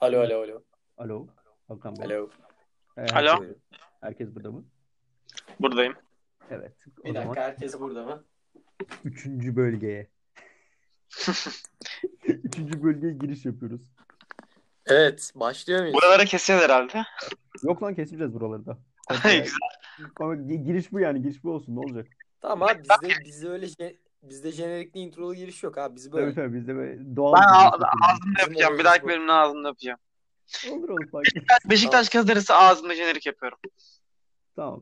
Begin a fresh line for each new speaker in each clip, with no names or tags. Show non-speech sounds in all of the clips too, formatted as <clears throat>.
Alo alo alo.
Alo. Hakan Bey.
Alo.
Ee,
Alo.
herkes, herkes burada mı?
Buradayım.
Evet. O
Bir
zaman
dakika herkes burada mı?
üçüncü
<laughs>
bölgeye. üçüncü bölgeye giriş yapıyoruz.
Evet başlıyor muyuz?
Buralara keseceğiz herhalde.
Yok lan kesmeyeceğiz buraları da.
Güzel.
Ama gi- giriş bu yani. Giriş bu olsun. Ne olacak?
Tamam abi bizde bizde öyle je- bizde jenerikli introlu giriş yok abi biz böyle.
Tabii tabii bizde böyle doğal
Ben
bir giriş
ağ-
yapıyoruz.
ağzımda yapacağım. Bir dahaki bölümde ağzımda yapacağım.
Olur olur fark etmez. <laughs>
Beşiktaş kız derisi ağzımda jenerik yapıyorum.
<laughs>
Tamam.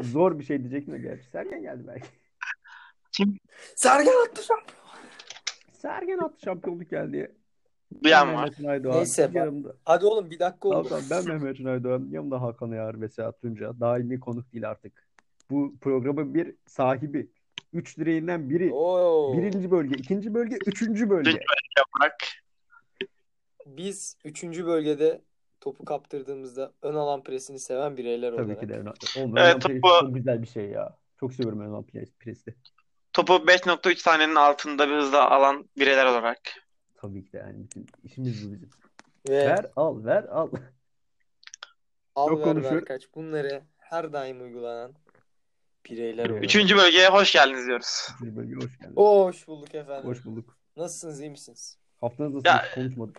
Zor bir şey diyecektim de gerçi. Sergen geldi belki.
Sergen attı şu an.
Sergen attı şampiyonluk geldi. Ben
Duyan var.
Mehmet Günaydoğan.
Neyse, ben-
Yanımda...
Hadi oğlum bir dakika
Tamam,
oldu.
tamam. Ben Mehmet Günaydoğan. Yanımda Hakan Ayar ve Sedat Tunca. Daimi konuk değil artık. Bu programın bir sahibi. Üç direğinden biri.
Oo.
Birinci bölge, ikinci bölge, üçüncü bölge.
Bak.
Biz üçüncü bölgede topu kaptırdığımızda ön alan presini seven bireyler
Tabii
olarak.
ki de. Oğlum, Ön
Evet,
alan presi
bu-
çok güzel bir şey ya. Çok seviyorum ön alan presi- presi.
Topu 5.3 saniyenin altında bir hızla alan bireyler olarak.
Tabii ki de yani bütün işimiz bu bizim.
Ve
Ver al, ver al.
al
çok
ver
konuşuyor.
ver kaç bunları her daim uygulanan bireyler olarak.
Üçüncü bölgeye hoş geldiniz diyoruz.
Üçüncü bölge hoş geldin.
Oo, hoş bulduk efendim.
Hoş bulduk.
Nasılsınız iyi misiniz?
Haftanız nasıl
Ya-
hiç konuşmadık.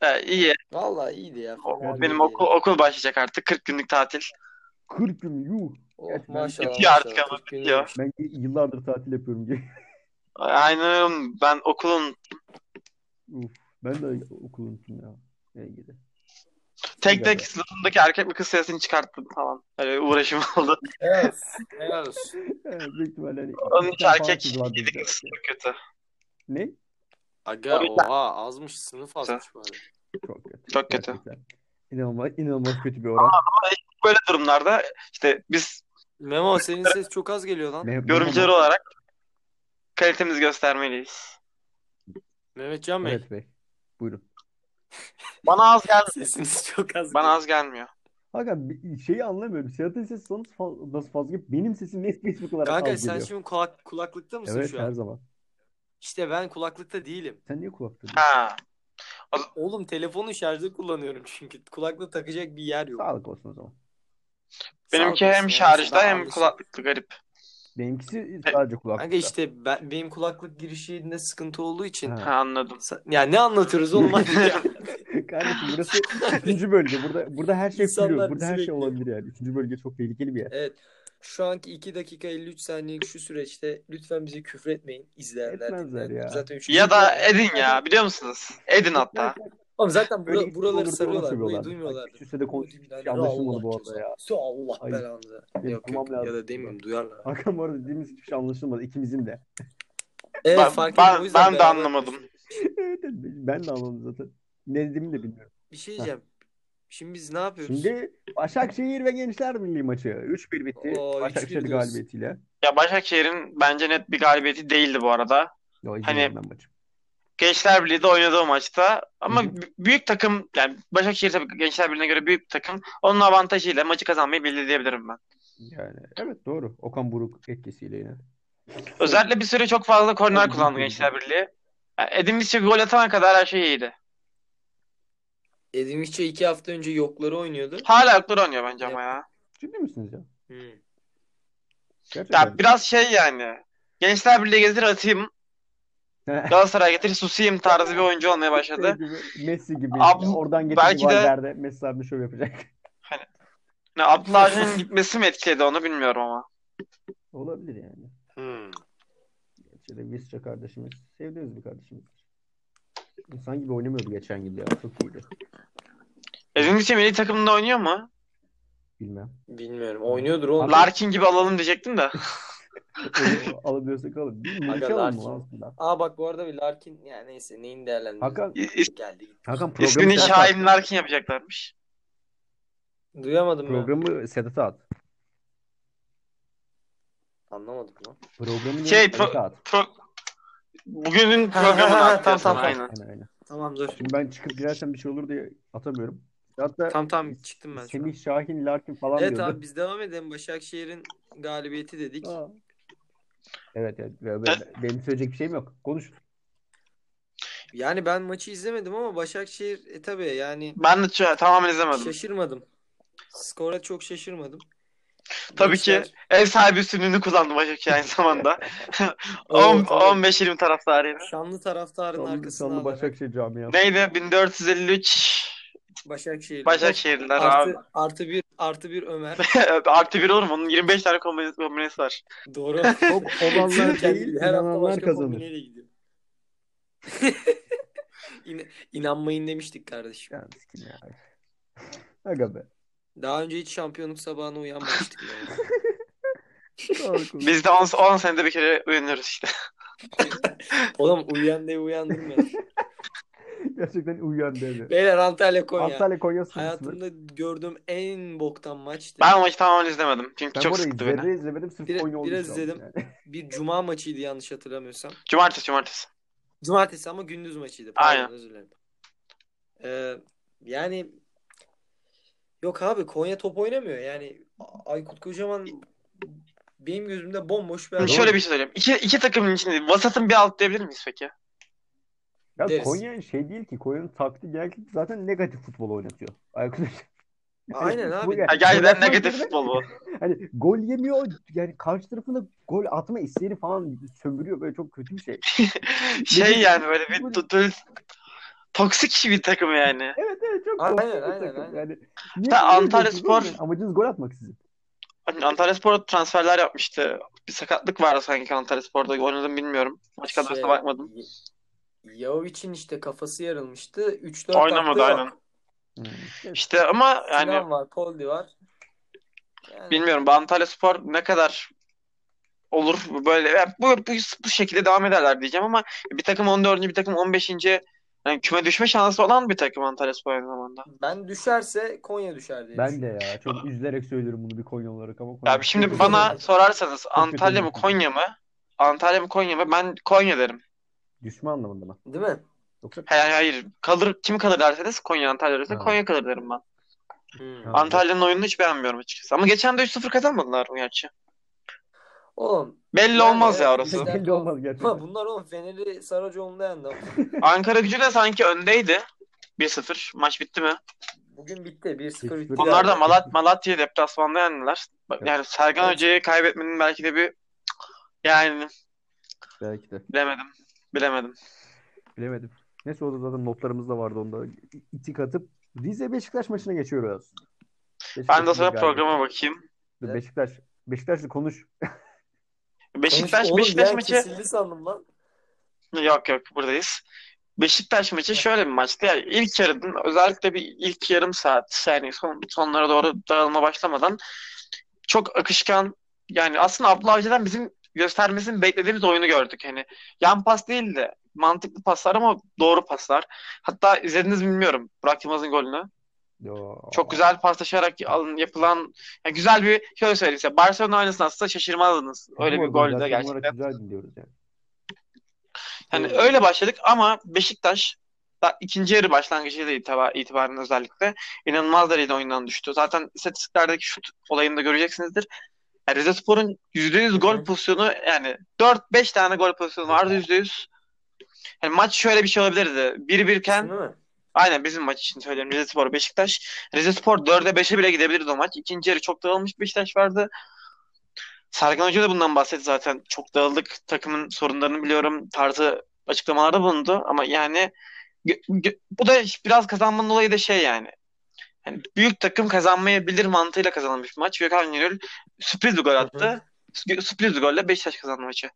Ee, iyi.
Vallahi iyiydi ya.
O-
fena
benim
değil.
okul, okul başlayacak artık. 40 günlük tatil.
40 gün yuh.
Oh,
Gerçi ben-
maşallah.
Bitiyor artık
maşallah.
ama,
Kırk günlük
bitiyor.
Ben y- yıllardır tatil yapıyorum gibi.
Aynen öyle. Ben okulun
Uf, <laughs> ben de okulu unuttum ya. Ne ilgili.
tek tek sınıfındaki erkek ve kız sayısını çıkarttım falan. Öyle uğraşım oldu.
Evet. Evet.
Evet, büyük ihtimalle hani
Onun
iki
için
tane falan
erkek
kız vardı
yedi
bize.
kız sınıfı kötü.
Ne?
Aga
O yüzden-
oha azmış sınıf azmış bari.
Çok kötü.
Çok kötü.
Gerçekten. İnanılmaz, inanılmaz kötü bir oran.
Böyle durumlarda işte biz
Memo senin ses çok az geliyor lan.
Me-
yorumcular
Mehmet-
olarak kalitemizi göstermeliyiz.
Mehmetcan Bey.
Evet Bey. Buyurun.
Bana az gelmiyor.
Sesiniz çok az
Bana
geliyor.
az gelmiyor.
Hakan bir şeyi anlamıyorum. Sedat'ın sesi son fa- nasıl fazla geliyor? Benim sesim net spesifik olarak
Kanka
az
sen
geliyor.
şimdi kulak, kulaklıkta mısın
Evet
şu an?
her zaman.
İşte ben kulaklıkta değilim.
Sen niye kulakta değilsin?
Ha.
Oğlum telefonu şarjda kullanıyorum çünkü. Kulaklığı takacak bir yer yok.
Sağlık olsun o zaman.
Benimki
Sağ
hem
olasın,
şarjda
yani.
hem kulaklıklı garip.
Benimkisi sadece kulaklıkta.
Kanka işte ben, benim kulaklık girişinde sıkıntı olduğu için.
Ha.
<laughs>
Ha anladım.
Sa- Ya ne anlatıyoruz oğlum?
<laughs> Kardeşim burası üçüncü bölge. Burada burada her şey
İnsanlar
biliyor. Burada
bizi
her şey
bekliyor.
olabilir yani. Üçüncü bölge çok tehlikeli bir yer.
Evet. Şu anki 2 dakika 53 saniyelik şu süreçte lütfen bizi küfretmeyin izleyenler.
Etmezler
dinleyenler.
ya.
Zaten üçüncü
Ya da
bölüm-
edin ya biliyor musunuz? Edin hatta.
Oğlum zaten bura-
Böyle gitsin
buraları
olur, ona
sarıyorlar. Burayı
seviyorlar.
duymuyorlar.
Bak, Üst de
Bu
konuş.
dibden-
Anlaşılmadı
Allah
bu arada ya.
Su Allah
Ay.
belanıza.
Benim
Yok
bulmam
yok
lazım.
ya da demeyeyim duyarlar.
Hakan bu arada dediğimiz hiçbir şey anlaşılmadı. ikimizin de. <laughs>
Evet
Ben-
fark
ben-
ettim. O yüzden
ben de
beraber-
anlamadım.
Evet, ben de anladım zaten. Ne dediğimi de bilmiyorum.
Bir şey diyeceğim. Şimdi biz ne yapıyoruz?
Şimdi Başakşehir ve Gençler Milli maçı. 3-1 bitti.
Oo, 3-1
Başakşehir
diyorsun.
galibiyetiyle.
Ya Başakşehir'in bence net bir galibiyeti değildi bu arada.
Yo,
Hani-
izlemedim ben maçı.
Gençler Birliği'de oynadığı maçta ama
Hı hı.
b- büyük takım yani Başakşehir tabii Gençler Birliği'ne göre büyük bir takım. Onun avantajıyla maçı kazanmayı bildi diyebilirim ben.
Yani evet doğru. Okan Buruk etkisiyle yine.
Özellikle bir süre çok fazla korner
Tabii,
kullandı
büyük
Gençler Birliği. Yani Edin Visca gol atana kadar her şey iyiydi.
Edim İşçi 2 hafta önce yokları oynuyordu.
Hala aklar oynuyor bence ama ya.
Ciddi misiniz ya?
Hmm.
Gerçekten.
Ya biraz şey yani. Gençler Birliği
<laughs>
getir atayım. Galatasaray getir susayım tarzı bir oyuncu olmaya başladı.
Şey Gibi, Messi gibi.
Abi,
Oradan
belki
getirdi
de-
Valverde. Messi abi şov yapacak. <laughs>
Yani Abdullah'ın gitmesi mi etkiledi onu bilmiyorum ama.
Olabilir yani.
Hmm.
Şöyle Visca kardeşimiz. Sevdiğimiz bir kardeşimiz. İnsan gibi oynamıyordu geçen yıl ya. Çok iyiydi.
Edin Visca şey milli takımında oynuyor mu?
Bilmem.
Bilmiyorum. Oynuyordur oğlum.
Larkin gibi alalım
<laughs>
diyecektim de.
Onu Ee, alabiliyorsak alalım. Bir Muriç
Aga,
alalım mı
Larkin.
lan aslında?
Aa bak bu arada bir Larkin ya neyse neyin değerlendirdi.
Hakan,
İ- is-
geldi gitti.
Hakan programı
İsmini
Sedat'a at.
Şahin Larkin yapacaklarmış.
Duyamadım ben.
Programı Sedat'a at.
Anlamadım lan.
Programı
Şey,
şey, Sedat'a at.
Pro- Bugünün
Ha,
programını
<laughs>
ha, ha, <laughs>
atlıyorsun,
tamam, tamam.
aynen.
Aynen aynen.
Tamam dur.
Şimdi ben çıkıp girersem bir şey olur diye atamıyorum. Hatta
Tam tam çıktım ben şu an.
Semih Şahin, Larkin falan
Evet
diyordu.
abi biz devam edelim. Başakşehir'in galibiyeti dedik.
Aa. Evet evet. Ben- ben- Benim söyleyecek bir şeyim yok. Konuş.
Yani ben maçı izlemedim ama Başakşehir e tabii yani
Ben de ço- tamamen izlemedim.
Şey-
şaşırmadım. Skora çok şaşırmadım.
Tabii ki
Gençler-
ev sahibi üstünlüğünü kullandı Başakşehir aynı zamanda. On-
Evet, evet.
15-20 taraftarıyla.
Şanlı taraftarın
Şanlı,
arkasına
şanlı
alarak
Başakşehir camiası.
Neydi? 1453
Başakşehir.
Başakşehirliler abi. <laughs>
Artı, artı bir artı bir Ömer.
Artı bir olur mu? Onun 25 tane kombinesi, kombinesi var.
Doğru.
Top olanlar
her
değil,
hafta
inananlar
başka
kazanır.
kombineyle gidiyor. <laughs> İn- inanmayın demiştik kardeşim.
Yani sikim ya.
<laughs>
Aga be.
Daha önce hiç şampiyonluk sabahına uyanmamıştık. yani.
Doğru konuş.
Biz de 10, 10 senede bir kere uyanıyoruz
<laughs>
işte.
Oğlum uyan diye uyandım ben.
Gerçekten uyuyan devre.
Beyler Antalya Konya.
Antalya Konya sınıfı.
Hayatımda gördüğüm en boktan maçtı.
Ben o maçı tamamen izlemedim. Çünkü
Ben bu
çok
arada
sıktı beni.
zerre izlemedim sırf
Biraz-
Konya olduğu
biraz
için aldım
izledim.
yani. <laughs>
Bir cuma maçıydı yanlış hatırlamıyorsam.
Cumartesi cumartesi.
Cumartesi ama gündüz maçıydı. Pardon
Aynen.
özür dilerim. Ee, yani yok abi Konya top oynamıyor. Yani Aykut Kocaman benim gözümde bomboş bir
Şimdi
adam.
Doğru.
şöyle bir şey söyleyeyim. İki, iki takımın içinde vasatın bir alt diyebilir miyiz
<laughs>
peki?
Ya
Deriz.
Konya şey değil ki. Konya'nın taktiği genellikle zaten negatif futbol oynatıyor. Aykut Hoca.
Aynen
Bu
abi.
yani-
Ya gerçekten
Bırakmak
negatif
yerine-
futbol bu.
<laughs> Hani gol yemiyor. Yani karşı tarafında gol atma isteğini falan sömürüyor. Böyle çok kötü bir şey.
<laughs> şey yani böyle bir tu- tu- toksik bir takım yani.
Evet evet çok
Aynen,
korkunç bir
aynen,
takım.
aynen.
Yani niye
Ta-
böyle
Antalya
yapıyorsunuz oğlum
Spor-
ya? Amacınız gol atmak sizin.
Antalyaspor transferler yapmıştı. Bir sakatlık vardı sanki Antalyaspor'da. Oynadım bilmiyorum. Maç kadrosuna
Şey,
bakmadım.
Yavic'in işte kafası yarılmıştı. 3-4
Oynamadı
hafta yok.
aynen.
Hmm.
İşte ama
Sinan
yani
var, Poldi var. Yani
bilmiyorum. Bu Antalyaspor ne kadar olur böyle ya bu, bu, bu şekilde devam ederler diyeceğim ama bir takım 14. bir takım 15. Yani küme düşme şansı olan bir takım Antalyaspor aynı zamanda.
ben düşerse Konya düşer diye
Ben de
düşünüyorum.
ya çok üzülerek söylüyorum bunu bir Konya olarak ama Konya
Ya şimdi
çok-
bana sorarsanız
kötü
Antalya mı
oynadı.
Konya mı? Antalya mı Konya mı? Ben Konya derim.
düşme anlamında mı?
Değil mi?
Yoksa
Hayır, hayır. Kalır, kim kalır derseniz Konya Antalya derse
Ha.
Konya kalır derim ben.
Hmm.
Ha.
Antalya'nın oyununu hiç beğenmiyorum açıkçası. Ama geçen de 3-0 kazanmadılar mı gerçi?
Oğlum
Belli
Yani
olmaz ya
evet,
orası.
güzel.
belli olmaz gerçekten.
ama bunlar oğlum Fener'i Saracoğlu'nda yendi. ama.
Ankara gücü de sanki öndeydi. 1-0. Maç bitti mi?
Bugün bitti. 1-0 bitti.
Onlar
Onlar da
abi.
Malat, Malatya deplasmanda yendiler. Bak,
Evet.
Yani Sergen
Evet.
Hoca'yı kaybetmenin belki de bir yani
Belki de.
bilemedim. Bilemedim.
Bilemedim. Neyse o da zaten notlarımız da vardı onda. İtik atıp Rize Beşiktaş maçına geçiyoruz.
Ben
Beşiktaş'ın
de sonra
galiba.
programa bakayım.
Dur, Beşiktaş. Beşiktaş'la konuş.
Beşiktaş
Oğlum,
Beşiktaş
ya,
maçı
Kesildi sandım lan.
yok yok buradayız. Beşiktaş maçı şöyle bir maçtı. Yani ilk yarının özellikle bir ilk yarım saat yani son, sonlara doğru dağılma başlamadan çok akışkan yani aslında Abdullah Avcı'dan bizim göstermesini beklediğimiz oyunu gördük. Hani yan pas değil de mantıklı paslar ama doğru paslar. Hatta izlediniz mi bilmiyorum Burak Yılmaz'ın golünü.
Yo.
Çok güzel paslaşarak alın, yapılan yani güzel bir şöyle söyleyeyim size Barcelona oynasın aslında şaşırmazdınız. Öyle bir
Futbol
gol de
zaten
gerçekten.
olarak Güzel dinliyoruz yani.
Hani öyle başladık ama Beşiktaş da ikinci yarı başlangıcıyla itibar, itibaren özellikle inanılmaz derecede oyundan düştü. Zaten istatistiklerdeki şut olayını da göreceksinizdir. Yani Rize Spor'un %100
Hı
gol
hı.
pozisyonu yani 4-5 tane gol pozisyonu vardı %100. Yani maç şöyle bir şey olabilirdi. 1-1
Değil
iken
mi?
aynen bizim maç için söylüyorum Rize Spor Beşiktaş. Rize Spor 4'e 5'e bile gidebilirdi o maç. İkinci yarı çok dağılmış Beşiktaş vardı. Sergen Hoca da bundan bahsetti zaten. Çok dağıldık. Takımın sorunlarını biliyorum. Tarzı açıklamalarda bulundu. Ama yani gö- gö- bu da biraz kazanmanın olayı da şey yani. Yani büyük takım kazanmayabilir mantığıyla kazanılmış bir maç. Gökhan Gönül sürpriz bir gol
Hı
attı. Sü- Sürpriz bir golle Beşiktaş kazandı maçı.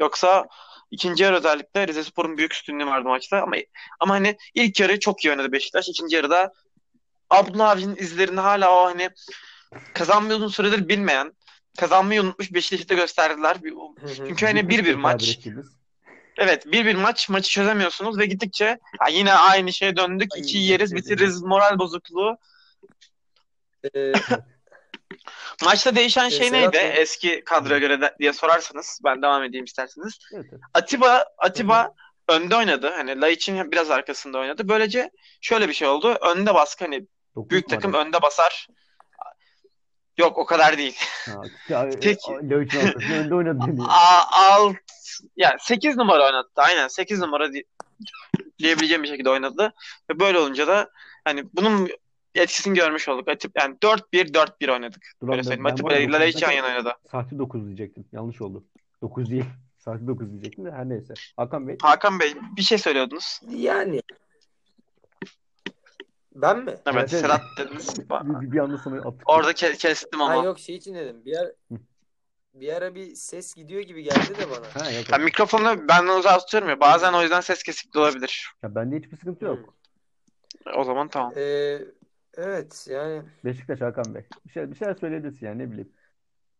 Yoksa ikinci yarı özellikle Rizespor'un büyük üstünlüğü vardı maçta. Ama ama hani ilk yarı çok iyi oynadı Beşiktaş. İkinci yarıda Abdullah Avcı'nın izlerini hala o hani kazanmayı uzun süredir bilmeyen, kazanmayı unutmuş Beşiktaş'ta gösterdiler. Bir-
Hı hı.
Çünkü hani 1-1 maç.
Tabir ettiğimiz.
Evet 1-1 maç maçı çözemiyorsunuz ve gittikçe ya yine aynı şeye döndük.
Ay,
2 yeriz bitiririz moral bozukluğu.
Ee,
Maçta değişen
Ee,
şey
Serhat
neydi
Bey.
eski kadroya göre de- diye sorarsanız ben devam edeyim isterseniz.
Evet, evet.
Atiba Atiba önde oynadı. Hani Laiç'in biraz arkasında oynadı. Böylece şöyle bir şey oldu. Önde baskı hani
Dokuz
büyük takım
numara.
önde basar. Yok o kadar değil.
Ha, işte,
Peki.
Peki. Önde oynadı dedi.
A- alt ya 8 numara oynattı. Aynen 8 numara di- diyebileceğim bir şekilde oynadı. Ve böyle olunca da hani bunun etkisini görmüş olduk. Atip, yani 4-1 4-1 oynadık.
Dur
Böyle
abi,
söyleyeyim.
ben
Atip
bu arada
ile hiç
dokuzda-
yan yana oynadı.
Sahte 9 diyecektim. Yanlış oldu. 9 değil. <laughs> Sahte 9 diyecektim de her neyse. Hakan Bey
Hakan Bey bir şey söylüyordunuz.
Yani. Ben mi?
Evet,
Evet, evet.
Serhat dediniz.
bir, bir, bir anda sana attık.
Orada ke- kestim ama.
Ha yok şey için dedim. Bir ara, bir ara bir ses gidiyor gibi geldi de bana.
Ha, yok,
Ya
yok.
mikrofonu benden uzak tutuyorum ya. Bazen o yüzden ses kesikli olabilir.
Ya bende hiçbir sıkıntı yok.
O zaman tamam.
Ee, evet yani
Beşiktaş Hakan Bey. Bir şey bir şeyler söyleyebilirsin yani ne bileyim.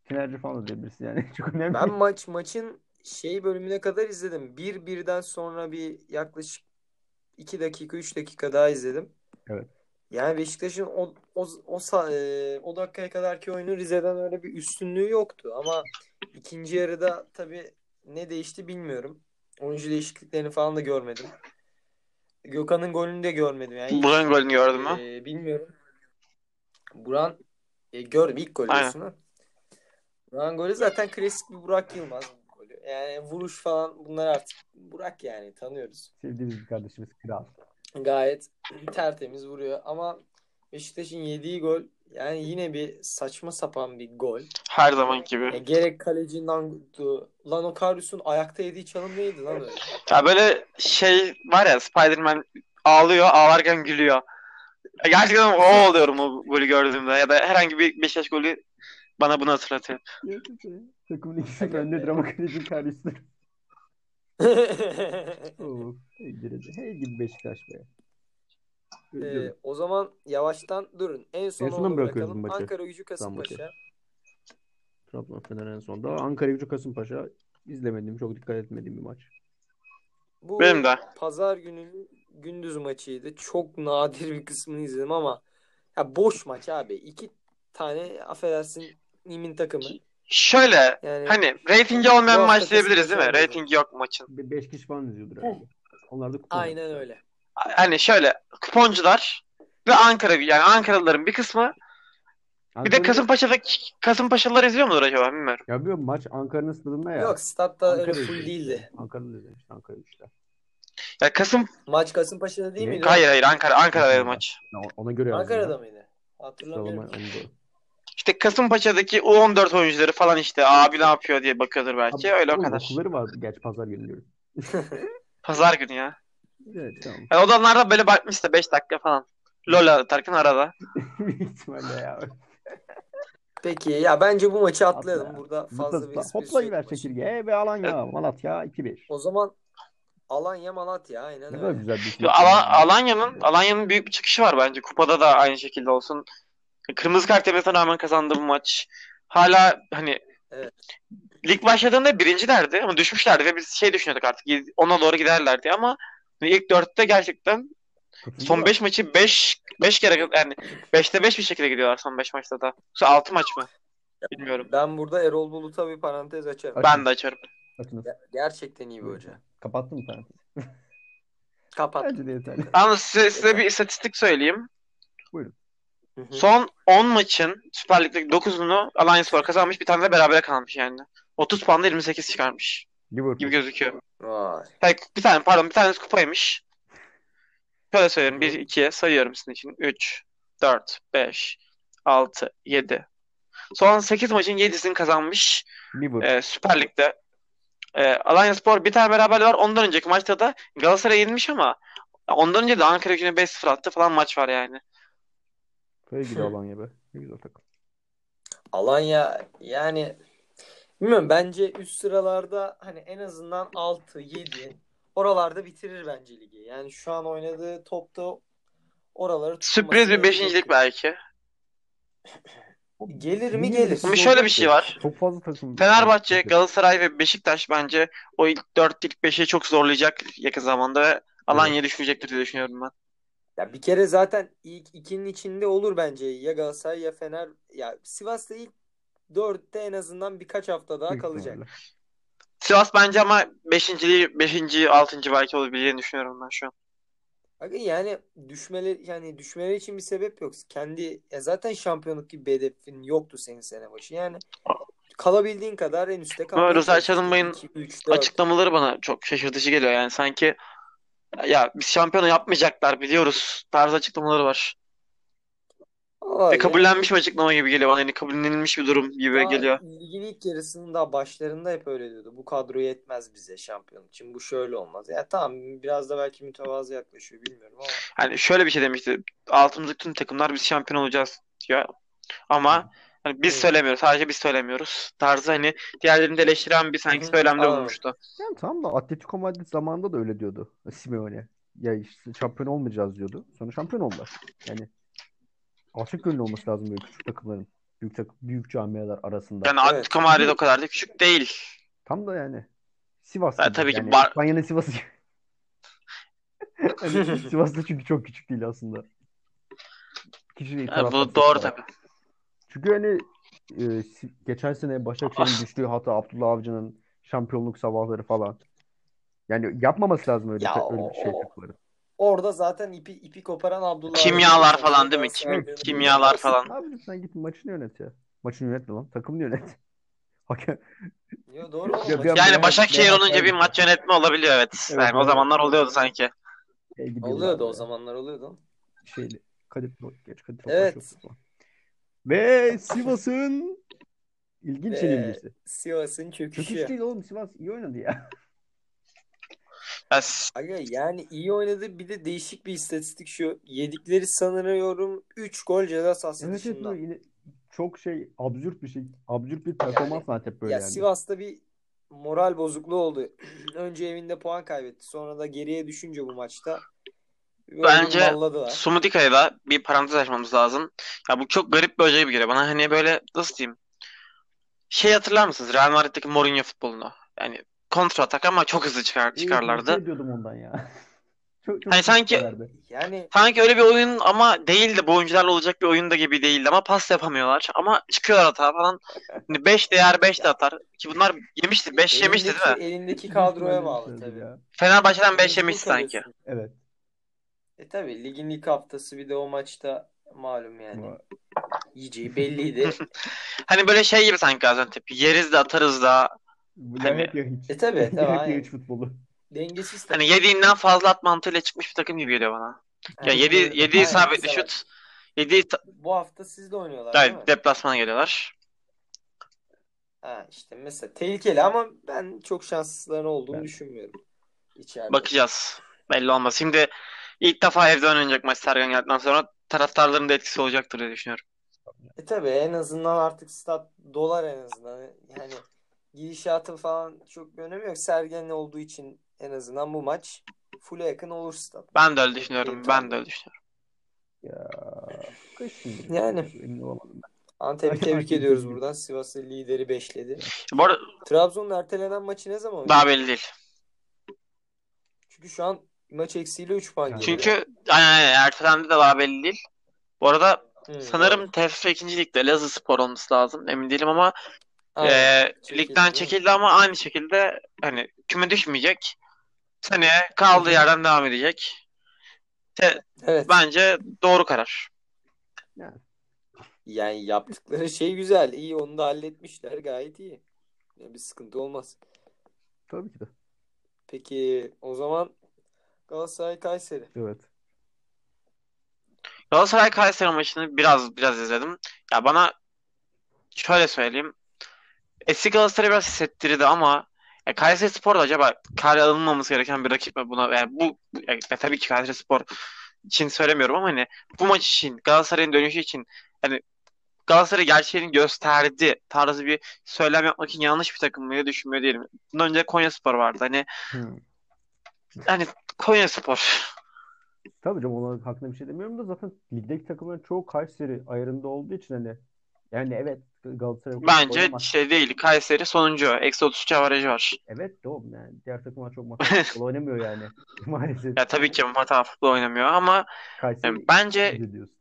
Tinerci falan da diyebilirsin yani. <laughs> Çok önemli.
ben maç maçın şey bölümüne kadar izledim. Bir birden sonra bir yaklaşık 2 dakika 3 dakika daha izledim.
Evet.
Yani Beşiktaş'ın o o o, sa- e, o dakikaya kadarki oyunu Rize'den öyle bir üstünlüğü yoktu ama ikinci yarıda tabii ne değişti bilmiyorum. Oyuncu değişikliklerini falan da görmedim. Gökhan'ın golünü de görmedim. Yani ilk-
Buran golünü gördün mü?
Ee, bilmiyorum. Buran e, gördüm ilk golü
Aynen.
diyorsun ha. Buran golü zaten klasik bir Burak Yılmaz golü. Yani vuruş falan bunlar artık Burak yani tanıyoruz.
Sevdiğimiz bir kardeşimiz Kral.
Gayet <clears throat> tertemiz vuruyor ama Beşiktaş'ın yediği gol yani yine bir saçma sapan bir gol.
Her zaman gibi. <laughs>
E, gerek kaleci Nangudu, lan o Karius'un ayakta yediği çalım neydi lan öyle?
Ya böyle şey var ya Spider-Man ağlıyor, ağlarken gülüyor. Ya Gerçekten o oluyorum o golü gördüğümde ya da herhangi bir Beşiktaş golü bana bunu hatırlatıyor.
Takımın ikisi de
Hakan
önde
Bey.
drama kalecinin kardeşleri. <laughs> Of. Hey gidi- hey gidi Beşiktaş be.
E, o zaman yavaştan durun. En sona
En sona
onu
mı bırakıyoruz
bırakalım.
bu maçı?
Ankara Gücü Kasımpaşa.
Trabzon Fener en son. Daha Ankara Gücü Kasımpaşa izlemedim. Çok dikkat etmediğim bir maç.
Bu
Benim de.
pazar günü gündüz maçıydı. Çok nadir bir kısmını izledim ama ya boş maç abi. İki tane affedersin Nimin takımı.
Şöyle
Yani
hani reytingi olmayan
Bu hafta
maç diyebiliriz değil mi?
kesinlikle
Reytingi yok maçın.
Be beş kişi falan izliyordur herhalde. Onlar da kupon
aynen
yapmışlar.
öyle.
Hani şöyle kuponcular ve Ankara yani Ankaralıların bir kısmı bir de
Ankara'nın-
Kasımpaşa'daki Kasımpaşalılar izliyor mudur acaba bilmiyorum.
Ya biliyorum maç Ankara'nın stadında ya.
Yok statta öyle
Ankara
full
izliyor.
değildi.
Ankara'da izlemişti Ankara güçler.
Ya Kasım
Maç Kasımpaşa'da değil
Ne?
miydi?
hayır hayır Ankara Ankara'da
Ankara'da.
maç.
Ya Ona göre yazdım
Ankara'da
ya.
mıydı?
Sıralama
Hatırlamıyorum.
onu doğru.
İşte Kasımpaşa'daki U14 oyuncuları falan işte abi ne yapıyor diye bakıyordur belki.
Abi,
şey Öyle o
oğlum
kadar.
Okulları var gerçi pazar günü diyorum.
Pazar günü ya.
Evet tamam. <laughs>
Yani odanlarda böyle bakmış da 5 dakika falan. Lola atarken arada.
Büyük ihtimalle ya.
Peki ya bence bu maçı atlayalım.
Atla
Burada
ya. Zıpla
fazla bir
zıpla.
esprisi
Hopla
yok
gider
maçın.
çekirge. E ve Alanya. Malatya 2-1.
O zaman Alanya Malatya aynen
Ne kadar
öyle.
güzel bir şey.
Ya Ala- Alanya'nın Alanya'nın büyük bir çıkışı var bence. Kupada da aynı şekilde olsun. E, Kırmızı kart yemesine rağmen kazandı bu maç. Hala hani
Evet.
lig başladığında birincilerdi ama düşmüşlerdi ve biz şey düşünüyorduk artık y- ona doğru giderlerdi ama hani ilk dörtte gerçekten son 5 maçı 5 5 kere yani 5'te 5 bir şekilde gidiyorlar son 5 maçta da. 6 maç mı? Bilmiyorum.
Ben burada Erol Bulut'a bir parantez açarım.
Aç.
Ben de açarım.
Açınız.
Gerçekten iyi bir hoca.
Kapattın mı parantezi?
Kapat.
Bence de yeterli.
<laughs>
Ama size, size bir istatistik söyleyeyim.
Hı hı.
Son 10 maçın Süper Lig'deki 9'unu Alanyaspor kazanmış. Bir tane de berabere kalmış yani. 30 puanda 28 çıkarmış gibi
Liverpool.
gözüküyor.
Vay.
Hayır, bir tane pardon bir tanesi kupaymış. Şöyle söylüyorum. 1 2 sayıyorum sizin için. 3 4 5 6 7. Son 8 maçın 7'sini kazanmış.
Liverpool.
Ee, Süper Lig'de e, Alanyaspor bir tane beraberliği var. Ondan önceki maçta da Galatasaray yenilmiş ama ondan önce de Ankara Gücü'ne 5-0 attı falan maç var yani.
Böyle gidiyor Alanya be. Ne güzel takım.
Alanya yani bilmiyorum bence üst sıralarda hani en azından 6 7 oralarda bitirir bence ligi. Yani şu an oynadığı topta oraları tutması
Sürpriz bir
gerekiyor.
beşincilik belki.
Gelir mi
Niye
gelir.
Ama şöyle bir şey var.
Çok fazla takım.
Fenerbahçe, Galatasaray ve Beşiktaş bence o ilk 4 ilk 5'i çok zorlayacak yakın zamanda ve Alanya düşmeyecektir diye düşünüyorum ben.
Ya bir kere zaten ilk ikinin içinde olur bence ya Galatasaray ya Fener ya Sivas'ta ilk 4'te en azından birkaç hafta daha
Büyük
kalacak.
ihtimalle.
Sivas bence ama 5. 5. 6. belki olabileceğini düşünüyorum ben şu an.
Aga yani düşmeleri yani düşmeleri için bir sebep yok. Kendi ya zaten şampiyonluk gibi bir hedefin yoktu senin sene başı. Yani kalabildiğin kadar en üstte kal.
Ama Rıza Çalınbay'ın
3,
Açıklamaları bana çok şaşırtıcı geliyor. Yani sanki ya biz şampiyonu yapmayacaklar biliyoruz tarzı açıklamaları var. Ve kabullenmiş bir açıklama gibi geliyor bana. Yani kabullenilmiş bir durum gibi geliyor.
Ligin ilk yarısının daha başlarında hep öyle diyordu. Bu kadro yetmez bize şampiyon için. Bu şöyle olmaz. Ya tamam biraz da belki mütevazı yaklaşıyor bilmiyorum ama.
Hani şöyle bir şey demişti. Altımızdaki tüm takımlar biz şampiyon olacağız diyor. Ama hani biz
Hı.
söylemiyoruz. Sadece biz söylemiyoruz. Tarzı hani diğerlerini de eleştiren bir sanki
Hı hı.
söylemde
Anladım.
bulunmuştu.
Yani tamam da Atletico Madrid zamanında da öyle diyordu Simeone. Ya işte şampiyon olmayacağız diyordu. Sonra şampiyon oldular. Yani alçak gönüllü olması lazım böyle küçük takımların. Büyük takım, büyük camialar arasında.
Yani
Evet.
Atletico Madrid o kadar da küçük değil.
Tam da yani Sivas
Ha,
gibi.
tabii ki
yani
Bar-
İspanya'nın
<laughs>
Sivas'ı gibi. Yani Sivas da çünkü çok küçük değil aslında. Kişi
Yani
taraftar
bu
sayısı
doğru
olarak.
tabii.
Çünkü hani e, si- geçen sene Başakşehir'in
Ah.
As-
düştüğü hata Abdullah Avcı'nın şampiyonluk sabahları falan. Yani yapmaması lazım öyle,
Ya
ta- öyle
o-
şey
o-
takımları.
Orada zaten ipi ipi koparan Abdullah.
Kimyalar
Avcı.
falan değil mi?
Galatasaray'ın
Kim-
dönemi.
kimyalar falan.
Abi sen git maçını yönet ya. Maçını yönetme lan. Takımını yönet. <laughs> Hakem.
Yo, doğru oğlum.
Ya bir
Maçı-
an-
Yani Başakşehir
Berat-
olunca bir maç yönetme olabiliyor evet.
Evet,
Yani o
evet.
zamanlar oluyordu sanki.
Şey gibi
Oluyordu o
yıllarda.
zamanlar oluyordu.
Şeyli. Kadir Pro- geç Kadir Topbaş
Evet.
yoktu falan. Ve Sivas'ın ilginç
Ve-
yenilgisi.
Sivas'ın
Kötü
çöküşü.
değil oğlum Sivas iyi oynadı ya.
Ya s-
Aga yani iyi oynadı. Bir de değişik bir istatistik şu. Yedikleri sanıyorum 3 gol ceza sahası
Evet evet
dışından.
böyle yine çok şey absürt bir şey. Absürt bir performans zaten hep böyle
ya
yani.
Sivas'ta bir moral bozukluğu oldu. <clears throat> Önce evinde puan kaybetti. Sonra da geriye düşünce bu maçta böyle
Bence
bir malladılar.
Sumudika'ya da bir parantez açmamız lazım. Ya bu çok garip bir hoca gibi geliyor bana. Hani böyle nasıl diyeyim? Şey hatırlar mısınız? Real Madrid'deki Mourinho futbolunu. Yani kontra atak ama çok hızlı çıkar,
Evet
çıkarlardı.
nefret ediyordum şey ondan ya. <laughs> Çok çok
Hani sanki-
küçüklerdi.
Yani
Sanki öyle bir oyun ama değildi. Bu oyuncularla olacak bir oyun da gibi değildi. Ama pas yapamıyorlar. Ama çıkıyorlar hata falan. Hani 5 de yer 5 de atar. Ki bunlar yemişti. 5 yemişti
elindeki,
değil mi?
elindeki
Büyük
kadroya
ihtimalle
bağlı
yemişlerdir
tabii.
ya.
Fenerbahçe'den 5
Mecbur
yemişti sanki.
kalıyorsun.
Evet.
E tabii ligin ilk haftası bir de o maçta malum yani.
Ama
Yiyeceği
<laughs>
belliydi.
Hani böyle şey gibi sanki Gaziantep. Yeriz de atarız da.
bu
Hani-
ya hep ya hiç. <laughs>
E tabii, tabii,
Ya hep ya
aynen.
hiç futbolu.
Dengesiz takım.
Hani yediğinden fazla at mantığıyla çıkmış bir takım gibi geliyor bana. Ya
Aynen
yedi,
öyle.
yedi
Aynen,
isabetli
mesela bak,
şut. Yedi ta-
bu hafta sizle oynuyorlar değil mi?
yani deplasmana geliyorlar.
Ha işte mesela tehlikeli ama ben çok şanslıların olduğunu
Ben-
düşünmüyorum içeride.
Bakacağız. Belli olmaz. Şimdi ilk defa evde oynanacak maç Sergen geldikten sonra taraftarların da etkisi olacaktır diye düşünüyorum.
E tabii en azından artık stat dolar en azından. Yani gidişatın falan çok bir önemi yok. Sergen'le olduğu için en azından bu maç full'e yakın olur stat.
Ben de öyle
Çok
düşünüyorum.
keyif
Ben de
aldım.
öyle düşünüyorum.
Ya kaç
<laughs>
şimdi?
Yani
Emin olamadım ben.
Antep'i tebrik
Antep'i
ediyoruz
tebrik.
buradan. Sivas'ı lideri beşledi.
Bu arada
Trabzon'un ertelenen maçı ne zaman
daha
oynayacak?
belli değil.
Çünkü şu an maç eksiğiyle 3 puan
Yani.
geride.
Çünkü aynen aynen ertelendi de daha belli değil. Bu arada
Hı, doğru.
sanırım TFF 2. Lig'de Elazığspor olması lazım. Emin değilim ama
Aynen.
e, ligden
Çekildi değil mi?
çekildi ama aynı şekilde hani küme düşmeyecek. Seneye kaldığı yerden devam edecek. Te-
Evet.
bence doğru karar.
Yani
Yani yaptıkları şey güzel. iyi onu da halletmişler. Gayet iyi. Yani bir sıkıntı olmaz.
tabii ki de.
Peki o zaman Galatasaray Kayseri.
Evet.
Galatasaray Kayseri maçını biraz biraz izledim. Ya bana şöyle söyleyeyim. Eski Galatasaray biraz hissettirdi ama ya Kayserispor da acaba kale alınmaması gereken bir rakip mi buna? Yani bu bu- ya tabii ki Kayserispor için söylemiyorum ama hani bu maç için Galatasaray'ın dönüşü için hani Galatasaray gerçeğini gösterdi tarzı bir söylem yapmak için yanlış bir takım mı diye düşünmüyor değilim. Bundan önce Konyaspor vardı. Hani
Hmm.
hani Konyaspor.
Tabii canım ona hakkında bir şey demiyorum da zaten ligdeki takımların çoğu Kayseri ayarında olduğu için hani yani evet Galatasaray o kadar oynar
Bence
ama
şey değil. Kayseri sonuncu. Eksi 33 avarajı var.
evet de oğlum yani diğer takımlar
<laughs>
çok masal futbol oynamıyor yani <laughs> maalesef.
Ya tabii ki hata futbol oynamıyor ama yani
Kayseri
bence
iyi de diyorsun.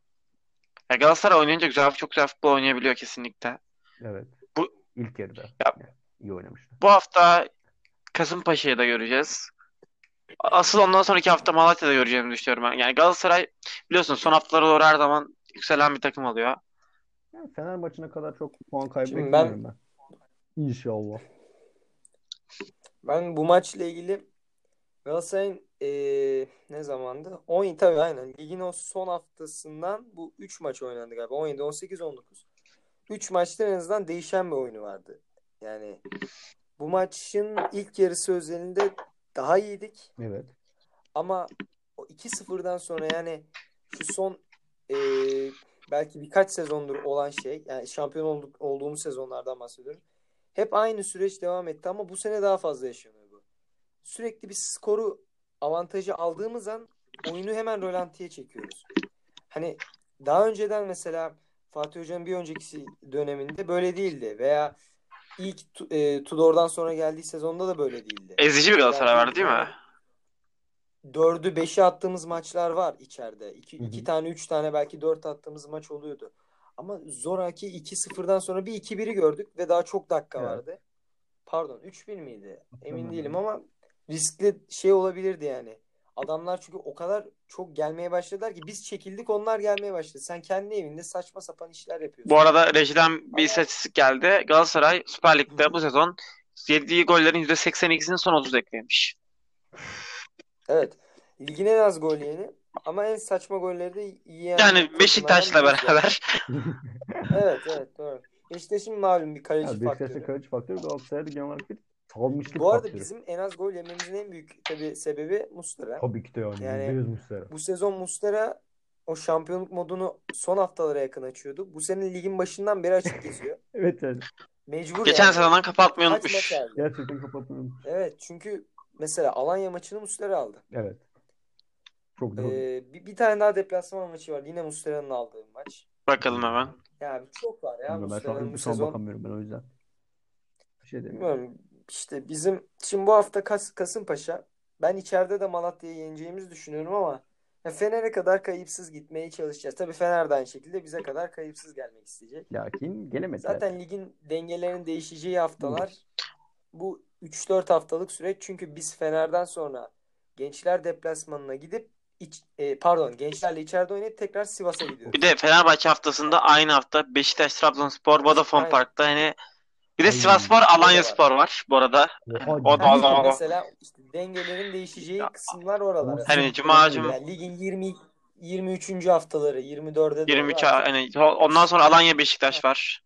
ya Galatasaray oynayınca güzel, çok güzel futbol oynayabiliyor kesinlikle.
Evet.
Bu
İlk yarıda
ya
yani iyi oynamışlar.
bu hafta Kasımpaşa'yı da göreceğiz. Asıl ondan sonraki hafta Malatya'da göreceğimi düşünüyorum ben. Yani Galatasaray biliyorsun son haftalara doğru her zaman yükselen bir takım oluyor.
Yani Fener maçına kadar çok puan
Şimdi
kaybı
ben
beklemiyorum ben. İnşallah.
Ben bu maçla ilgili Galatasaray'ın eee, ne zamandı? 17 tabii aynen. Ligin o son haftasından bu 3 maç oynandı galiba. 17, 18, 19. 3 maçta en azından değişen bir oyunu vardı. Yani bu maçın ilk yarısı özelinde daha iyiydik.
Evet.
Ama o 2-0'dan sonra yani şu son eee, belki birkaç sezondur olan şey yani şampiyon olduk, olduğumuz sezonlardan bahsediyorum. Hep aynı süreç devam etti ama bu sene daha fazla yaşanıyor bu. Sürekli bir skoru avantajı aldığımız an oyunu hemen rölantiye çekiyoruz. Hani daha önceden mesela Fatih Hoca'nın bir önceki döneminde böyle değildi veya ilk Tu- eee, Tudor'dan sonra geldiği sezonda da böyle değildi
Ezici bir Galatasaray var değil mi?
dördü beşi attığımız maçlar var içeride. İki,
Hı hı.
iki tane üç tane belki dört attığımız maç oluyordu. Ama zoraki 2-0'dan sonra bir 2-1'i gördük ve daha çok dakika
Evet.
vardı. Pardon 3-1 miydi? Emin
Hatırlamıyorum.
değilim ama riskli şey olabilirdi yani. Adamlar çünkü o kadar çok gelmeye başladılar ki biz çekildik onlar gelmeye başladı. Sen kendi evinde saçma sapan işler yapıyorsun.
Bu arada rejiden bir
Ama-
istatistik geldi. Galatasaray Süper Lig'de bu sezon yediği gollerin %82'sini son 30 eklemiş.
Evet. Ligin en az gol yiyeni ama en saçma golleri de yiyen
Yani
takımlardan
Beşiktaş'la
biriyiz yani. <laughs>
beraber
Evet evet doğru. Beşiktaş'ın malum bir kaleci
Yani
faktörü.
Beşiktaş'ta kaleci faktörü Galatasaray'da genel olarak bir salmışlık
Bu arada
faktörü.
bizim en az gol yememizin en büyük tabii sebebi Muslera.
Tabii ki de yani.
Yani-
%100 Muslera.
Bu sezon Muslera o şampiyonluk modunu son haftalara yakın açıyordu. Bu sene ligin başından beri
<laughs>
açık geziyor.
Evet yani.
Mecbur
geçen
yani.
sezondan kapatmayı
Kaç
unutmuş.
maç aldı?
Gerçekten kapatmıyorum.
Evet çünkü mesela Alanya maçını Muslera aldı.
Evet. Çok doğru.
Ee, bir, bir tane daha deplasman maçı var. Yine Muslera'nın aldığı maç.
Bakalım hemen.
Ya çok var ya
Bilmiyorum, ben şu
Muslera'nın
an,
bu
şu an
sezon
bakamıyorum ben o yüzden. Bir şey demiyorum.
Bilmiyorum işte bizim şimdi bu hafta Kas Kasımpaşa ben içeride de Malatya'yı yeneceğimizi düşünüyorum ama ya Fener'e kadar kayıpsız gitmeye çalışacağız. Tabii Fener de aynı şekilde bize kadar kayıpsız gelmek isteyecek.
Lakin gelemediler.
Zaten ligin dengelerinin değişeceği haftalar bu 3-4 haftalık süreç çünkü biz Fener'den sonra Gençler deplasmanına gidip iç- e, pardon Gençlerle içeride oynayıp tekrar Sivas'a
Bir
gidiyoruz.
de Fenerbahçe haftasında aynı hafta Beşiktaş, Trabzonspor, Vodafone
Aynen.
Park'ta hani bir de
Aynen.
Sivasspor, Alanyaspor var bu arada.
Oha,
O da
Ha,
o
işte
da- o da.
mesela işte dengelerin değişeceği
Ya,
kısımlar oralar.
on-
aslında.
Hani cuma cuma
Yani ligin 20 23. haftaları 24'e doğru
23
artık.
hani ondan sonra Alanya Beşiktaş var.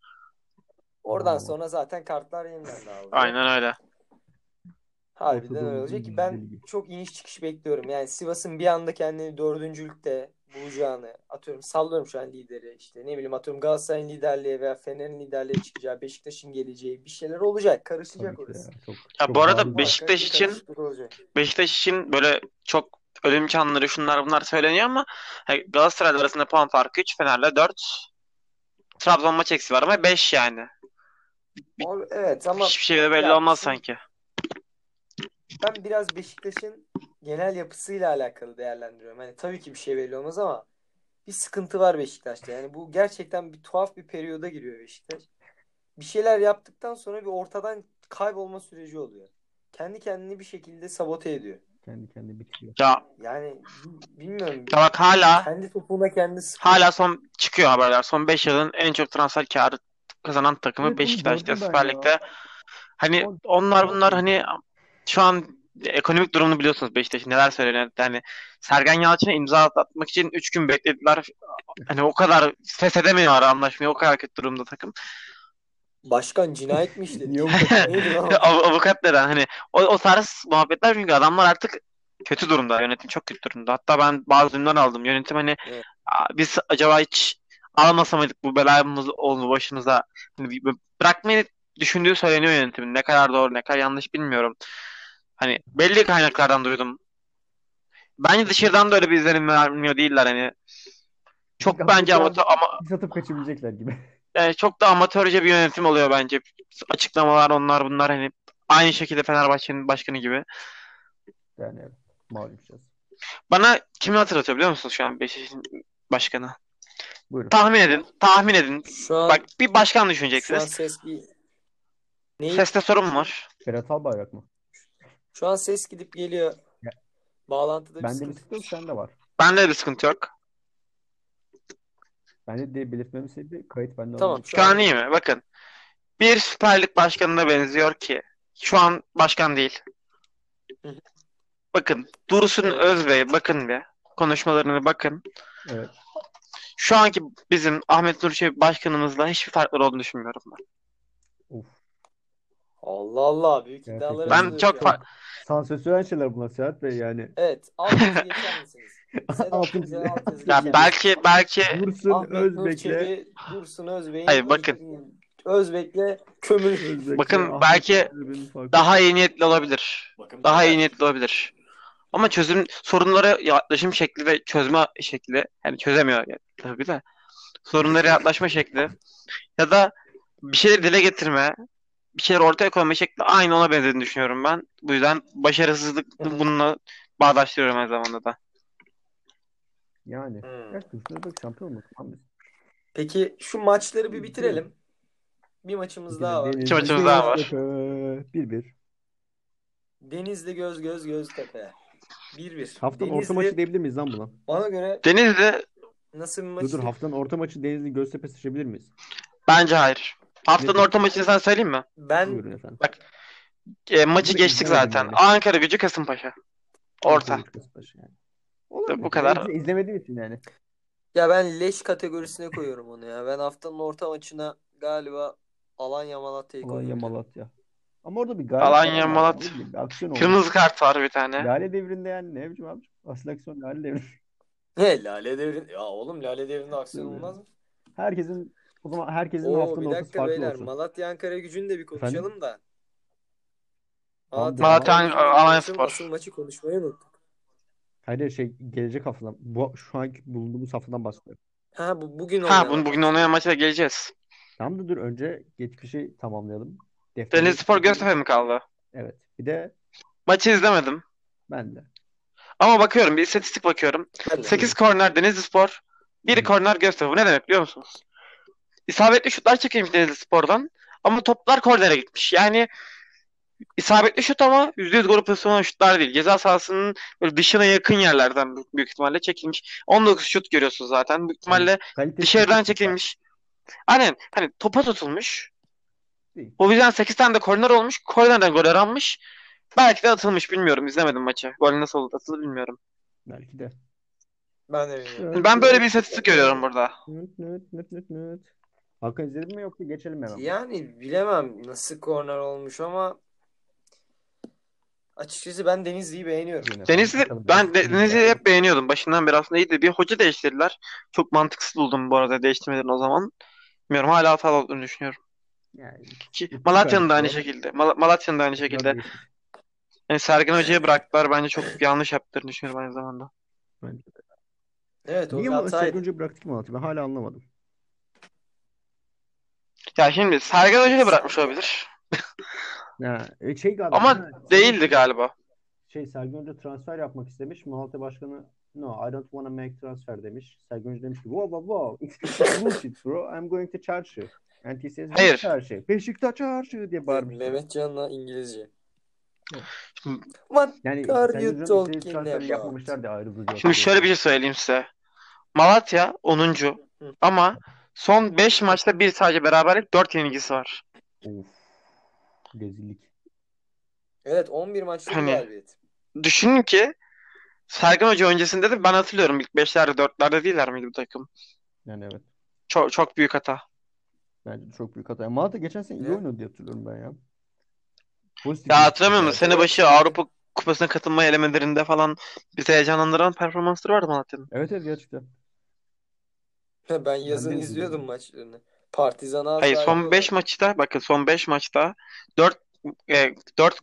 Oradan
Aa.
sonra zaten kartlar yeniden dağılıyor.
Aynen öyle.
Harbiden
Ortada
öyle olacak ki ben
bilgi.
çok iniş çıkış bekliyorum. Yani Sivas'ın bir anda kendini dördüncülükte bulacağını atıyorum sallıyorum şu an lideri işte ne bileyim atıyorum Galatasaray'ın liderliğe veya Fener'in liderliğe çıkacağı Beşiktaş'ın geleceği bir şeyler olacak karışacak
Tabii ki de
orası.
ya. Çok,
Ya
çok
bu arada
bariz-
Beşik-
Muhakkak
Beşiktaş
bir
için-
karışıklık olacak.
Beşiktaş için böyle çok ölüm çanları şunlar bunlar söyleniyor ama hani Galatasaray arasında puan farkı 3, Fener'le 4. Trabzon maç eksi var ama 5 yani.
Or- Evet ama
Hiçbir şey de belli
Ya
olmaz
şimdi-
sanki.
Ben biraz Beşiktaş'ın genel yapısıyla alakalı değerlendiriyorum. Hani tabii ki bir şey belli olmaz ama bir sıkıntı var Beşiktaş'ta. Yani bu gerçekten bir tuhaf bir periyoda giriyor Beşiktaş. Bir şeyler yaptıktan sonra bir ortadan kaybolma süreci oluyor. Kendi kendini bir şekilde sabote ediyor.
Kendi kendine bitiyor.
Ya
Yani bi- bilmiyorum.
bak hala
Kendi topuğuna kendi sıkıyor.
hala son çıkıyor haberler. Son 5 yılın en çok transfer karı kazanan takımı
Evet, onu
Beşiktaş diye
gördüm ben
Süper
ya.
Lig'de. Hani
O-
onlar
o-
bunlar hani şu an ekonomik durumunu biliyorsunuz Beşiktaş'ın neler söyleniyor. Yani Sergen Yalçın'a imza atmak için 3 gün beklediler. Hani o kadar ses edemiyorlar anlaşmayı. O kadar kötü durumda takım.
Başkan cinayet mi işledi?
Niye o kadar?
<laughs> Neydi
<laughs>
lan o?
Av- Avukat neden hani o, o tarz muhabbetler çünkü adamlar artık kötü durumda yönetim çok kötü durumda hatta ben bazı ürünler aldım yönetim hani
Evet.
"Aa, biz acaba hiç almasa mıydık bu belamız oldu başımıza hani, bir- bir- bırakmayı düşündüğü söyleniyor yönetimin ne kadar doğru ne kadar yanlış bilmiyorum hani belli kaynaklardan duydum bence dışarıdan da öyle bir izlenim vermiyor değiller hani çok
Gazeteci
bence amatör
yazdı.
ama
Biz atıp kaçabilecekler gibi. <laughs>
yani çok da amatörce bir yönetim oluyor bence açıklamalar onlar bunlar hani aynı şekilde Fenerbahçe'nin başkanı gibi
Yani evet. Malum şey.
Bana kimi hatırlatıyor biliyor musun şu an Beşiktaş'ın başkanı?
Buyurun.
Tahmin edin, tahmin edin.
Şu an,
Bak bir başkan
şu an
düşüneceksiniz.
ses bir... Neyi?
Seste sorun mu var?
Berat Albayrak mı?
Şu an ses gidip geliyor.
Ya.
Bağlantıda bir
Bende bir
sıkıntı.
sıkıntı yok, sende var.
Bende de bir sıkıntı yok.
Bende diye belirtmemin sebebi kayıt bende
Tamam,
olmadı.
şu
Şu an iyi mi? Bakın. bir Süper Lig başkanına benziyor ki şu an başkan değil.
Hı hı.
Bakın Dursun Özbey bakın bir konuşmalarını bakın.
Evet.
Şu anki bizim Ahmet Nur Çebi başkanımızla hiçbir farkları olduğunu düşünmüyorum ben.
Allah Allah büyük
Gerçekten.
iddialara
Ben
gidiyoruz
çok
ya.
fa-
Sansürsülen şeyler bunlar Serhat Bey yani.
Evet. Altınızı geçer
<laughs>
misiniz? Sedat
Altın
Özel,
çizgi.
altınızı
Ya
geçer
belki belki
Dursun
Ahmet
Özbek'le
Nurçevi, Dursun Özbey'in
Hayır, bakın.
Özbek'le kömür.
Özbek'le
Bakın
Ahmet
belki
Nurçevi'nin farkı.
daha iyi niyetli olabilir.
Bakın
Daha iyi niyetli olabilir. Ama çözüm sorunlara yaklaşım şekli ve çözme şekli yani çözemiyor ya- tabii de sorunlara yaklaşma şekli ya da bir şeyleri dile getirme bir şeyler ortaya koyma şekli aynı ona benzediğini düşünüyorum ben. Bu yüzden başarısızlık
Hı hı.
bununla bağdaştırıyorum aynı zamanda da.
yani.
Hmm.
Ya Dursun Özbek şampiyon mu? Tamam biz.
Peki şu maçları bir bitirelim. Bir maçımız daha var.
Denizli
İki maçımız daha var.
Göztepe, 1-1.
Denizli göz göz Göztepe. 1-1.
Haftanın
Denizli
orta maçı diyebilir miyiz lan buna?
bana göre
Denizli
nasıl bir
Dur
maç?
dur haftanın orta maçı Denizli Göztepe seçebilir miyiz?
bence hayır. Haftanın
Neden?
orta maçını sen söyleyeyim mi?
Ben
Buyurun efendim.
E, maçı
Bunu da
geçtik
izlemedim
zaten.
yani.
Ankara Gücü Kasımpaşa. Orta.
Orta Beşiktaş yani. Olabilir.
Bu kadar.
Yani biz de izlemediğim için yani.
ya ben leş kategorisine koyuyorum onu ya. Ben haftanın orta maçına galiba Alanya Malatya'yı
Alanya
koyuyorum.
Malatya. Ama orada bir galip
Alanya,
falan var.
Malatya.
Ne bileyim, Bir aksiyon oldu.
Kırmızı kart var bir tane.
Lale devrinde yani ne bileyim abi. Asıl aksiyon Lale devrinde.
Ne Lale Devrin? Ya oğlum Lale Devrin'de aksiyon olmaz mı?
<laughs> Herkesin o zaman herkesin
Oo
haftanın
bir
ortası
dakika
farklı
beyler.
olsun.
Malatya Ankara gücünü de bir konuşalım
Efendim?
da.
Tamam,
Malatya
Malatya-
Ankara Gücü'nü bir
Alanya
konuşalım.
Spor.
Asıl maçı konuşmayı unuttuk.
Hayır şey gelecek haftadan. Bu, şu anki bulunduğumuz haftadan bahsediyorum.
Ha bu bugün
Ha
oynanan
bunu bugün
maç.
oynayan maça da geleceğiz.
Tamam da dur önce geçmişi tamamlayalım. Defteri
Denizlispor Göztepe mi kaldı?
Evet. Bir de
Maçı izlemedim.
ben de.
Ama bakıyorum bir istatistik bakıyorum.
Ben de.
8 korner Denizlispor, 1
Hı.
korner Göztepe. Bu ne demek biliyor musunuz? İsabetli şutlar çekilmiş Denizlispor'dan ama toplar kornere gitmiş. Yani isabetli şut ama %100 gol pozisyonu olan şutlar değil. Ceza sahasının böyle dışına yakın yerlerden büyük- büyük ihtimalle çekilmiş. 19 şut görüyorsunuz zaten. Büyük
Yani
ihtimalle
kalitesi
dışarıdan
düşük
çekilmiş. Aynen hani topa tutulmuş.
değil.
O yüzden 8 tane de korner olmuş. Kornerden gol aranmış. Belki de atılmış bilmiyorum. İzlemedim maçı. Gol nasıl oldu atıldı bilmiyorum.
Belki de.
Ben de bilmiyorum.
Ben böyle bir istatistik görüyorum burada.
Nüt nüt nüt nüt nüt. Hakan izledin mi yoksa geçelim hemen.
Yani bilemem nasıl korner olmuş ama açıkçası ben Denizli'yi beğeniyorum.
Yine
Denizli,
bakalım
ben
biraz.
de- Denizli'yi hep beğeniyordum. Başından beri aslında iyiydi. Bir hoca değiştirdiler. Çok mantıksız buldum bu arada değiştirmelerini o zaman. Bilmiyorum hala hatalı olduğunu düşünüyorum.
Yani,
Ki
Bütün
Malatya'nın da aynı
kaynaklar-
şekilde. Mal- Malatya'nın da aynı şekilde.
Biraz
Yani Sergen Hoca'yı bıraktılar. Bence <laughs> çok yanlış yaptıklarını düşünüyorum aynı zamanda.
değişik.
Evet o
Niye
bir
Malatya'yı
hataydı.
önce bıraktık Malatya'yı? Ben hala anlamadım.
Ya şimdi Sergen Hoca'yı da bırakmış olabilir.
Ha, e, şey galiba.
Ama
ha, Sergen-
değildi galiba.
Şey Sergen Hoca transfer yapmak istemiş. Malatya Başkanı no I don't wanna make transfer demiş. Sergen Hoca demiş ki wow wow wow it's bullshit bro I'm going to charge you. And he says
Hayır.
"Which Çarşı. şey. Beşiktaş Çarşı diye bağırmış.
Mehmet Can'la İngilizce.
Şimdi-
What
Yani
Are
Sergen
you
Hoca'nın
talking
istediği transferi
about?
yapmamışlar diye ayrıldı.
Şimdi şöyle bir şey söyleyeyim size. Malatya 10.
Hı.
ama son 5 maçta bir sadece beraberlik 4 yenilgisi var.
Of. Rezillik.
Evet 11 maçlık
Hani-
bir galibiyet.
Düşünün ki Sergen Hoca öncesinde de ben hatırlıyorum ilk 5'lerde 4'lerde değiller miydi bu takım?
Yani evet.
Çok çok büyük hata.
Bence de çok büyük hata. Malatya geçen sene iyi
Evet.
oynadı diye hatırlıyorum ben ya. Pozitif
Ya
bir- şey.
hatırlamıyor musun? Sene
Evet.
başı Avrupa Kupası'na katılma elemelerinde falan bizi heyecanlandıran performansları vardı Malatya'nın.
Evet evet gerçekten.
Ben yazın
Ben
izliyordum
de izliyordum.
maçlarını. Partizan'a
Hayır
asla
son 5
yapıyorlar.
maçta bakın son 5 maçta e, 4 4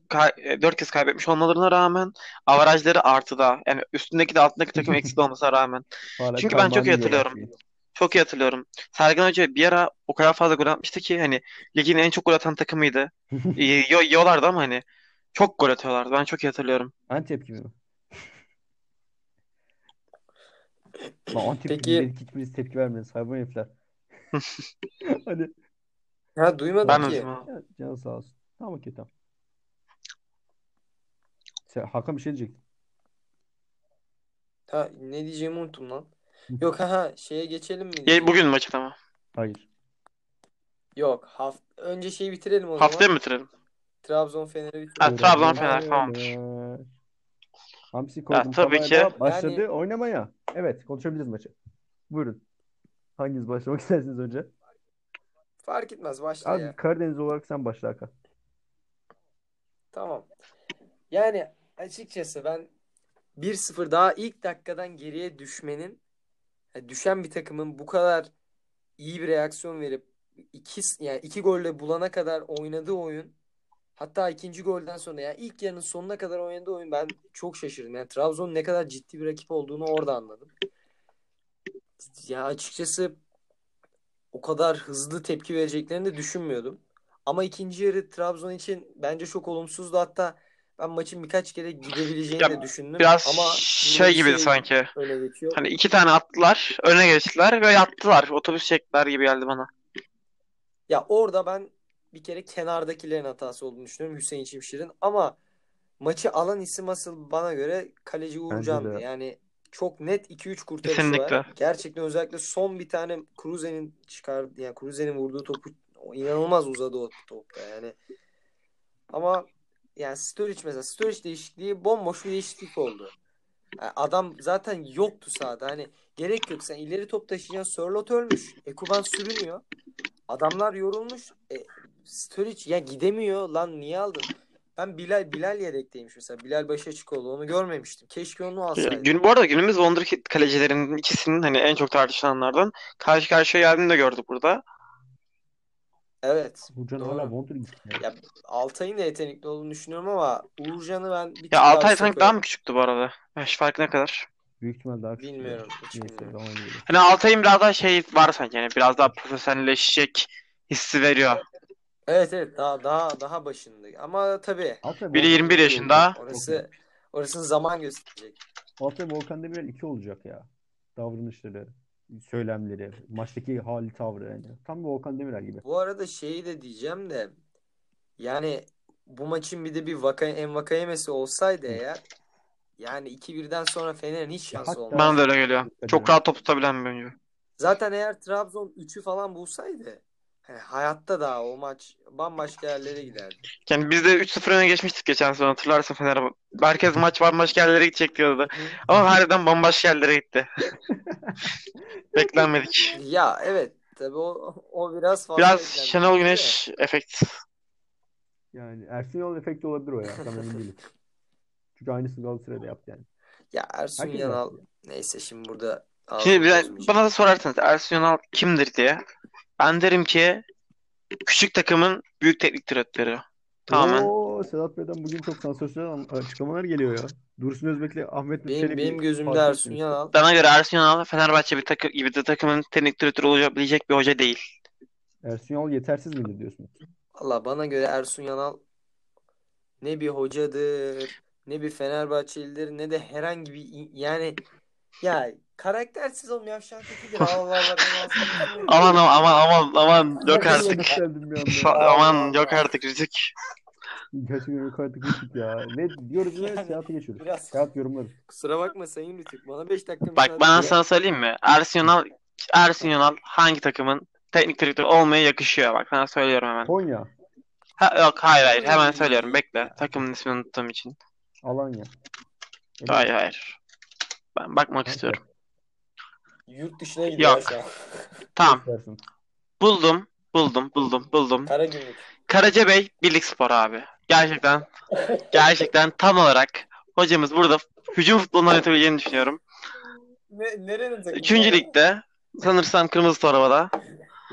4 e, kez kaybetmiş olmalarına rağmen avarajları artıda. Yani üstündeki de altındaki
<laughs>
takım eksik olmasına rağmen.
Hala
Çünkü ben çok iyi
kaymağını yiyorlar
hatırlıyorum.
şeyin.
Çok iyi hatırlıyorum. Sergen Hoca bir ara o kadar fazla gol atmıştı ki hani ligin en çok gol
<laughs>
atan takımıydı. Y- y- Yiyorlardı ama hani çok gol atıyorlardı. Ben çok iyi hatırlıyorum.
Antep gibi
<laughs>
mi? Lan Antep gibi
Peki-
dedik hiçbiriniz tepki vermediniz.
<laughs>
Hayvan herifler. Hadi.
Ha duymadım
Ben
Peki.
ki.
özüm abi.
Ya, canı sağ olsun. Tamam okey tamam. Sen, Hakan bir şey diyecektin.
Ha ne diyeceğimi unuttum lan. Yok ha ha şeye geçelim mi
Ye-
diyeceğim.
Bugün maçı tamam.
Hayır.
Yok haft önce şeyi bitirelim o
Haftaya
zaman.
mı bitirelim?
Trabzon Fener'i bitirelim.
Ha, Trabzon,
Fener,
Fener, tamamdır.
Hamsi koydum
Ya, tabii
kafaya
ki.
da başladı
Yani-
oynamaya. Evet konuşabiliriz maçı. Buyurun. Hanginiz başlamak <laughs> istersiniz önce?
Fark etmez başla
Abi
ya.
Karadeniz olarak sen başla Hakan.
Tamam. Yani açıkçası ben 1-0 daha ilk dakikadan geriye düşmenin yani düşen bir takımın bu kadar iyi bir reaksiyon verip iki yani iki golle bulana kadar oynadığı oyun hatta ikinci golden sonra yani ilk yarının sonuna kadar oynadığı oyun ben çok şaşırdım. Yani Trabzon ne kadar ciddi bir rakip olduğunu orada anladım. Ya açıkçası o kadar hızlı tepki vereceklerini de düşünmüyordum. Ama ikinci yarı Trabzon için bence çok olumsuzdu. Hatta ben maçın birkaç kere gidebileceğini
Ya,
de düşündüm.
Biraz
Ama
şey gibiydi
Yunus'u
sanki.
Öne geçiyor.
Hani iki tane attılar, öne geçtiler ve yattılar. Otobüs çektiler gibi geldi bana.
Ya orada ben bir kere kenardakilerin hatası olduğunu düşünüyorum Hüseyin Çimşir'in ama maçı alan isim asıl bana göre kaleci Uğurcan'dı.
de.
Yani çok net 2-3 kurtarışı var.
Kesinlikle.
Gerçekten özellikle son bir tane Kruse'nin çıkardığı yani Kruse'nin vurduğu topu inanılmaz uzadı o topta yani. Ama yani Sturridge mesela Sturridge değişikliği bomboş bir değişiklik oldu. Yani adam zaten yoktu sahada. Hani gerek yok. Sen ileri top taşıyacaksın. Sörlot ölmüş. Ekuban sürünüyor. Adamlar yorulmuş. E, Sturridge ya gidemiyor. Lan niye aldın? Ben Bilal Bilal yedekteymiş mesela. Bilal Başaçıkoğlu. Onu görmemiştim. Keşke onu alsaydım.
Gün, bu arada günümüz Wonderkid kalecilerinin ikisinin hani en çok tartışılanlardan karşı karşıya geldiğini de gördük burada.
Evet.
Burcan
Doğru.
hala Wonder gitti.
Ya Altay'ın da yetenekli olduğunu düşünüyorum ama Uğurcan'ı ben bir tık
Ya
daha
Altay
üste
sanki daha
koyarım.
mı küçüktü bu arada? Yaş farkı ne kadar?
Büyük ihtimal daha küçük.
Bilmiyorum. Hiç
Neyse
bilmiyorum.
zaman geliyor.
Hani Altay'ın biraz daha şey var sanki yani biraz daha profesyonelleşecek hissi veriyor.
Evet evet daha daha daha başında. Ama tabii
Altay
Biri
Volkan
21
Demirel
yaşında.
olacak.
orası orasını zaman gösterecek.
Altay Volkan Demirel 2 olacak ya. Davranışları, söylemleri, maçtaki hali tavrı yani. Tam bir Volkan Demirel gibi.
Bu arada şeyi de diyeceğim de yani bu maçın bir de bir vaka, Envakayemesi olsaydı eğer yani 2-1'den sonra Fener'in hiç şansı
Hatta-
olmaz.
Bana da öyle geliyor. Çok rahat top tutabilen bir oyuncu.
Zaten eğer Trabzon 3'ü falan bulsaydı hani hayatta daha o maç bambaşka yerlere giderdi.
Yani biz de 3-0 öne geçmiştik geçen sene hatırlarsın Fenerbahçe. Herkes maç bambaşka yerlere gidecek diyordu. Ama harbiden bambaşka yerlere gitti. Beklenmedik.
Ya evet tabii o, o biraz fazla şey.
Biraz
beklenmiş
Şenol
de.
Güneş efekt.
Yani Ersun Yanal efekti olabilir o ya. Tam emin değilim. Çünkü aynısını Galatasaray'da yaptı yani.
Ya Ersun
Herkes
Yanal neyse şimdi burada
Şimdi
ağzını
bir-
bozmayacağım.
bana da sorarsanız Ersun Yanal kimdir diye. Ben derim ki küçük takımın büyük teknik direktörü. Tamamen.
Oo, Sedat Bey'den bugün çok sansasyonel an- açıklamalar geliyor ya. Dursun Özbek'le Ahmet
benim,
Çelebi
benim gözümde
fark
Ersun
etmemiş.
Yanal
Bana göre Ersun Yanal Fenerbahçe bir takı- gibi de takımın teknik direktörü olabilecek bir hoca değil.
Ersun Yanal yetersiz midir diyorsunuz?
Valla bana göre Ersun Yanal ne bir hocadır, ne bir Fenerbahçelidir, ne de herhangi bir in- yani ya karaktersiz oğlum yavşan tekidir. Allah Allah benim ağzımı tutmayın.
Aman aman aman aman aman yok
Gerçekten
artık.
yükseldim bir anda.
Sa- aman yok artık rizik.
Gerçekten yok artık Rütük ya. Ne diyoruz ne
Yani
seyahate geçiyoruz.
Biraz
Seyahat yorumları.
kusura bakma Sayın Rütük. Bana 5 dakika müsaade
Bak bana
et.
sana söyleyeyim mi? Ersun Yanal, Ersun Yanal hangi takımın teknik direktörü olmaya yakışıyor? Bak sana söylüyorum hemen.
Konya,
Ha, yok hayır hayır hemen söylüyorum bekle. Takımın ismini unuttuğum için.
Alanya.
Hayır hayır. Ben bakmak istiyorum.
Yurt dışına
Yok.
gidiyor aşağı.
Tamam
Dersin.
buldum. Buldum buldum buldum.
Kara gümrük.
Karacabey Birlik Spor abi. Gerçekten gerçekten tam olarak hocamız burada hücum futbolunu oynatabileceğini düşünüyorum.
Ne, nerenin takımı?
Üçüncü ligde sanırsam Kırmızı Torba'da.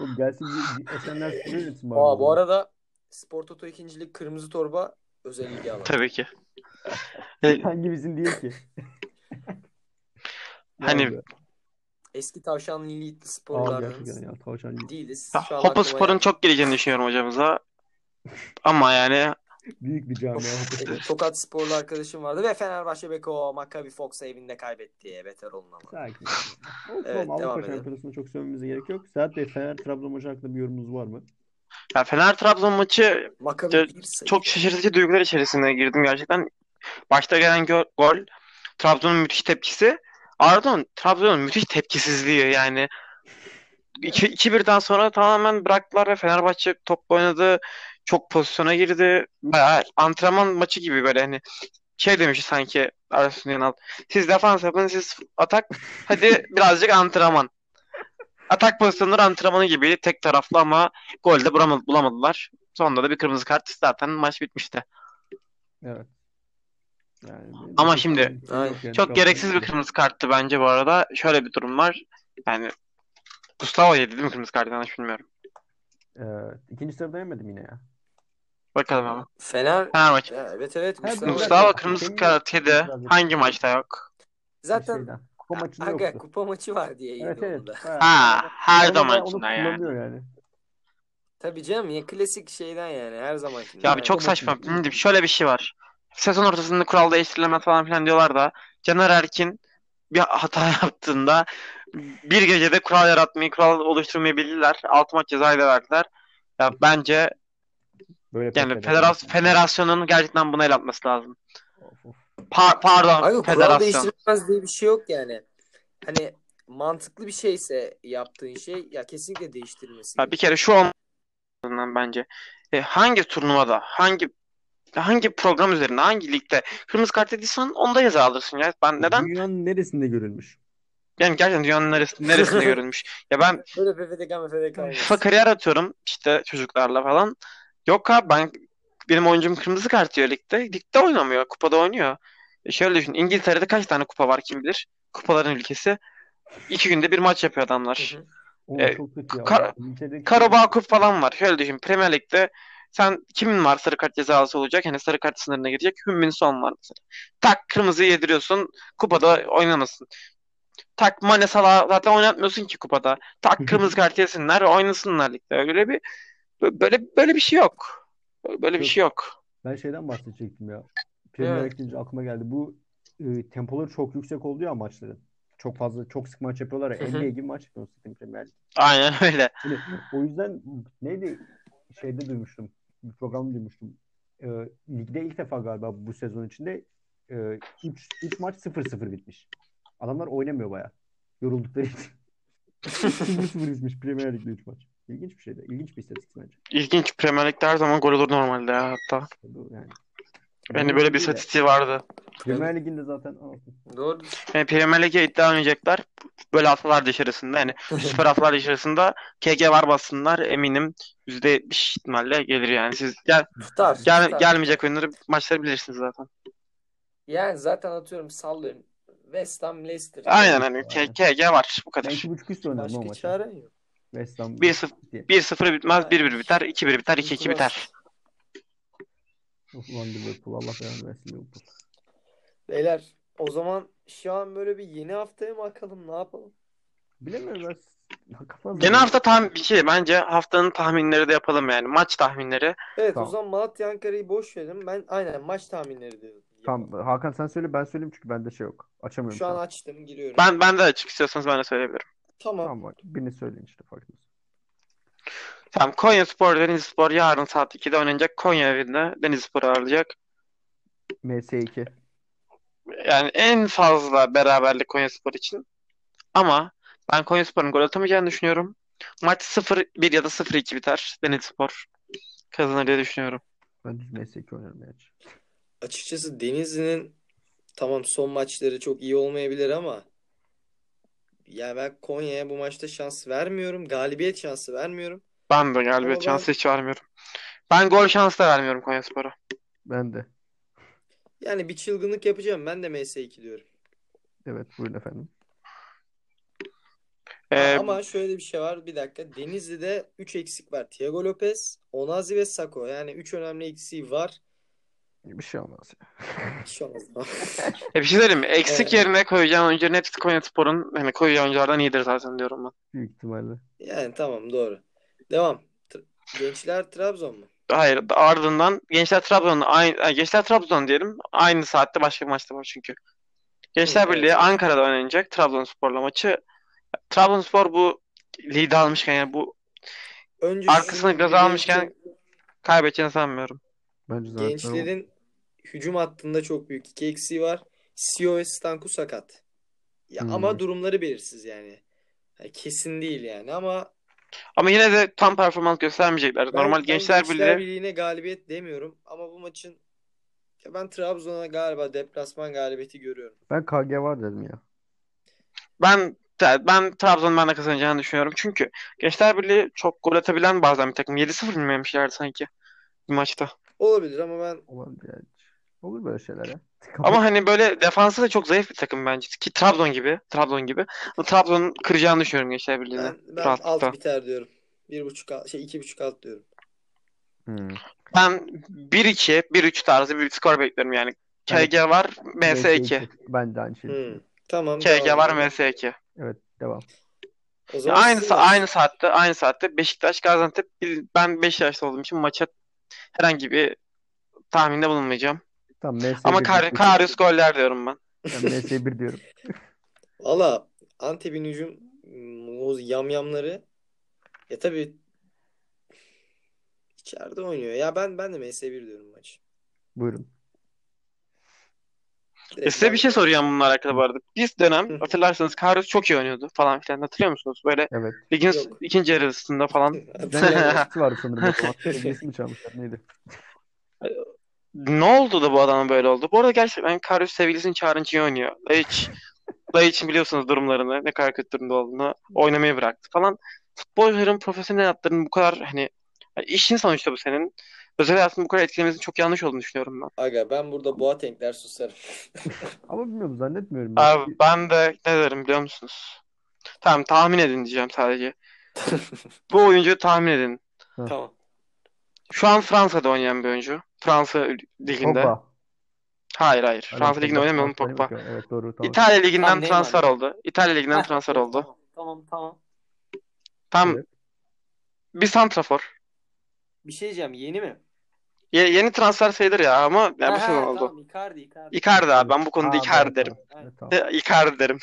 Oğlum gelsin bir, bir Esenler Spor yönetsin bari.
Aa, bu arada Spor Toto 2. Lig Kırmızı Torba özel ilgi alanı.
Tabii ki. E,
Hangimizin değil ki?
Hani
Abi,
Eski tavşan Lilitli
abi gerçekten
sporlardanız
ya. Tavşan gibi.
değiliz. Şu an
Hopa
aklıma
Spor'un
geldi.
çok geleceğini düşünüyorum hocamıza. Ama yani
Büyük bir camia.
Of, e, Tokat sporlu arkadaşım vardı ve Fenerbahçe Beko Maccabi Fox'a evinde kaybetti. Beter olun ama.
Sakin. Olsun
Evet,
ama
devam
Avrupa
edelim.
Şampiyonası'na çok sövmemize gerek yok. Sedat Bey Fener Trabzon maçı hakkında bir yorumunuz var mı?
ya Fener Trabzon maçı
Maccabi
Ya,
bir sayı.
çok şaşırtıcı duygular içerisine girdim gerçekten. Başta gelen gö- gol Trabzon'un müthiş tepkisi. Ardından Trabzon'un müthiş tepkisizliği yani 2 2-1'den sonra tamamen bıraktılar ve Fenerbahçe topla oynadı. Çok pozisyona girdi. Bayağı antrenman maçı gibi böyle hani şey demiş sanki Ersun Yanal. Siz defans yapın, siz atak. Hadi birazcık antrenman. Atak pozisyonları antrenmanı gibiydi. Tek taraflı ama gol de bulama- bulamadılar. Sonunda da bir kırmızı kart zaten maç bitmişti.
Evet. Yani benim
Ama
çok
şimdi-
benim-
Aynen.
yok yani
Çok
şu an-
gereksiz bir kırmızı karttı bence bu arada. Şöyle bir durum var. Yani Gustavo yedi değil mi kırmızı kartı? Yanlış bilmiyorum.
Ee, ikinci sırada yemedim yine ya.
Bakalım ama.
Fener
Fenerbahçe.
ya, evet evet
Ha,
Gustavo.
doğru.
Gustavo kırmızı
Hakemi-
kart yedi.
Hakemi-
Hangi
şey
maçta yok?
Zaten
Şeyden. Kupa maçında
aga
yoktu.
kupa maçı var diye yedi
Evet evet.
onu da.
Bayağı-
Ha, her
Onu da- onu
zamankinde ya.
kullanıyor yani.
Tabii canım ya klasik şeyden yani her zamankinden.
Ya abi
Aynen.
çok saçma. Şimdi şöyle bir şey var. Sezon ortasında kural değiştirilemez falan filan diyorlar da Caner Erkin bir hata <laughs> yaptığında bir gecede kural yaratmayı, kural oluşturmayı bildiler. 6 maç cezayı da verdiler. Ya bence
Böyle
yani
pes
federas-
eder.
federasyonun gerçekten buna el atması lazım.
Of, of.
Pa- pardon
Abi kural
federasyon.
değiştirilmez diye bir şey yok yani. Hani mantıklı bir şeyse yaptığın şey ya kesinlikle değiştirilmesi.
Ya bir kere şu an bence E, hangi turnuvada, hangi hangi program üzerinde, hangi ligde kırmızı kart yediysen onda ceza alırsın ya. Ben neden?
Dünyanın neresinde görülmüş?
Yani gerçekten dünyanın neresinde, neresinde görülmüş. Ya ben
Böyle PFDK MFDK
FIFA kariyer atıyorum işte çocuklarla falan. Yok abi ben benim oyuncum kırmızı kart yiyor ligde. Ligde oynamıyor. Kupada oynuyor. E şöyle düşün. İngiltere'de kaç tane kupa var kim bilir? Kupaların ülkesi. İki günde bir maç yapıyor adamlar.
Hı hı.
Oğlum
E,
çok kötü ya.
Kar-
İngiltere'deki-
Karabağ Kup falan var. Şöyle düşün. Premier Lig'de sen kimin var sarı kart cezası olacak? Hani sarı kart sınırına gidecek. Hümmin Son var mesela. Tak kırmızıyı yediriyorsun. Kupada oynamasın. Tak Mane Salah'ı zaten oynatmıyorsun ki kupada. Tak kırmızı kart yesinler oynasınlar ligde. Öyle bir böyle böyle bir şey yok. Böyle bir şey yok.
Ben şeyden bahsedecektim ya. Premier
Evet.
Lig deyince aklıma geldi. Bu e, tempoları çok yüksek oldu ya maçların. Çok fazla çok sık maç yapıyorlar ya.
Hı hı.
NBA gibi maç yapıyorsun zaten Premier Lig.
Aynen öyle.
Hani o yüzden neydi şeyde duymuştum. Bir program duymuştum. E, ligde ilk defa galiba bu sezon içinde 3 3 maç 0-0 bitmiş. Adamlar oynamıyor bayağı. Yoruldukları
<laughs>
için. <laughs> 0-0 bitmiş Premier Lig'de 3 maç. İlginç bir şeydi. İlginç bir istatistik bence.
İlginç Premier Lig'de her zaman gol olur normalde ya hatta.
Bu Yani.
Yani böyle bir istatistiği vardı.
Premier Lig'inde zaten anasını
Doğru.
Yani Premier Lig'e iddia oynayacaklar. Böyle haftalar dışarısında yani süper haftalar dışarısında KG var bassınlar eminim %70 ihtimalle gelir yani. Siz gel,
Tutar.
gel
tutar.
gelmeyecek oyunları maçları bilirsiniz zaten.
Yani zaten atıyorum sallıyorum. West Ham Leicester.
Aynen hani K- KG var
Ben
bu kadar.
iki buçuk üst oynadım o
Başka
maçı.
çare yok.
West Ham
1-0
diye.
1-0 bitmez, 1-1 biter, 2-1 biter, 2-2 biter.
Ulan Liverpool Allah belanı versin Liverpool.
Beyler o zaman şu an böyle bir yeni haftaya mı bakalım ne yapalım?
Bilemiyorum ben. Kafa
Gene hafta tam bir şey bence haftanın tahminleri de yapalım yani maç tahminleri.
Evet
Tamam.
o zaman Malatya Ankara'yı boş verelim. Ben aynen maç tahminleri diyorum.
Tamam Hakan sen söyle ben söyleyeyim çünkü bende şey yok. Açamıyorum
Şu an açtım giriyorum.
Ben ben de açık istiyorsanız ben de söyleyebilirim.
Tamam.
Tamam bak birini söyleyin işte fark etmez.
Tamam Konyaspor Denizlispor yarın saat 2'de oynanacak. Konya evinde Denizlispor ağırlayacak.
MS2.
Yani en fazla beraberlik Konyaspor için. Ama ben Konyaspor'un gol atamayacağını düşünüyorum. Maç 0-1 ya da 0-2 biter. Denizlispor kazanır diye düşünüyorum.
Ben düz MS2 oynarım yani.
Açıkçası Denizli'nin tamam son maçları çok iyi olmayabilir ama ya ben Konya'ya bu maçta şans vermiyorum. Galibiyet şansı vermiyorum.
Ben de galibiyet
Ama ben-
şansı hiç vermiyorum. Ben gol şansı da vermiyorum Konyaspor'a.
Ben de.
Yani bir çılgınlık yapacağım. Ben de MS2 diyorum.
Evet buyurun efendim.
Ee,
Ama şöyle bir şey var. Bir dakika. Denizli'de 3 eksik var. Thiago Lopez, Onazi ve Sako. Yani 3 önemli eksiği var.
Bir şey olmaz. ya.
Hiç şey olmaz. <laughs>
E bir şey söyleyeyim mi? Eksik
Evet.
yerine koyacağın oyuncuların hepsi Konyaspor'un hani koyacağı oyunculardan iyidir zaten diyorum ben.
Büyük ihtimalle.
yani tamam doğru. Devam. Tr- Gençler Trabzon mu?
Hayır, ardından Gençler Trabzon'un aynı ha, Gençler Trabzon diyelim. Aynı saatte başka bir maçta var çünkü. Gençler
Hı, evet.
Birliği Ankara'da oynanacak Trabzonspor'la maçı. Trabzonspor bu lidi almışken yani bu
Önce
arkasını
şu-
gaza almışken kaybedeceğini sanmıyorum.
Bence zaten
Gençlerin hücum hattında çok büyük iki eksiği var. Sio ve Stanku sakat. Ya
Hmm.
ama durumları belirsiz yani. Yani kesin değil yani ama
Ama yine de tam performans göstermeyecekler.
ben-
Normal
ben
Gençler Birliği
Birliği'ne galibiyet demiyorum ama bu maçın ya ben Trabzon'a galiba deplasman galibiyeti görüyorum.
Ben KG var dedim ya.
ben ben Trabzon'un ben de kazanacağını düşünüyorum. Çünkü Gençler Birliği çok gol atabilen bazen bir takım. 7-0 mı yemişlerdi sanki bir maçta.
Olabilir ama ben
Olabilir yani. Olur böyle şeyler ya.
Ama hani böyle defansı da çok zayıf bir takım bence. Ki Trabzon gibi. Trabzon gibi. Ama Trabzon'un kıracağını düşünüyorum Gençler Birliği'ni.
ben, ben
rahatlıkla.
alt biter diyorum. Bir buçuk al- şey iki buçuk alt diyorum.
Hmm.
Ben 1-2, 1-3 tarzı bir skor bekliyorum yani.
Evet.
KG var, MS2.
Ben de aynı şeyi
Hmm.
düşünüyorum.
Tamam.
KG
devam
var,
edelim.
MS2.
Evet devam.
O
Ya
zaman
aynı
sizin
sa-
maç.
aynı saatte, aynı saatte Beşiktaş Gaziantep. Biz- Ben Beşiktaşlı olduğum için maça herhangi bir tahminde bulunmayacağım.
Tamam MS1
Ama
<laughs>
Kar
diyorum.
Karius goller diyorum ben.
Ben MS1 diyorum.
Valla Antep'in hücum mm, o yamyamları ya tabii içeride oynuyor. Ya ben ben de MS1 diyorum maç.
Buyurun.
E
Direkt
size
ben-
bir şey soracağım bununla alakalı bu arada. Bir dönem
Hı hı.
hatırlarsanız Karius çok iyi oynuyordu falan filan. Hatırlıyor musunuz? Böyle <laughs>
Evet.
ligin
Yok.
ikinci yarısında falan.
Bizden bir vardı sanırım. o zaman. Sevgilisi mi çalmışlar neydi?
Ne oldu da bu adama böyle oldu? Bu arada gerçekten Karius sevgilisini çağırınca iyi oynuyor. Hiç Dayı için biliyorsunuz durumlarını, ne kadar kötü durumda olduğunu, oynamayı bıraktı falan. Futbolcuların profesyonel hayatlarının bu kadar hani yani işin sonuçta bu senin. Özel hayatını bu kadar etkilemesinin çok yanlış olduğunu düşünüyorum ben.
Aga ben burada Boateng'ler susarım.
Ama bilmiyorum zannetmiyorum. ben.
Abi ben de ne derim biliyor musunuz? Tamam tahmin edin
<laughs>
diyeceğim sadece. Bu oyuncuyu tahmin edin.
tamam.
Şu an Fransa'da oynayan bir oyuncu. Fransa liginde.
Pogba.
Hayır hayır.
Aynen,
Fransa liginde
Pogba.
oynamıyor oğlum
Fransa'ya
Pogba.
bakıyor. Evet doğru tamam.
İtalya liginden
Tamam, Neymar,
transfer
Neymar.
oldu. İtalya liginden transfer oldu.
Tamam tamam. tamam.
Tam
Evet.
bir santrafor.
Bir şey diyeceğim yeni mi?
Ye- yeni transfer sayılır ya ama yani bu
Ha,
sezon
ha,
oldu.
Tamam Icardi Icardi.
Icardi abi. Ben bu
Aa,
konuda
evet,
Icardi derim.
tamam. Evet, tamam.
De- <laughs> Icardi derim.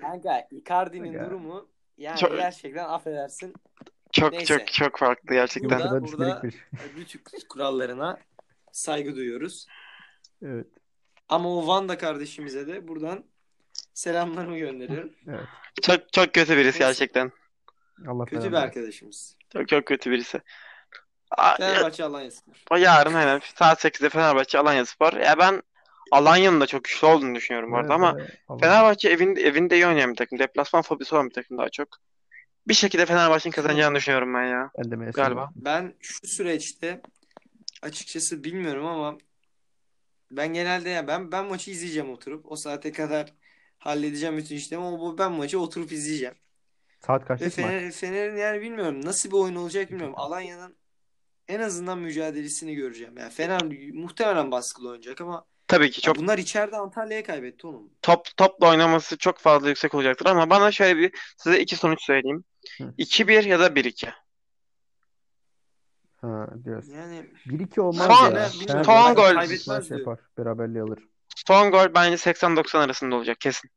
Kanka Icardi'nin
Aga.
durumu yani
Çok-
gerçekten affedersin.
Çok
Neyse.
çok çok farklı gerçekten.
Burada-
Burada, burada... Bir şey.
Bütün e, kurallarına saygı duyuyoruz.
Evet.
Ama o Vanda kardeşimize de buradan selamlarımı gönderiyorum.
Çok çok kötü birisi
Neyse.
gerçekten.
Allah
Kötü
belanı
bir arkadaşımız.
Çok çok kötü birisi. Aa,
Fenerbahçe Alanya'sıdır.
ya- yarın aynen saat 8'de Fenerbahçe Alanyaspor. Ya ben Alanya'nın da çok güçlü olduğunu düşünüyorum bu
versin.
arada ama
Evet, evet, Allah-
Fenerbahçe evinde evinde iyi oynayan bir takım. Deplasman fobisi olan bir takım daha çok. Bir şekilde Fenerbahçe'nin kazanacağını düşünüyorum ben ya.
Ben de MS
Galiba.
Ben şu süreçte açıkçası bilmiyorum ama ben genelde ya ben ben maçı izleyeceğim oturup o saate kadar halledeceğim bütün işlemi ama bu- ben maçı oturup izleyeceğim.
Saat
Ve
kaçlık maç?
Fener, Fener'in yani bilmiyorum nasıl bir oyun olacak bilmiyorum. Alanya'nın en azından mücadelesini göreceğim. Yani Fener muhtemelen baskılı oynayacak ama
Tabii ki
ya
çok
bunlar içeride Antalya'ya kaybetti oğlum.
top topla oynaması çok fazla yüksek olacaktır ama bana şöyle bir size iki sonuç söyleyeyim.
Hı.
2-1 ya da 1-2.
Ha diyorsun.
Yani
1-2 olmaz
Son-
ya.
Son
Fenerbahçe
gol.
maç
Kaybetmez diyor.
yapar. Beraberliği alır.
Son gol bence 80-90 arasında olacak kesin.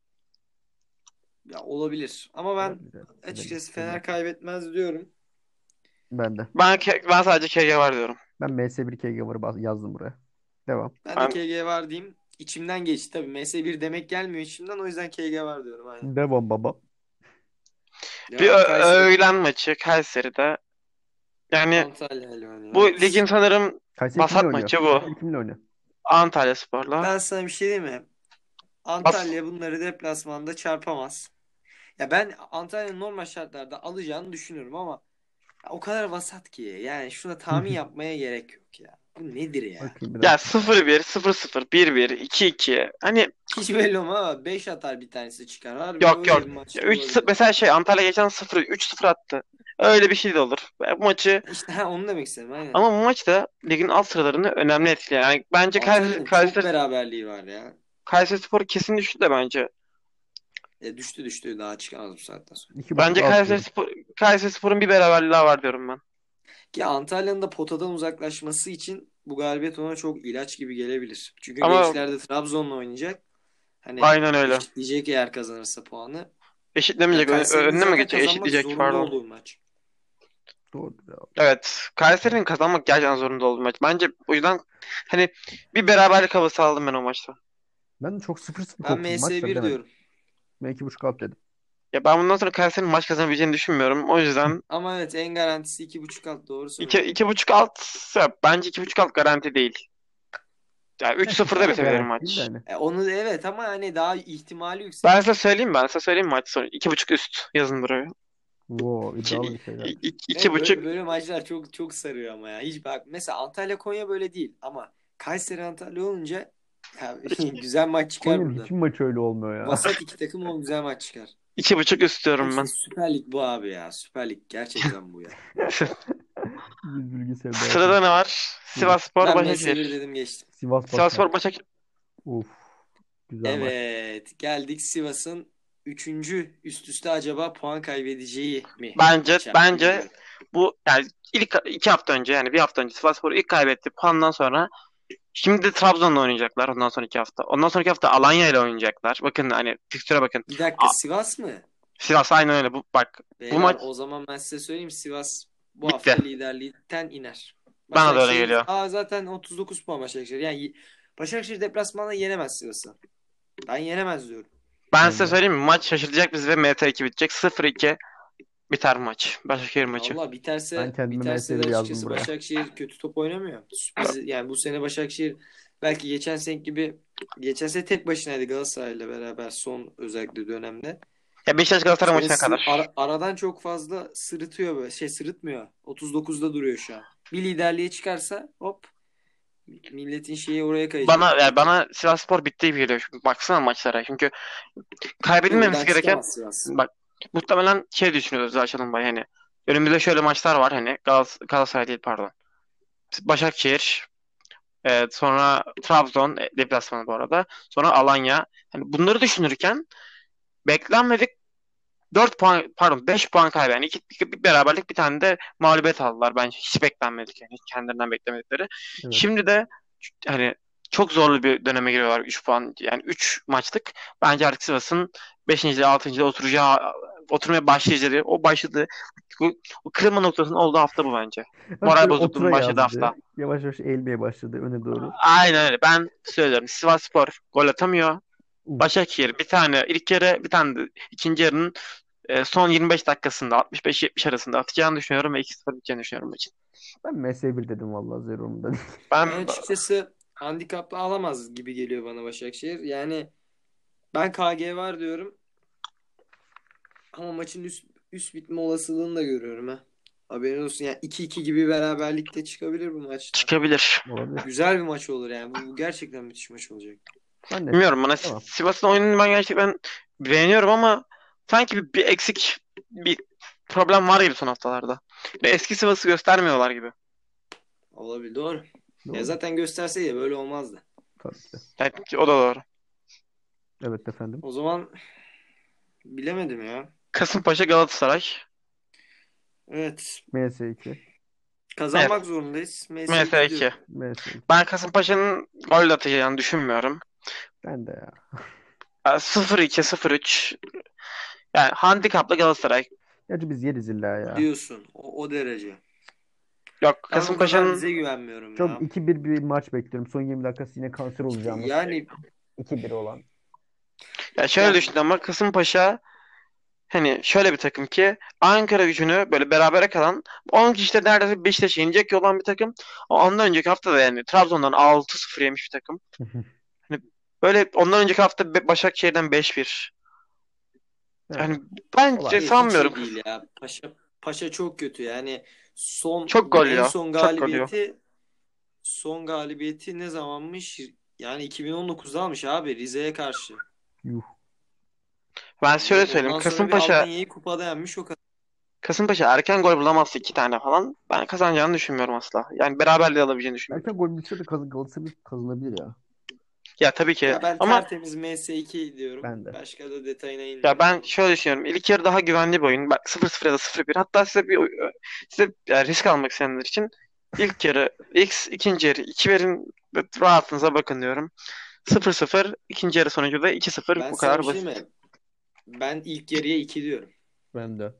ya olabilir. Ama ben
Olabilir.
açıkçası Fener kaybetmez diyorum.
Ben de.
Ben ke- ben sadece KG var diyorum.
Ben MS1 KG varı bas- yazdım buraya. Devam.
Ben
Ben-
de KG var diyeyim. İçimden geçti tabii. MS1 demek gelmiyor içimden. O yüzden KG var diyorum. Aynen.
Devam baba.
Bir
Devam,
ö-
Kayseri,
öğlen maçı Kayseri'de. Yani
Antalya ile oynuyor.
bu
Evet.
ligin sanırım
Kayseri
Vasat
kimle oynuyor?
maçı bu.
Kayseri kimle oynuyor?
Antalyaspor'la.
Ben sana bir şey diyeyim mi? Antalya bunları deplasmanda çarpamaz. Ya ben Antalya'nın normal şartlarda alacağını düşünüyorum ama ya o kadar vasat ki. Yani şuna
<laughs>
tahmin yapmaya gerek yok ya. Bu nedir ya?
Bakayım bir
Ya
dakika.
0-1, 0-0, 1-1, 2-2. Hani
Hiç belli olmaz ama 5 atar bir tanesi çıkar. Harbi
Yok,
öyle
yok.
bir maç
3
olabilir.
mesela şey Antalya geçen 0 3-0 attı. Öyle bir şey de olur. Bu maçı
İşte ha, onu demek istedim aynen.
ama bu maç da ligin alt sıralarını önemli etkiler. Yani bence Kayseri
Antalya'nın çok
Kayseri
beraberliği var ya.
Kayserispor kesin düştü de bence.
E, düştü düştü daha çıkamaz bu saatten sonra.
İki
Bence
buçuk alt diyorum.
Kayserispor Kayserispor'un bir beraberliği daha var diyorum ben.
Ki Antalya'nın da potadan uzaklaşması için bu galibiyet ona çok ilaç gibi gelebilir. Çünkü
Ama-
gençlerde Trabzon'la oynayacak. Hani
Aynen öyle.
eşitleyecek eğer kazanırsa puanı.
Eşitlemeyecek.
Yani
Ö-
Kayseri'nin
önüne mi
zaten
geçecek?
kazanmak
Eşitleyecek
zorunda
pardon.
olduğu maç.
Doğru. ya.
Evet. Kayseri'nin kazanmak gerçekten zorunda olduğu maç. Bence o yüzden hani bir beraberlik havası aldım ben o maçta.
Ben de çok 0-0
Ben
koktum maç da
MS1
bilemedim.
diyorum.
Ben 2.5 alt dedim.
Ya ben bundan sonra Kayseri'nin maç kazanabileceğini düşünmüyorum. O yüzden
Ama evet en garantisi iki buçuk alt doğru
iki,
söylüyorsun.
iki buçuk alt ya bence iki buçuk alt garanti değil. Ya 3-0'da bitebilir
Garanti değil
maç.
de hani.
E, onu evet ama hani daha ihtimali yüksek.
Ben size söyleyeyim ben size söyleyeyim maç sonu. İki buçuk üst yazın buraya.
<laughs>
Wow,
İki,
iddialı bir şey şeyler.
i- i-
Evet,
iki
böyle,
buçuk
böyle maçlar çok çok sarıyor ama ya. Hiç bak mesela Antalya Konya böyle değil ama Kayseri Antalya olunca ya, <laughs> güzel maç çıkar
Konya'nın
buradan.
hiçbir maçı öyle olmuyor ya.
Vasat iki takım o güzel maç çıkar.
iki buçuk üst
Abi
diyorum
işte
ben.
Süper Lig bu abi ya. Süper Lig gerçekten bu ya.
Biz bilgisayar
Sırada ne var? Sivasspor
Ben
Başakşehir.
Mensevir dedim geçtim.
Sivas Başak.
Sivasspor Başakşehir.
Uf. Güzel maç.
Evet geldik Sivas'ın üçüncü üst üste acaba puan kaybedeceği mi?
Bence
Şampiyon
bence
Ligi?
bu yani ilk iki hafta önce yani bir hafta önce Sivasspor ilk kaybetti puandan sonra şimdi de Trabzon'la oynayacaklar ondan sonraki hafta. Ondan sonraki hafta Alanya ile oynayacaklar. Bakın hani fikstüre bakın.
Bir dakika
A-
Sivas mı?
Sivas aynen öyle bu bak.
Beyler,
maç-
o zaman ben size söyleyeyim Sivas bu
Bitti.
hafta liderlikten iner.
Bana da öyle
Başakşehir-
geliyor.
Aa, zaten 39 puan Başakşehir. Yani y- Başakşehir deplasmanda yenemez Sivas'ı. Ben yenemez diyorum.
Ben
Ben
size
de.
söyleyeyim mi? Maç şaşırtacak bizi ve MT2 bitecek. 0-2 biter maç. Başakşehir maçı.
Allah biterse
Ben kendime
biterse de
MSV yazdım
açıkçası
buraya. <laughs>
Başakşehir kötü top oynamıyor. Sürpriz yani bu sene Başakşehir belki geçen seneki gibi geçen sene tek başınaydı Galatasaray'la beraber son özellikle dönemde.
Ya Beşiktaş Galatasaray
Bu sene
maçına
sı-
kadar.
ara- aradan çok fazla sırıtıyor böyle. Şey sırıtmıyor. 39'da duruyor şu an. Bir liderliğe çıkarsa hop milletin şeyi oraya kayacak.
Bana yani bana Sivasspor bitti gibi geliyor. Çünkü Baksana maçlara. Çünkü kaybedilmemesi
Buradan
gereken
çıkamaz Sivas.
bak muhtemelen şey düşünüyoruz Açalım Bay hani. Önümüzde şöyle maçlar var hani Galas- Galatasaray değil pardon. Başakşehir, e, sonra Trabzon e, deplasmanı bu arada. Sonra Alanya. Hani bunları düşünürken beklenmedik 4 puan pardon 5 puan kaybı yani iki, iki- bir beraberlik bir tane de mağlubiyet aldılar bence hiç beklenmedik yani hiç kendilerinden beklemedikleri.
Evet.
Şimdi de hani çok zorlu bir döneme giriyorlar 3 puan yani 3 maçlık. Bence artık Sivas'ın 5. 6. oturacağı oturmaya başlayacağı o başladı. O, o kırılma noktasının olduğu hafta bu bence.
Bak
Moral
böyle
bozukluğunun
otura
başladığı hafta.
yazdı. Yavaş yavaş eğilmeye başladı öne doğru.
Aynen öyle. Ben söylüyorum. Sivasspor gol atamıyor.
Uf.
Başakşehir bir tane ilk yarı bir tane de ikinci yarının e, son 25 dakikasında 65-70 arasında atacağını düşünüyorum ve 2-0 biteceğini düşünüyorum maçın.
Ben MS1 dedim <laughs> vallahi Zerom'da.
Ben
Ben açıkçası handikaplı alamaz gibi geliyor bana Başakşehir. Yani ben KG var diyorum ama maçın üst, üst bitme olasılığını da görüyorum ha. Haberin olsun yani 2-2 gibi beraberlikte çıkabilir bu maçta.
çıkabilir.
Olabilir.
Güzel bir maç olur yani. Bu, bu gerçekten müthiş maç olacak.
Zannetmiyorum.
Bilmiyorum bana
Tamam.
Sivas'ın oyununu ben gerçekten beğeniyorum ama sanki bir, bir eksik bir problem var gibi son haftalarda. Ve eski Sivas'ı göstermiyorlar gibi.
Olabilir doğru. Ya
Doğru.
zaten gösterseydi böyle olmazdı.
Tabii ki de.
Yani o da doğru.
Evet efendim.
O zaman bilemedim ya.
Kasımpaşa Galatasaray.
Evet.
MS2.
Kazanmak zorundayız. MS2
MS2.
diyorum.
MS2.
Ben Kasımpaşa'nın gol atacağını düşünmüyorum.
Ben de ya.
Yani 0-2, 0-3. Yani handikaplı Galatasaray.
Gerçi biz yeriz illa ya.
Diyorsun. O, o derece.
Yok
Ben bu kadar
Kasımpaşa'nın
bize güvenmiyorum
Çok
ya.
2-1 bir maç bekliyorum. Son 20 dakikası yine kanser olacağımız.
Yani
2-1 olan.
ya şöyle
ya
düşün ama Kasımpaşa hani şöyle bir takım ki Ankara gücünü böyle berabere kalan 10 kişi de neredeyse Beşiktaş'a yenecek yol olan bir takım. O ondan önceki hafta da yani Trabzon'dan 6-0 yemiş bir takım. Hani böyle ondan önceki hafta Be- Başakşehir'den 5-1.
Evet.
Yani bence
Olabilir.
Hayır, hiç
şey sanmıyorum.
iyi değil ya. Paşa Paşa çok kötü yani. Son
Çok gol
en
ya.
son
Çok gol ya.
galibiyeti son galibiyeti ne zamanmış? Yani 2019'da almış abi Rize'ye karşı.
Yuh.
Ben şöyle
Anladın mı?
söyleyeyim.
Ondan sonra bir
Kasımpaşa
Alanya'yı kupada yenmiş o kadar.
Kasımpaşa erken gol bulamazsa iki tane falan ben kazanacağını düşünmüyorum asla. Yani beraberliği alabileceğini düşünmüyorum.
Erken gol bitse de kazan Galatasaray kazanabilir ya.
Ya tabii ki
Ya ben
ama
tertemiz MS2 diyorum.
Ben de.
Başka da detayına
Ya
inmiyorum.
ben şöyle düşünüyorum. İlk yarı daha güvenli bir oyun. Bak 0-0 ya da 0-1. Hatta size bir size yani risk almak isteyenler için ilk yarı, ilk ikinci yarı, iki verin ve rahatınıza bakın diyorum. 0-0, ikinci yarı sonucu da
Ben
2-0 bu
sana bir
kadar
şey
basit.
mi? Ben ilk yarıya 2 diyorum.
Ben de.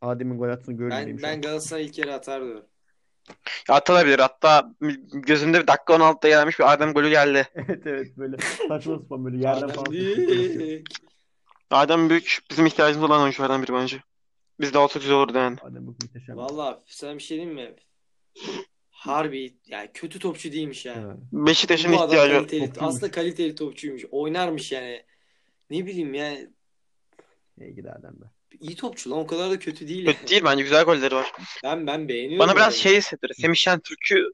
Adem'in gol attığını görmeyeyim
Ben
şu an.
ben Galatasaray ilk yarı atar diyorum.
Atılabilir. Hatta gözümde bir dakika 16'da
<laughs>
gelmiş bir Adem golü geldi.
<laughs>
Evet evet böyle saçma sapan böyle yerden
Adem
falan sıçrayıp böyle atıyor.
Dik.
Adem Büyük bizim ihtiyacımız olan oyunculardan biri bence. Bizde olsa güzel olurdu yani.
Adem Büyük muhteşem.
Valla sana bir şey diyeyim mi? Harbi yani kötü topçu değilmiş yani.
Evet.
Beşiktaş'ın
Bu adam
ihtiyacı
kaliteli-
Topçuymuş.
aslında kaliteli topçuymuş. Oynarmış yani. Ne bileyim yani
İyi gider Adem be.
iyi topçu lan o kadar da kötü değil. yani.
Kötü değil bence güzel golleri var.
Ben ben beğeniyorum.
Bana biraz
yani.
şey hissettirir. Semih Şentürk'ü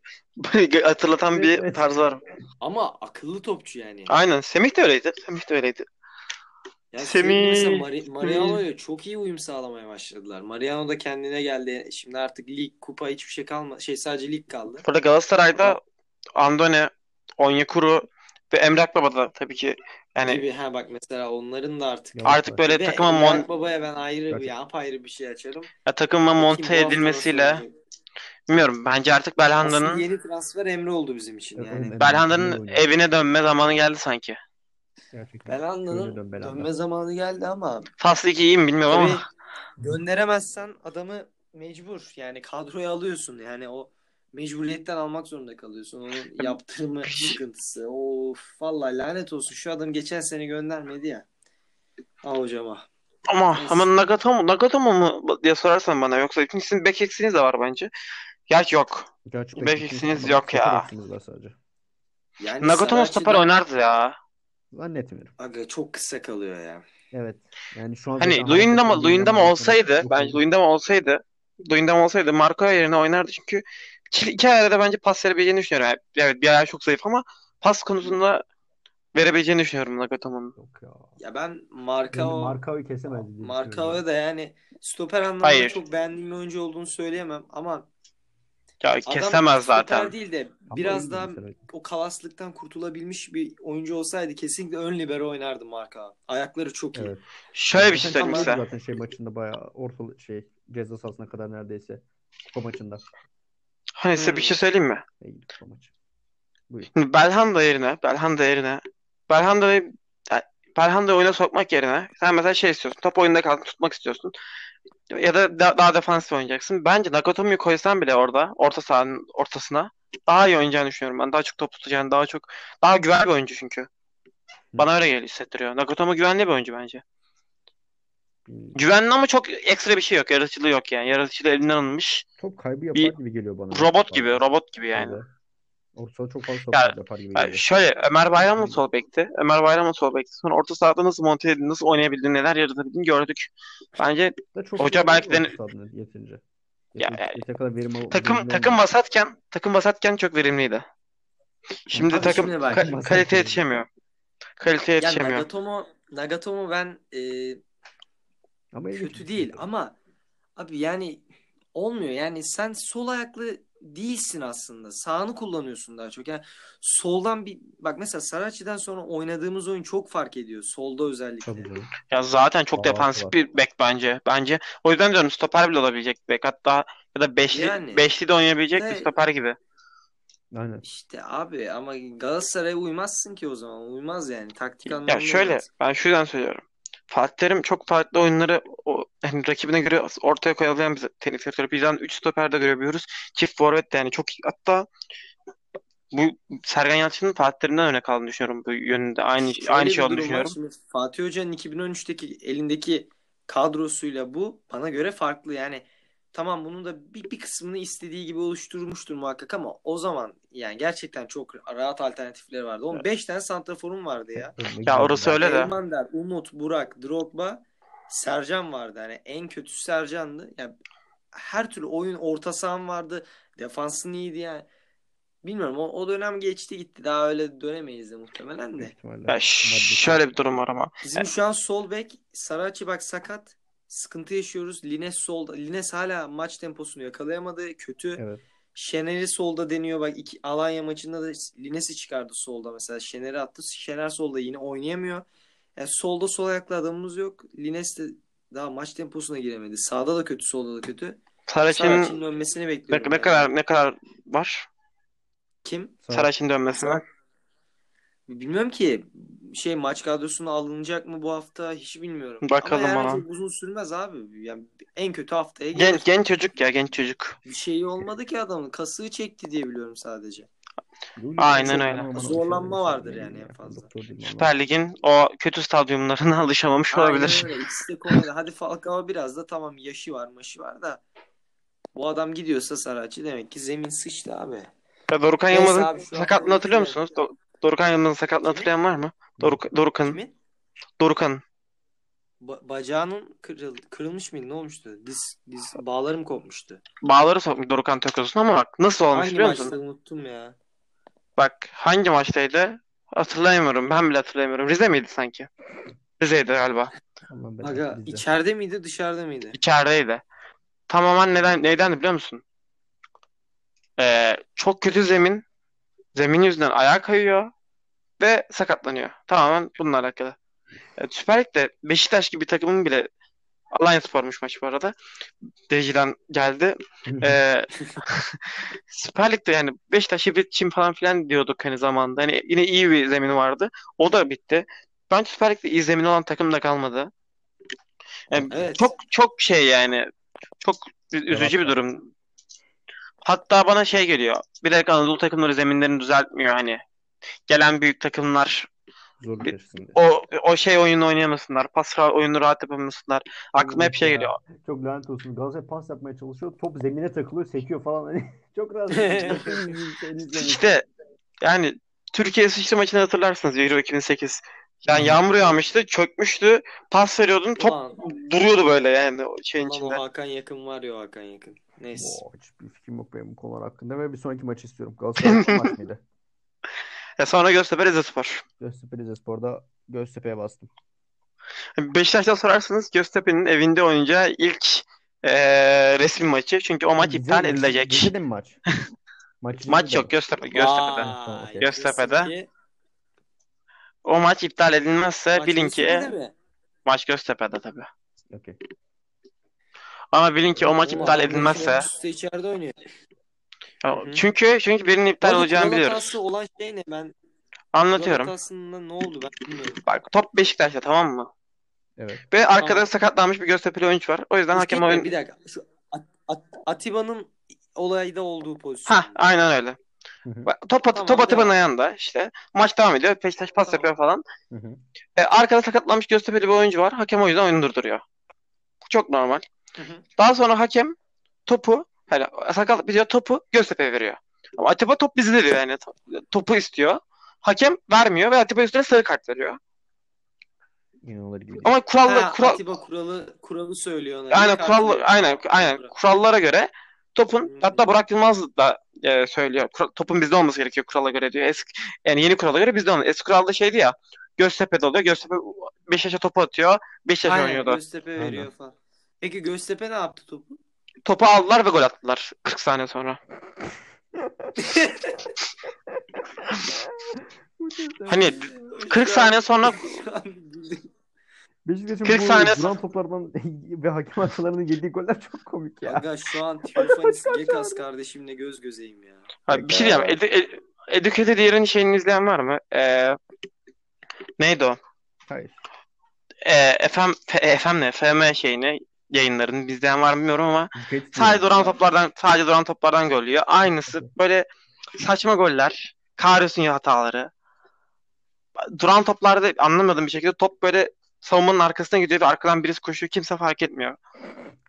<laughs> hatırlatan bir
Evet.
tarzı var.
Ama akıllı topçu yani.
Aynen. Semih de öyleydi. Semih de öyleydi.
Yani
Semih-
sürekli mesela Mari- Mariano'ya çok iyi uyum sağlamaya başladılar. Mariano da kendine geldi. Şimdi artık lig, kupa hiçbir şey kalmadı. Şey sadece lig kaldı.
Burada Galatasaray'da Andone, Onyekuru ve Emrak Baba da tabii ki yani
Gibi ha bak mesela onların da artık
Yavaş
artık
var.
böyle
Ve
takıma
Emre
mon
Akbaba'ya ben ayrı bir
Gerçekten.
apayrı bir şey açarım.
ya takıma
Bakayım bu
monte
hafta
edilmesiyle
nasıl olacak.
bilmiyorum bence artık Belhanda'nın
Aslında yeni transfer Emre oldu bizim için
Evet,
yani.
evet.
Belhanda'nın
Belhanda oynuyor.
evine dönme zamanı geldi sanki.
Gerçekten.
Belanda'nın
Şöyle dön Belhanda.
dönme zamanı geldi ama
Faslı 2 iyi mi bilmiyorum
tabii
ama
gönderemezsen adamı mecbur yani kadroya alıyorsun yani o mecburiyetten almak zorunda kalıyorsun. Onun
<laughs>
yaptırımı sıkıntısı. Of vallahi lanet olsun şu adam geçen sene göndermedi ya. Al hocama.
ama
Neyse.
ama Nagatomo, Nagatomo mu diye sorarsan bana yoksa ikincisinin bek eksiğiniz de var bence. Gerçi yok.
Gerçi
Bek
bekliyoruz
eksiğiniz
ama
yok
stoper
ya.
eksiğimiz var sadece.
Yani
Nagatomo
Saracchi'den-
stoper oynardı ya.
Zannetmiyorum.
Aga çok kısa kalıyor ya.
Evet. Yani şu an
Hani
zaten
Luyendama
hareket
Luyendama
oynayan
olsaydı
Çok
bence
iyi.
Luyendama olsaydı Luyendama olsaydı Marco yerine oynardı çünkü iki, iki ayarda da bence pas verebileceğini düşünüyorum. Yani evet bir ayağı çok zayıf ama pas konusunda verebileceğini düşünüyorum Nagatomo'nun.
Yok ya.
Ya ben
Bence
Marcao
Markao'yu kesemezdi diye düşünüyorum.
Marcao'ya da yani stoper anlamında
Hayır.
çok beğendiğim bir oyuncu olduğunu söyleyemem ama
Ya
adam
kesemez
stoper
zaten.
değil de
Ama
biraz
iyi
daha
mesela.
o kalaslıktan kurtulabilmiş bir oyuncu olsaydı kesinlikle ön libero oynardı Marcao. Ayakları çok iyi.
Evet.
Şöyle bir şey
Zaten
söyleyeyim
tam
size.
Zaten şey maçında bayağı ortalı şey ceza sahasına kadar neredeyse kupa maçında.
Hani size bir
Hmm.
şey söyleyeyim mi?
Neydi kupa maçı? Buyur.
Şimdi <laughs> Belhanda yerine, Belhanda yerine, Belhanda'yı ya, Belhanda'yı oyuna sokmak yerine sen mesela şey istiyorsun, top oyunda kalsın, tutmak istiyorsun. Ya da da- daha defansif oynayacaksın. Bence Nakatomi'yi koysan bile orada, orta sahanın ortasına daha iyi oynayacağını düşünüyorum ben. Daha çok top tutacağını, daha çok, daha güvenli bir oyuncu çünkü. Bana öyle geliyor, hissettiriyor. Nakatomi güvenli bir oyuncu bence.
Bir-
Güvenli ama çok ekstra bir şey yok, yaratıcılığı yok yani. Yaratıcılığı elinden alınmış.
Top kaybı yapar
Bir
gibi geliyor bana.
Robot gibi,
Bazen.
robot gibi yani.
Öyle. Orta saha çok fazla top
Ya-
kaybı yapar gibi
Ya
geliyor.
şöyle Ömer Bayram da sol bekti. Ömer Bayram da sol bekti. Sonra orta sahada nasıl monte edildi, nasıl oynayabildiğini, neler yaratabildiğini gördük. Bence
Da çok
Hoca
verimli
belki de-
olmuş sahada yeterince.
Ya-
Yeterince, yeteri kadar verim al-
takım
verimli
takım
olmamış.
vasatken takım vasatken çok verimliydi. Şimdi
Abi
takım
şimdi bak.
ka-
Takım
kalite
vasatken.
yetişemiyor. Kalite
Ya
yetişemiyor.
Nagatomo Nagatomo ben e,
Ama ilginç bir
kötü
şey.
değil ama abi yani olmuyor. Yani sen sol ayaklı değilsin aslında. Sağını kullanıyorsun daha çok. Yani soldan bir bak mesela Saracchi'den sonra oynadığımız oyun çok fark ediyor. Solda özellikle.
Tabii canım.
Ya zaten çok
Bağlantı
defansif
var.
bir bek bence. Bence o yüzden diyorum stoper bile olabilecek bir bek. Hatta ya da beşli
Yani.
beşli de oynayabilecek bir
Ve-
stoper gibi.
Aynen.
İşte abi ama Galatasaray'a uymazsın ki o zaman. Uymaz yani. Taktik anlamında.
Ya şöyle
uymaz.
ben şuradan söylüyorum. Fatih Terim çok farklı oyunları o, yani rakibine göre ortaya koyalayan bir teknik direktör. Birden 3 stoper de görebiliyoruz. Çift forvet de yani çok hatta bu Sergen Yalçın'ın Fatih Terim'den örnek aldığını düşünüyorum bu yönünde. Aynı
Şöyle
aynı şey
bir
olduğunu
durum var.
düşünüyorum.
Şimdi Fatih Hoca'nın 2013'teki elindeki kadrosuyla bu bana göre farklı. Yani tamam bunun da bir, bir kısmını istediği gibi oluşturmuştur muhakkak ama o zaman yani gerçekten çok rahat alternatifleri vardı. Onun 5 tane santraforum vardı ya.
Ya orası öyle de.
Elmander, Umut, Burak, Drogba, Sercan vardı. Yani en kötüsü Sercan'dı. Yani her türlü oyun orta sahan vardı. Defansın iyiydi yani. Bilmiyorum o, o dönem geçti gitti. Daha öyle dönemeyiz de muhtemelen de.
Ya ş- şöyle bir durum var ama.
Bizim şu an sol bek Saracchi bak sakat. Sıkıntı yaşıyoruz. Lines solda. Lines hala maç temposunu yakalayamadı. Kötü.
Evet.
Şener'i solda deniyor. Bak iki, Alanya maçında da Lines'i çıkardı solda mesela. Şener'i attı. Şener solda yine oynayamıyor. Yani solda sol ayaklı adamımız yok. Lines de daha maç temposuna giremedi. Sağda da kötü, solda da kötü. Saracchi'nin
Saracchi'nin
dönmesini
ne,
bekliyorum.
ne
yani.
kadar ne kadar var?
Kim?
Saraç
Saracchi'nin dönmesine.
Sarac- Bilmiyorum ki şey maç kadrosuna alınacak mı bu hafta hiç bilmiyorum.
Bakalım
Ama yani
ona.
çok uzun sürmez abi. Yani en kötü haftaya gelir.
Gen, genç çocuk ya genç çocuk.
Bir şey olmadı ki adamın. Kasığı çekti diye biliyorum sadece.
Aynen öyle.
Zorlanma vardır
şey
yani en fazla.
Süper Lig'in o kötü stadyumlarına <laughs> alışamamış olabilir.
Aynen öyle. İkisi de kolay. Hadi Falcao biraz da tamam yaşı var maşı var da bu adam gidiyorsa Saracı demek ki zemin sıçtı abi.
Ya Dorukhan
Neyse
Yılmaz'ın
abi, şu an- şey
sakatlığını hatırlıyor musunuz? Do- Dorukhan Yılmaz'ın sakatlığını hatırlayan var mı? Doruk Dorukhan'ın.
Kimin?
Dorukhan'ın.
Ba- bacağının kırıl kırılmış mıydı? Ne olmuştu? Diz, diz bağlarım kopmuştu.
Bağları sokmuş Dorukhan Tökoz'un ama bak nasıl olmuş
Hangi
biliyor
maçta
musun?
unuttum ya.
Bak hangi maçtaydı? Hatırlayamıyorum. Ben bile hatırlayamıyorum. Rize miydi sanki? Rize'ydi galiba.
Aga
<laughs>
içeride miydi dışarıda mıydı?
İçerideydi. Tamamen neden neyden biliyor musun? Ee, çok kötü zemin. Zemin yüzünden ayağa kayıyor ve sakatlanıyor. Tamamen bununla alakalı. Evet, Süper Lig'de Beşiktaş gibi takımın bile Alanyaspor'muş maçı bu arada. Deji'den geldi. Ee, Süper Lig'de yani Beşiktaş hibrit çim falan filan diyorduk hani zamanında. Hani yine iyi bir zemini vardı. O da bitti. Bence Süper Lig'de iyi zemini olan takım da kalmadı. Yani
Evet.
çok çok şey yani çok ü- üzücü bir
Cevap
durum. Hatta bana şey geliyor. Bir dakika Anadolu takımları zeminlerini düzeltmiyor hani. Gelen büyük takımlar
Zor içerisinde.
o o şey oyunu oynayamasınlar. Pas ra- oyunu rahat yapamasınlar. Aklıma hep şey
Ya,
geliyor.
Çok lanet olsun. Galatasaray pas yapmaya çalışıyor. Top zemine takılıyor, sekiyor falan. Hani <laughs> çok
<laughs>
rahatsız. şey
İşte yani Türkiye İsviçre maçını hatırlarsınız Euro 2008. Yani yağmur yağmıştı, çökmüştü. Pas veriyordun, top
Ulan,
duruyordu böyle yani o şeyin
ulan o
içinde.
Hakan yakın var ya o Hakan yakın. Neyse.
Oo, hiçbir fikrim yok benim bu konular hakkında ve bir sonraki maçı istiyorum. Galatasaray son maç
<laughs>
mıydı?
E sonra Göztepe Rizespor.
Göztepe Rizespor'da Göztepe'ye bastım.
Beşiktaş'ta sorarsanız Göztepe'nin evinde oynayacağı ilk eee, resmi maçı. Çünkü o maç
Rize-
iptal
Rize-
edilecek.
Rize'de mi maç?
<laughs>
Maç
Maç
Rize'de
yok
mi?
Göztepe, Göztepe'de.
Vay,
Tamam, okey.
Göztepe'de.
Göztepe-
O maç iptal edilmezse
Maç
bilin ki
Göztepe'de mi?
maç Göztepe'de tabii.
Okey.
Ama bilin ki o maç
Oğlum,
iptal
Hakan
edilmezse
Yakın üstte içeride oynuyor. hı.
çünkü çünkü birinin iptal
Oğlum,
olacağını biliyoruz.
Galatasaray'la olan şey ne? Ben
Anlatıyorum.
Galatasaray'la ne oldu ben bilmiyorum.
Bak top Beşiktaş'ta tamam mı?
Evet.
Ve arkada
Tamam.
sakatlanmış bir Göztepe'li oyuncu var. O yüzden hakem
Üstelik de
oyun...
Bir dakika. Şu At- At- Atiba'nın olayda olduğu pozisyon.
Ha, aynen öyle.
Hı hı.
Bak, Top, at,
Tamam,
top Atiba'nın
devam.
ayağında işte. Maç devam ediyor. Beşiktaş pas
Tamam.
yapıyor falan.
Hı hı.
E, arkada sakatlanmış Göztepe'li bir oyuncu var. Hakem o yüzden oyunu durduruyor. Çok normal.
Hı hı.
Daha sonra hakem topu hani sakatlık bitiyor topu Göztepe'ye veriyor. Ama Atiba top bizde diyor yani. Topu istiyor. Hakem vermiyor ve Atiba üstüne sarı kart veriyor.
İnanılır gibi değil.
Ama kurallar
Ha,
kural
Atiba kuralı kuralı söylüyor ona.
Aynen
Bir kart
kural
veriyor.
aynen aynen
Kural.
kurallara göre topun
Hmm.
hatta Burak Yılmaz da e, söylüyor. Kural- topun bizde olması gerekiyor kurala göre diyor. Eski yani yeni kurala göre bizde olması. Eski kuralda şeydi ya. Göztepe'de oluyor. Göztepe Beşiktaş'a topu atıyor. Beşiktaş
Aynen
oynuyordu.
Göztepe veriyor
Aynen.
falan. Peki Göztepe ne yaptı topu?
Topu aldılar ve gol attılar <laughs> 40
<laughs>
saniye sonra. Hani 40 saniye sonra
<laughs> Şu an güldüm.
Beşiktaş'ın
40
bu
saniye
duran toplardan <laughs> ve hakem hatalarının yediği goller çok komik ya.
Aga şu an
<laughs>
Teofanis Gekas kardeşimle göz gözeyim
<laughs>
ya.
Abi bir şey diyeceğim. Edu, Ed- Educated Year'in şeyini izleyen var mı? Ee, neydi o?
Hayır.
Ee, FM, F- FM ne? FM şeyini yayınlarını bizden var mı bilmiyorum ama
Geç
Sadece
diyorum.
duran toplardan sadece duran toplardan gol yiyor. Aynısı böyle saçma goller. Kahrolsun ya hataları. Duran toplarda anlamadığım bir şekilde top böyle savunmanın arkasına gidiyor ve arkadan birisi koşuyor. Kimse fark etmiyor.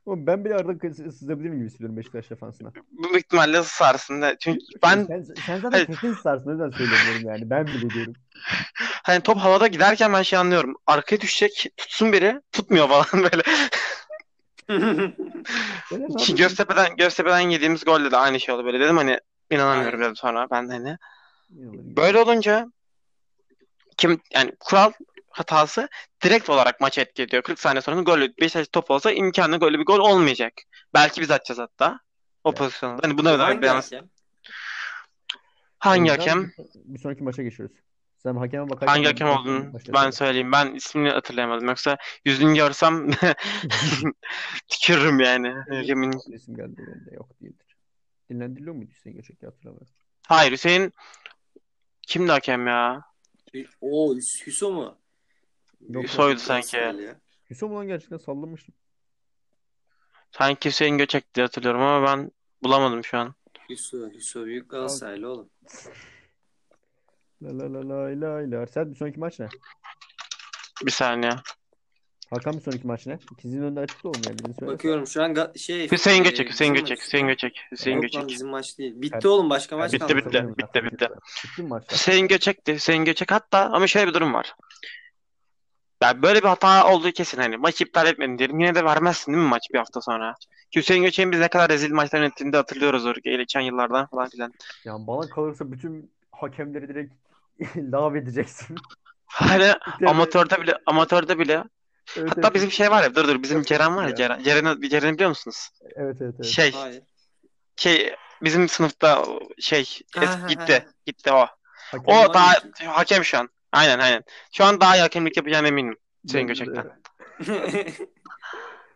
Oğlum ben bile arada kız- sızabilirim gibi hissediyorum Beşiktaş defansına.
Bu büyük ihtimalle sarsında. Çünkü ben
Sen, sen zaten
Hayır.
kesin sarsın. O yüzden söylemiyorum yani. Ben bile diyorum.
hani top havada giderken ben şey anlıyorum. Arkaya düşecek tutsun biri tutmuyor falan <laughs> böyle.
Öyle mi
Ki
abi?
Göztepe'den, Göztepe'den yediğimiz golde de aynı şey oldu böyle dedim hani inanamıyorum dedim sonra ben de hani.
İnanılır gibi.
Böyle olunca kim yani kural hatası direkt olarak maç etki ediyor. 40 saniye sonra gol Beşiktaş top olsa imkanı golü bir gol olmayacak. Belki biz atacağız hatta o
Ya.
pozisyonda. Hani buna da
Hangi
bir yalnız-
hakem?
O
hangi
yüzden
hakem
bir- Bir sonraki maça geçiyoruz. Sen hakeme bakarken
hangi
ben
hakem
bir
olduğunu
maça
ben
bakarım.
söyleyeyim. Ben ismini hatırlayamadım. Yoksa yüzünü görsem <laughs> tükürürüm yani. Hakemin.
Resim geldi bende. Yok değildir. Dinlendiriliyor muydu Hüseyin Göçek ya hatırlamıyorum.
Hayır Hüseyin kimdi hakem ya?
O Hüso mu?
Yok,
Hüso'ydu sanki.
Ya.
Hüseyin ulan gerçekten sallamıştım.
Sanki Hüseyin Göçek diye hatırlıyorum ama ben bulamadım şu an.
Hüso, Hüso büyük Galatasaraylı oğlum.
La la la la la la. Serhat bir sonraki maç ne?
Bir saniye.
Hakan bir sonraki maç ne? İkizinin önünde açık da olmuyor. Birini söyle.
Bakıyorum şu an ga- şey.
Hüseyin
e,
Göçek, Hüseyin
bizim
Göçek,
maç.
Hüseyin Göçek, Hüseyin
Yok
Göçek.
lan bizim maç değil. Bitti
Evet.
oğlum başka maç
Bitti,
kaldı.
bitti. bitti, bitti.
Bitti mi maçlar?
Hüseyin Göçek'ti. Hüseyin Göçek hatta ama şöyle bir durum var. Ya böyle bir hata olduğu kesin hani. Maçı iptal etmedin diyelim. Yine de vermezsin değil mi maç bir hafta sonra? Ki Hüseyin Göçek'in biz ne kadar rezil maçlar yönettiğini de hatırlıyoruz o geçen yıllardan falan filan.
Yani bana kalırsa bütün hakemleri direkt <laughs> lav edeceksin.
Hani amatörde bile amatörde bile
<laughs> Evet,
hatta
evet,
bizim şey var ya dur dur bizim
Yok,
Ceren var ya
ya.
Ceren Ceren'i Ceren'i biliyor musunuz?
Evet evet evet.
Şey
Hayır.
şey bizim sınıfta şey
Ha, ha, ha.
gitti gitti o.
Hakem-
Hakem
O daha
var
hakem şu an. Aynen aynen. Şu an daha iyi hakemlik yapacağına eminim. Hüseyin
Bence de.
Göçek'ten.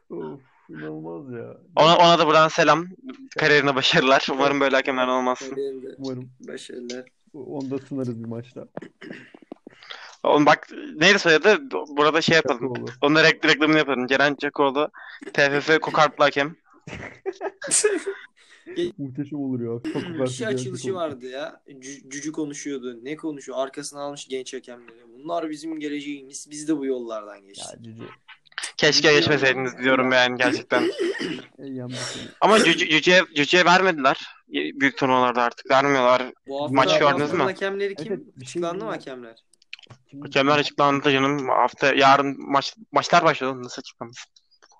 Of inanılmaz ya.
Ona, ona da buradan selam. Kariyerine başarılar. Umarım böyle hakemler olmazsın.
Benim de
Umarım
Başarılar.
onu da sınarız bir maçta.
Oğlum bak neydi soyadı? Burada şey yapalım.
Olur.
Onun rek- reklamını yapalım. Ceren Çakoğlu, TFF Kokartlı hakem.
Muhteşem olur ya. Çok
Bir şey
güzel bir
açılışı
olur.
vardı ya. Cü- Cücü konuşuyordu. Ne konuşuyor? Arkasına almış genç hakemleri. Bunlar bizim geleceğimiz. Biz de bu yollardan geçtik.
Ya cici.
Keşke geçmeseydiniz diyorum yani gerçekten.
En yan bir şey.
Ama Cüce, Cüce'ye, Cüce'ye vermediler. Büyük turnuvalarda artık vermiyorlar.
Bu hafta
Maç
bu
gördünüz
haftanın
mü?
hakemleri kim?
Evet, bir şey
Açıklandı mı
bilmiyorum.
hakemler?
Kim-
Hakemler açıklandı canım. Hafta yarın maç, maçlar başladı. Nasıl açıklamış?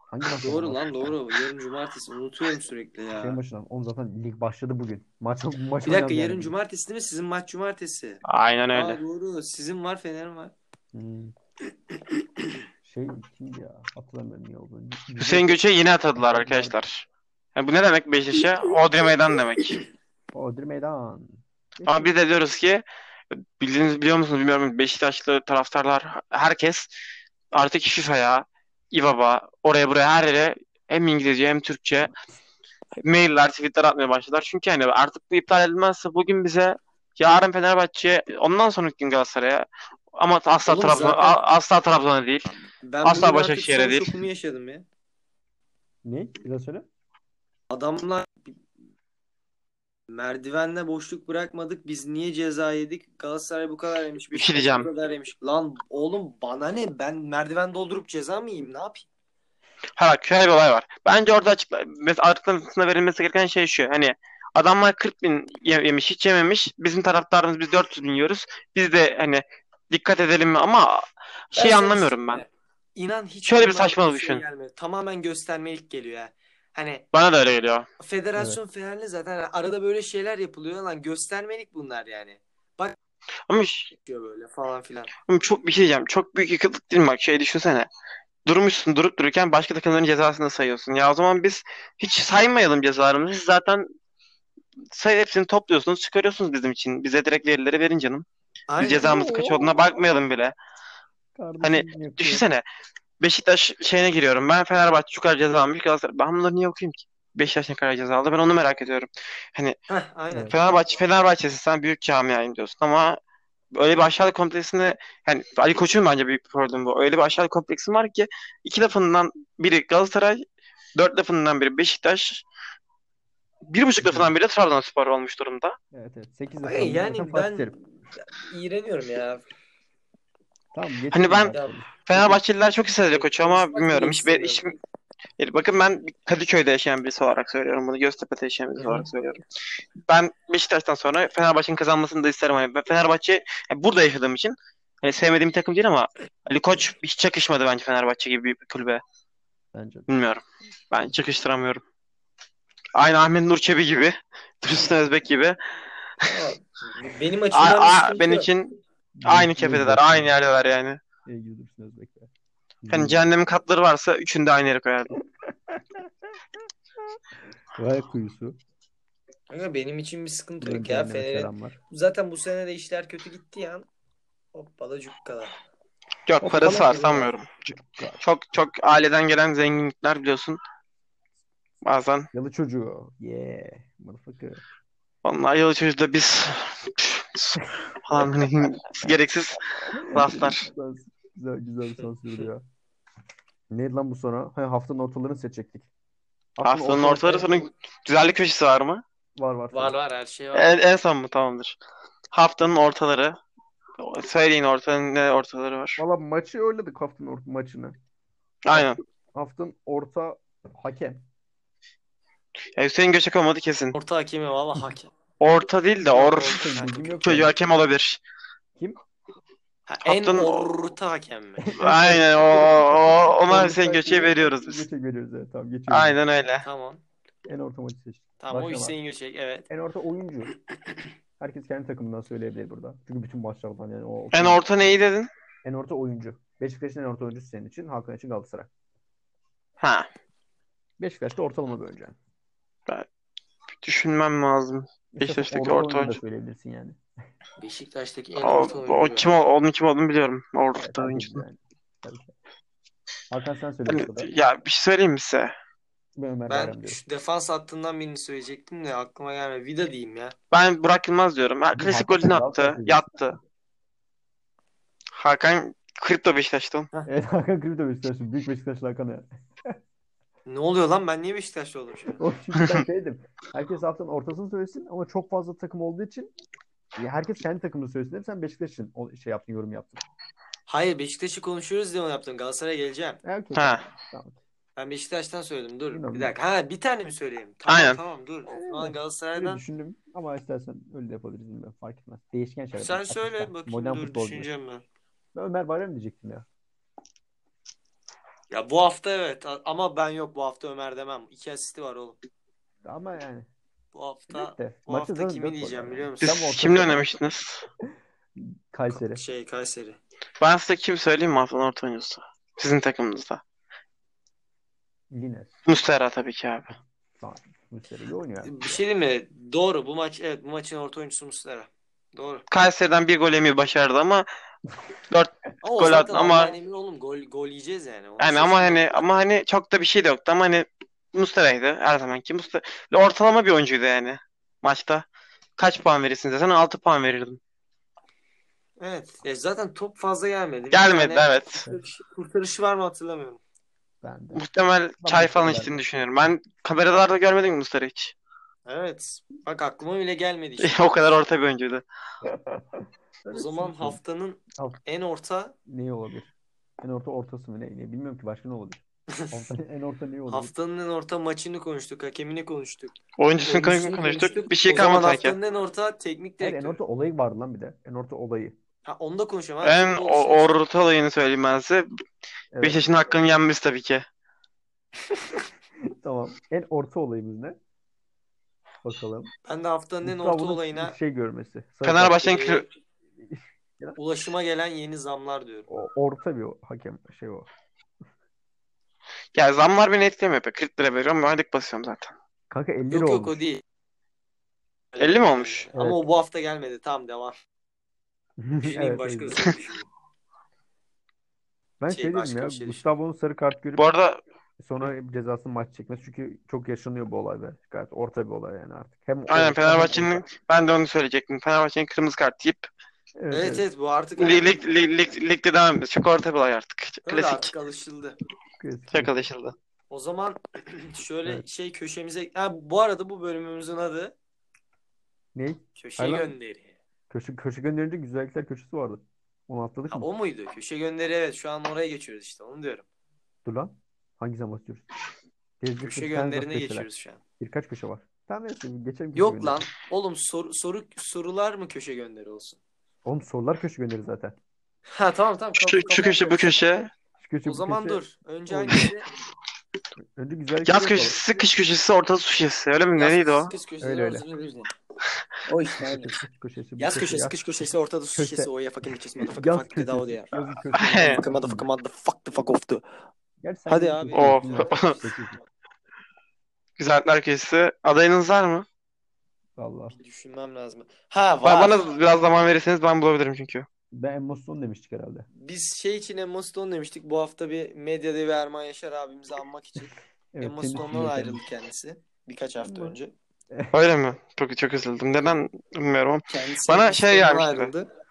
Hangi maç?
Doğru lan doğru. Yarın cumartesi. Unutuyorum sürekli
Şey
ya.
başına. Oğlum zaten lig başladı bugün. Maç, maç
Bir dakika
oynandı
yarın
yani.
cumartesi değil mi? Sizin maç cumartesi.
Aynen öyle.
Aa, doğru. Sizin var Fener'in var.
Hmm. Şey kimdi ya? Hatırlamıyorum ne olduğunu. Cici-
Hüseyin Göçe'yi yine atadılar arkadaşlar. Yani bu ne demek Beşiktaş'a? Odri meydan demek.
Odri Meydan.
Ama biz de diyoruz ki bildiğiniz biliyor musunuz bilmiyorum Beşiktaşlı taraftarlar herkes artık FIFA'ya, İBAB'a, oraya buraya her yere hem İngilizce hem Türkçe mailler, tweetler atmaya başladılar. Çünkü hani artık bu iptal edilmezse bugün bize yarın Fenerbahçe'ye ondan sonraki gün Galatasaray'a ama asla
Oğlum
Trabzon
zaten-
asla Trabzon'a değil.
Ben
Asla
bugün
Başakşehir'e
artık
değil.
son şokumu yaşadım ya.
Ne? Bir daha söyle.
Adamlar merdivenle boşluk bırakmadık. Biz niye ceza yedik? Galatasaray bu kadar yemiş.
Bir şey
Beşiktaş
diyeceğim.
Bu kadar yemiş. Lan oğlum bana ne? Ben merdiven doldurup ceza mı yiyeyim? Ne yapayım?
Ha bak şöyle bir olay var. Bence orada açıkla mesela açıklamasında verilmesi gereken şey şu. Hani adamlar 40 bin ye- yemiş hiç yememiş. Bizim taraftarımız biz 400 bin yiyoruz. Biz de hani dikkat edelim mi ama şey
sana
anlamıyorum ben.
söyleyeyim mi? İnan hiç
Şöyle bir
bundan
saçmalık
bir
düşün.
gelmiyor. Tamamen göstermelik geliyor ya. Hani
Bana da öyle geliyor.
federasyon Fenerli zaten arada böyle şeyler yapılıyor lan göstermelik bunlar yani.
Ama ş-
Diyor böyle falan filan.
ama çok bir şey diyeceğim. Çok büyük yıkıklık değil mi? Bak şey düşünsene. Durmuşsun durup dururken başka takımların cezasını da sayıyorsun. Ya o zaman biz hiç saymayalım cezalarımızı. Siz zaten sayı hepsini topluyorsunuz, çıkarıyorsunuz bizim için. Bize direkt verileri verin canım. Biz
Aynen.
cezamız kaç olduğuna bakmayalım bile. Hani
Kardeşim
Düşünsene. Beşiktaş şeyine giriyorum. Ben Fenerbahçe şu kadar ceza almış. Galatasaray. Ben bunları niye okuyayım ki? Beşiktaş ne kadar ceza aldı? Ben onu merak ediyorum. Hani
Heh, aynen.
Evet.
Fenerbahçe, Fenerbahçe'si sen büyük camiayım diyorsun ama öyle bir aşağılık kompleksine yani Ali Koç'un bence büyük bir problemi bu. Öyle bir aşağılık kompleksin var ki iki lafından biri Galatasaray, dört lafından biri Beşiktaş, bir buçuk lafından biri de Trabzonspor olmuş durumda.
Evet evet. 8
Ay, yani ben iğreniyorum ya.
Tamam,
Hani ben-
Ya,
Fenerbahçeliler çok hissediyor Koç'u ama
Konuşmak bile
bilmiyorum. Hiç, hiç,
istemiyorum.
Yani Bakın ben Kadıköy'de yaşayan birisi olarak söylüyorum bunu. Göztepe'de yaşayan birisi
Hı hı.
olarak söylüyorum. Ben Beşiktaş'tan sonra Fenerbahçe'nin kazanmasını da isterim. Hani ben Fenerbahçe yani burada yaşadığım için hani sevmediğim bir takım değil ama Ali Koç hiç çakışmadı bence Fenerbahçe gibi büyük bir kulübe.
Bence de.
Bilmiyorum. Ben çakıştıramıyorum. Aynı Ahmet Nur Çebi gibi. <laughs> Dursun Özbek gibi.
Ama benim
A-
açımdan
a-
bir sıkıntı
benim
yok.
için aynı
Dursun
kefedeler,
Özbek.
aynı yerdeler yani.
İyi Şey gibi Dursun Özbek ya.
Hani cehennemin katları varsa üçünü de aynı yere koyardım.
Vay kuyusu.
Aga, benim için bir sıkıntı
Buradan
yok ya.
cehenneme
Fener'e.
selamlar.
Zaten bu sene de işler kötü gitti ya. Hoppala cukkala.
Yok
Of,
parası
tamam.
var sanmıyorum. Çok çok aileden gelen zenginlikler biliyorsun. Bazen
Yalı çocuğu. Yeah. Motherfucker.
onlar yol içinde biz <laughs> falan hani gereksiz laflar.
Güzel, güzel, güzel bir sansürdü ya. Neydi lan bu sonra? Ha, haftanın ortalarını seçecektik.
Haftanın ortaları sonra güzellik köşesi var mı? E,
Var var.
Var var her şey var.
En, en son mu tamamdır. Haftanın ortaları Söyleyin ortanın ne ortaları var.
Valla maçı öyledik haftanın orta maçını.
Aynen.
Haftanın orta
<laughs>
hakem.
Ya Hüseyin Göçek olmadı kesin.
Orta hakemi valla hakem.
Orta değil de or.
Orta bilgim yok
Çocuğu
yani.
hakem olabilir.
Ha, en
Haftanın-
orta hakem mi?
Aynen o, o ona Hüseyin
Orta-
Göçek'e veriyoruz biz.
Göçek veriyoruz evet tamam geçiyoruz.
Aynen öyle.
tamam.
En orta maçı seçtik.
Tamam o
Başla
Hüseyin Göçek evet.
En orta oyuncu. Herkes kendi takımından söyleyebilir burada. Çünkü bütün maçlardan yani o
En orta neyi dedin?
en orta oyuncu. Beşiktaş'ın en orta oyuncusu senin için, Hakan için Galatasaray.
Ha.
Beşiktaş'ta ortalama bir oyuncu. yani.
Düşünmem lazım. Beşiktaş'taki
orada
orta
oyunu da
oyuncu.
söyleyebilirsin yani.
Beşiktaş'taki en
O,
orta oyuncu.
o kim ol- onun kim olduğunu biliyorum.
Evet,
Orta
tabii
oyuncu.
ki yani. Tabii ki. Hakan sen söyle
Hani-
bu kadar.
ya bir şey söyleyeyim mi size?
Ben Ömer Bayram
Ben
diyorum.
şu defans hattından birini söyleyecektim de aklıma gelmedi. Vida diyeyim ya.
Ben Burak Yılmaz diyorum. Ha,
Bizim
klasik
Hakan
golünü
Tepe
attı.
Galatasaray'da.
Yattı. Hakan Kripto Beşiktaş'tan.
Evet Hakan Kripto Beşiktaş'ın. Büyük Beşiktaşlı Hakan ya.
Ne oluyor lan ben niye Beşiktaşlı oldum şimdi?
<laughs> O çünkü ben şeydim. Herkes haftanın ortasını söylesin ama çok fazla takım olduğu için ya herkes kendi takımını söylesin. Hep sen Beşiktaş'ın o şey yaptın, yorum yaptın.
Hayır Beşiktaş'ı konuşuyoruz diye onu yaptım. Galatasaray'a geleceğim.
E, okey.
Ha.
Tamam.
Ben Beşiktaş'tan söyledim. Dur
Bilmiyorum.
bir dakika. Ha bir tane mi söyleyeyim? Tamam
Aynen.
tamam dur. Şu an
Aynen. Öyle
Galatasaray'dan
düşündüm ama istersen öyle de yapabiliriz. bilmiyorum. Fark etmez. Değişken şeyler.
sen
yapalım.
söyle
Akışta.
bakayım
şey Modern
dur
futbol gibi.
düşüneceğim ben.
Ben Ömer Bayram diyecektim ya.
Ya bu hafta evet a- ama ben yok bu hafta Ömer demem. İki asisti var oğlum.
Ama yani.
Bu hafta
de.
bu
Maçı
hafta
zaten
kimi
dört gol
diyeceğim
yani.
biliyor musun?
Tam
Siz
orta.
kimle oynamıştınız?
Kayseri.
şey Kayseri.
Ben size kim söyleyeyim mi haftanın orta oyuncusu? Sizin takımınızda.
Liner.
Mustera tabii ki abi.
Müster'i iyi oynuyor. yani.
Bir şey diyeyim mi? Doğru bu maç evet bu maçın orta oyuncusu Muslera. Doğru.
Kayseri'den bir gol yemeyi başardı ama
Ama o
Gol
zaten
attı ama-
Allah'ın emri oğlum gol gol yiyeceğiz yani. Onu
yani ama hani ama hani çok da bir şey de yoktu ama hani Mustera'ydı her zamanki Mustera. Ortalama bir oyuncuydu yani maçta. Kaç puan verirsin desen 6 puan verirdim.
Evet. Ya zaten top fazla gelmedi. Bir
Gelmedi
tane
evet.
kurtarış- kurtarışı var mı hatırlamıyorum.
Ben de.
Muhtemel çay falan
Mustera'ydı.
içtiğini düşünüyorum. Ben kameralarda görmedim Mustera hiç. <laughs>
Evet. Bak aklıma bile gelmedi işte.
o kadar orta bir oyuncuydu.
O zaman haftanın
Haft-
en orta
Ne olabilir? En orta ortası mı ne? ne? Bilmiyorum ki başka
<laughs>
ne olabilir? Orta- en orta ne olabilir?
haftanın en orta maçını konuştuk, hakemini konuştuk.
Oyuncusunu
oyuncusunu
<laughs> konuştuk. Bir
O
şey
zaman
kalmadı sanki.
haftanın en orta teknik
Hayır,
direktör.
en orta olayı var lan bir de. En orta olayı.
Ha, onu da konuşalım. Hadi
En
futbol
o-
konuşalım.
orta olayını söyleyeyim ben size.
Evet.
Beşiktaş'ın hakkını yenmesi tabii ki.
Tamam. En orta olayımız ne? Bakalım.
Ben de haftanın en orta
Gustavo'nun
olayına
şey görmesi. Sarı kart.
Fenerbahçe'nin
e,
kü-
<laughs> ulaşıma gelen yeni zamlar diyorum.
O, orta bir o, hakem şey o.
ya zamlar beni etkilemiyor pek. 40 lira veriyorum ben aylık basıyorum zaten.
Kanka 50 lira
Yok yok
olmuş.
o değil.
50 mi olmuş?
Ama
Evet.
o bu hafta gelmedi. Tamam devam. Düşüneyim
<laughs> Evet,
şey başka
<laughs> evet.
söyleyeyim.
Ben
Şey,
şey dedim
başka
ya
bir şey
Gustavo'nun sarı kart görüp
Bu arada
sonra cezasını maç çekmesi. Çünkü çok yaşanıyor bu olay be. Gayet orta bir olay yani artık. Hem orta
aynen
hem
Fenerbahçe'nin
orta.
ben de onu söyleyecektim. Fenerbahçe'nin kırmızı kart yiyip
Evet,
Evet
evet.
evet bu artık
lig, lig, lig, lig- ligde devam ediyoruz. Çok orta bir olay artık.
Öyle
Klasik.
artık alışıldı.
Klasik.
Çok alışıldı.
O zaman <clears throat> şöyle
Evet.
şey köşemize ha, bu arada bu bölümümüzün adı
Ne?
köşe
Aynen.
gönderi.
Köşe, köşe gönderince güzellikler köşesi vardı. Onu atladık
Ha,
mı?
o muydu? Köşe gönderi evet şu an oraya geçiyoruz işte onu diyorum.
Dur lan. Hangi zaman atıyoruz? Gezdik
Köşe
bir tane
gönderine
köşeler.
geçiyoruz şu an.
Birkaç köşe var. Tamam neyse geçelim köşe
Yok
gönderi.
lan oğlum soru, soru sorular mı köşe gönderi olsun? <laughs>
Oğlum sorular köşe gönderi zaten.
Ha tamam tamam.
Şu,
kapat-
şu köşe bu
kapat.
köşe.
Şu köşe,
O
bu
zaman
köşe.
dur. Önce
Oğlum.
hangisi?
Önce güzellik
Yaz köşesi, kış köşesi, orta su şişesi. Öyle mi? <laughs> Nereydi o?
Kız köşesi.
Öyle, öyle.
öyle. O işte aynen.
köşesi, bu
Yaz
köşe,
köşesi,
yaz-
kış köşesi, ortada su
Köşe.
şişesi, oya fucking bitches, motherfucker,
yaz
fuck the dog there.
<laughs>
yazın köşesi.
Aynen.
Motherfucker, motherfucker, motherfuck the fuck off the.
Gerçi sen
Hadi
yazın
abi.
köşesi
Oo.
yapıyorsun.
<laughs> Güzellikler köşesi. Adayınız var mı?
Vallahi.
Bir Düşünmem lazım. Ha
Ba-
var.
Bana biraz zaman verirseniz ben bulabilirim çünkü.
Ben Emos'un demiştik herhalde.
Biz şey için Emma Stone demiştik. Bu hafta bir medya devi Erman Yaşar abimizi anmak için.
Evet,
Emma
senin
Stone'dan
düşüncen.
ayrıldı kendisi. Birkaç hafta
Evet.
önce.
Öyle mi? Çok çok üzüldüm. Neden bilmiyorum ama.
Kendisi
Bana
Emma
şey
Stone'dan
gelmişti.
ayrıldı.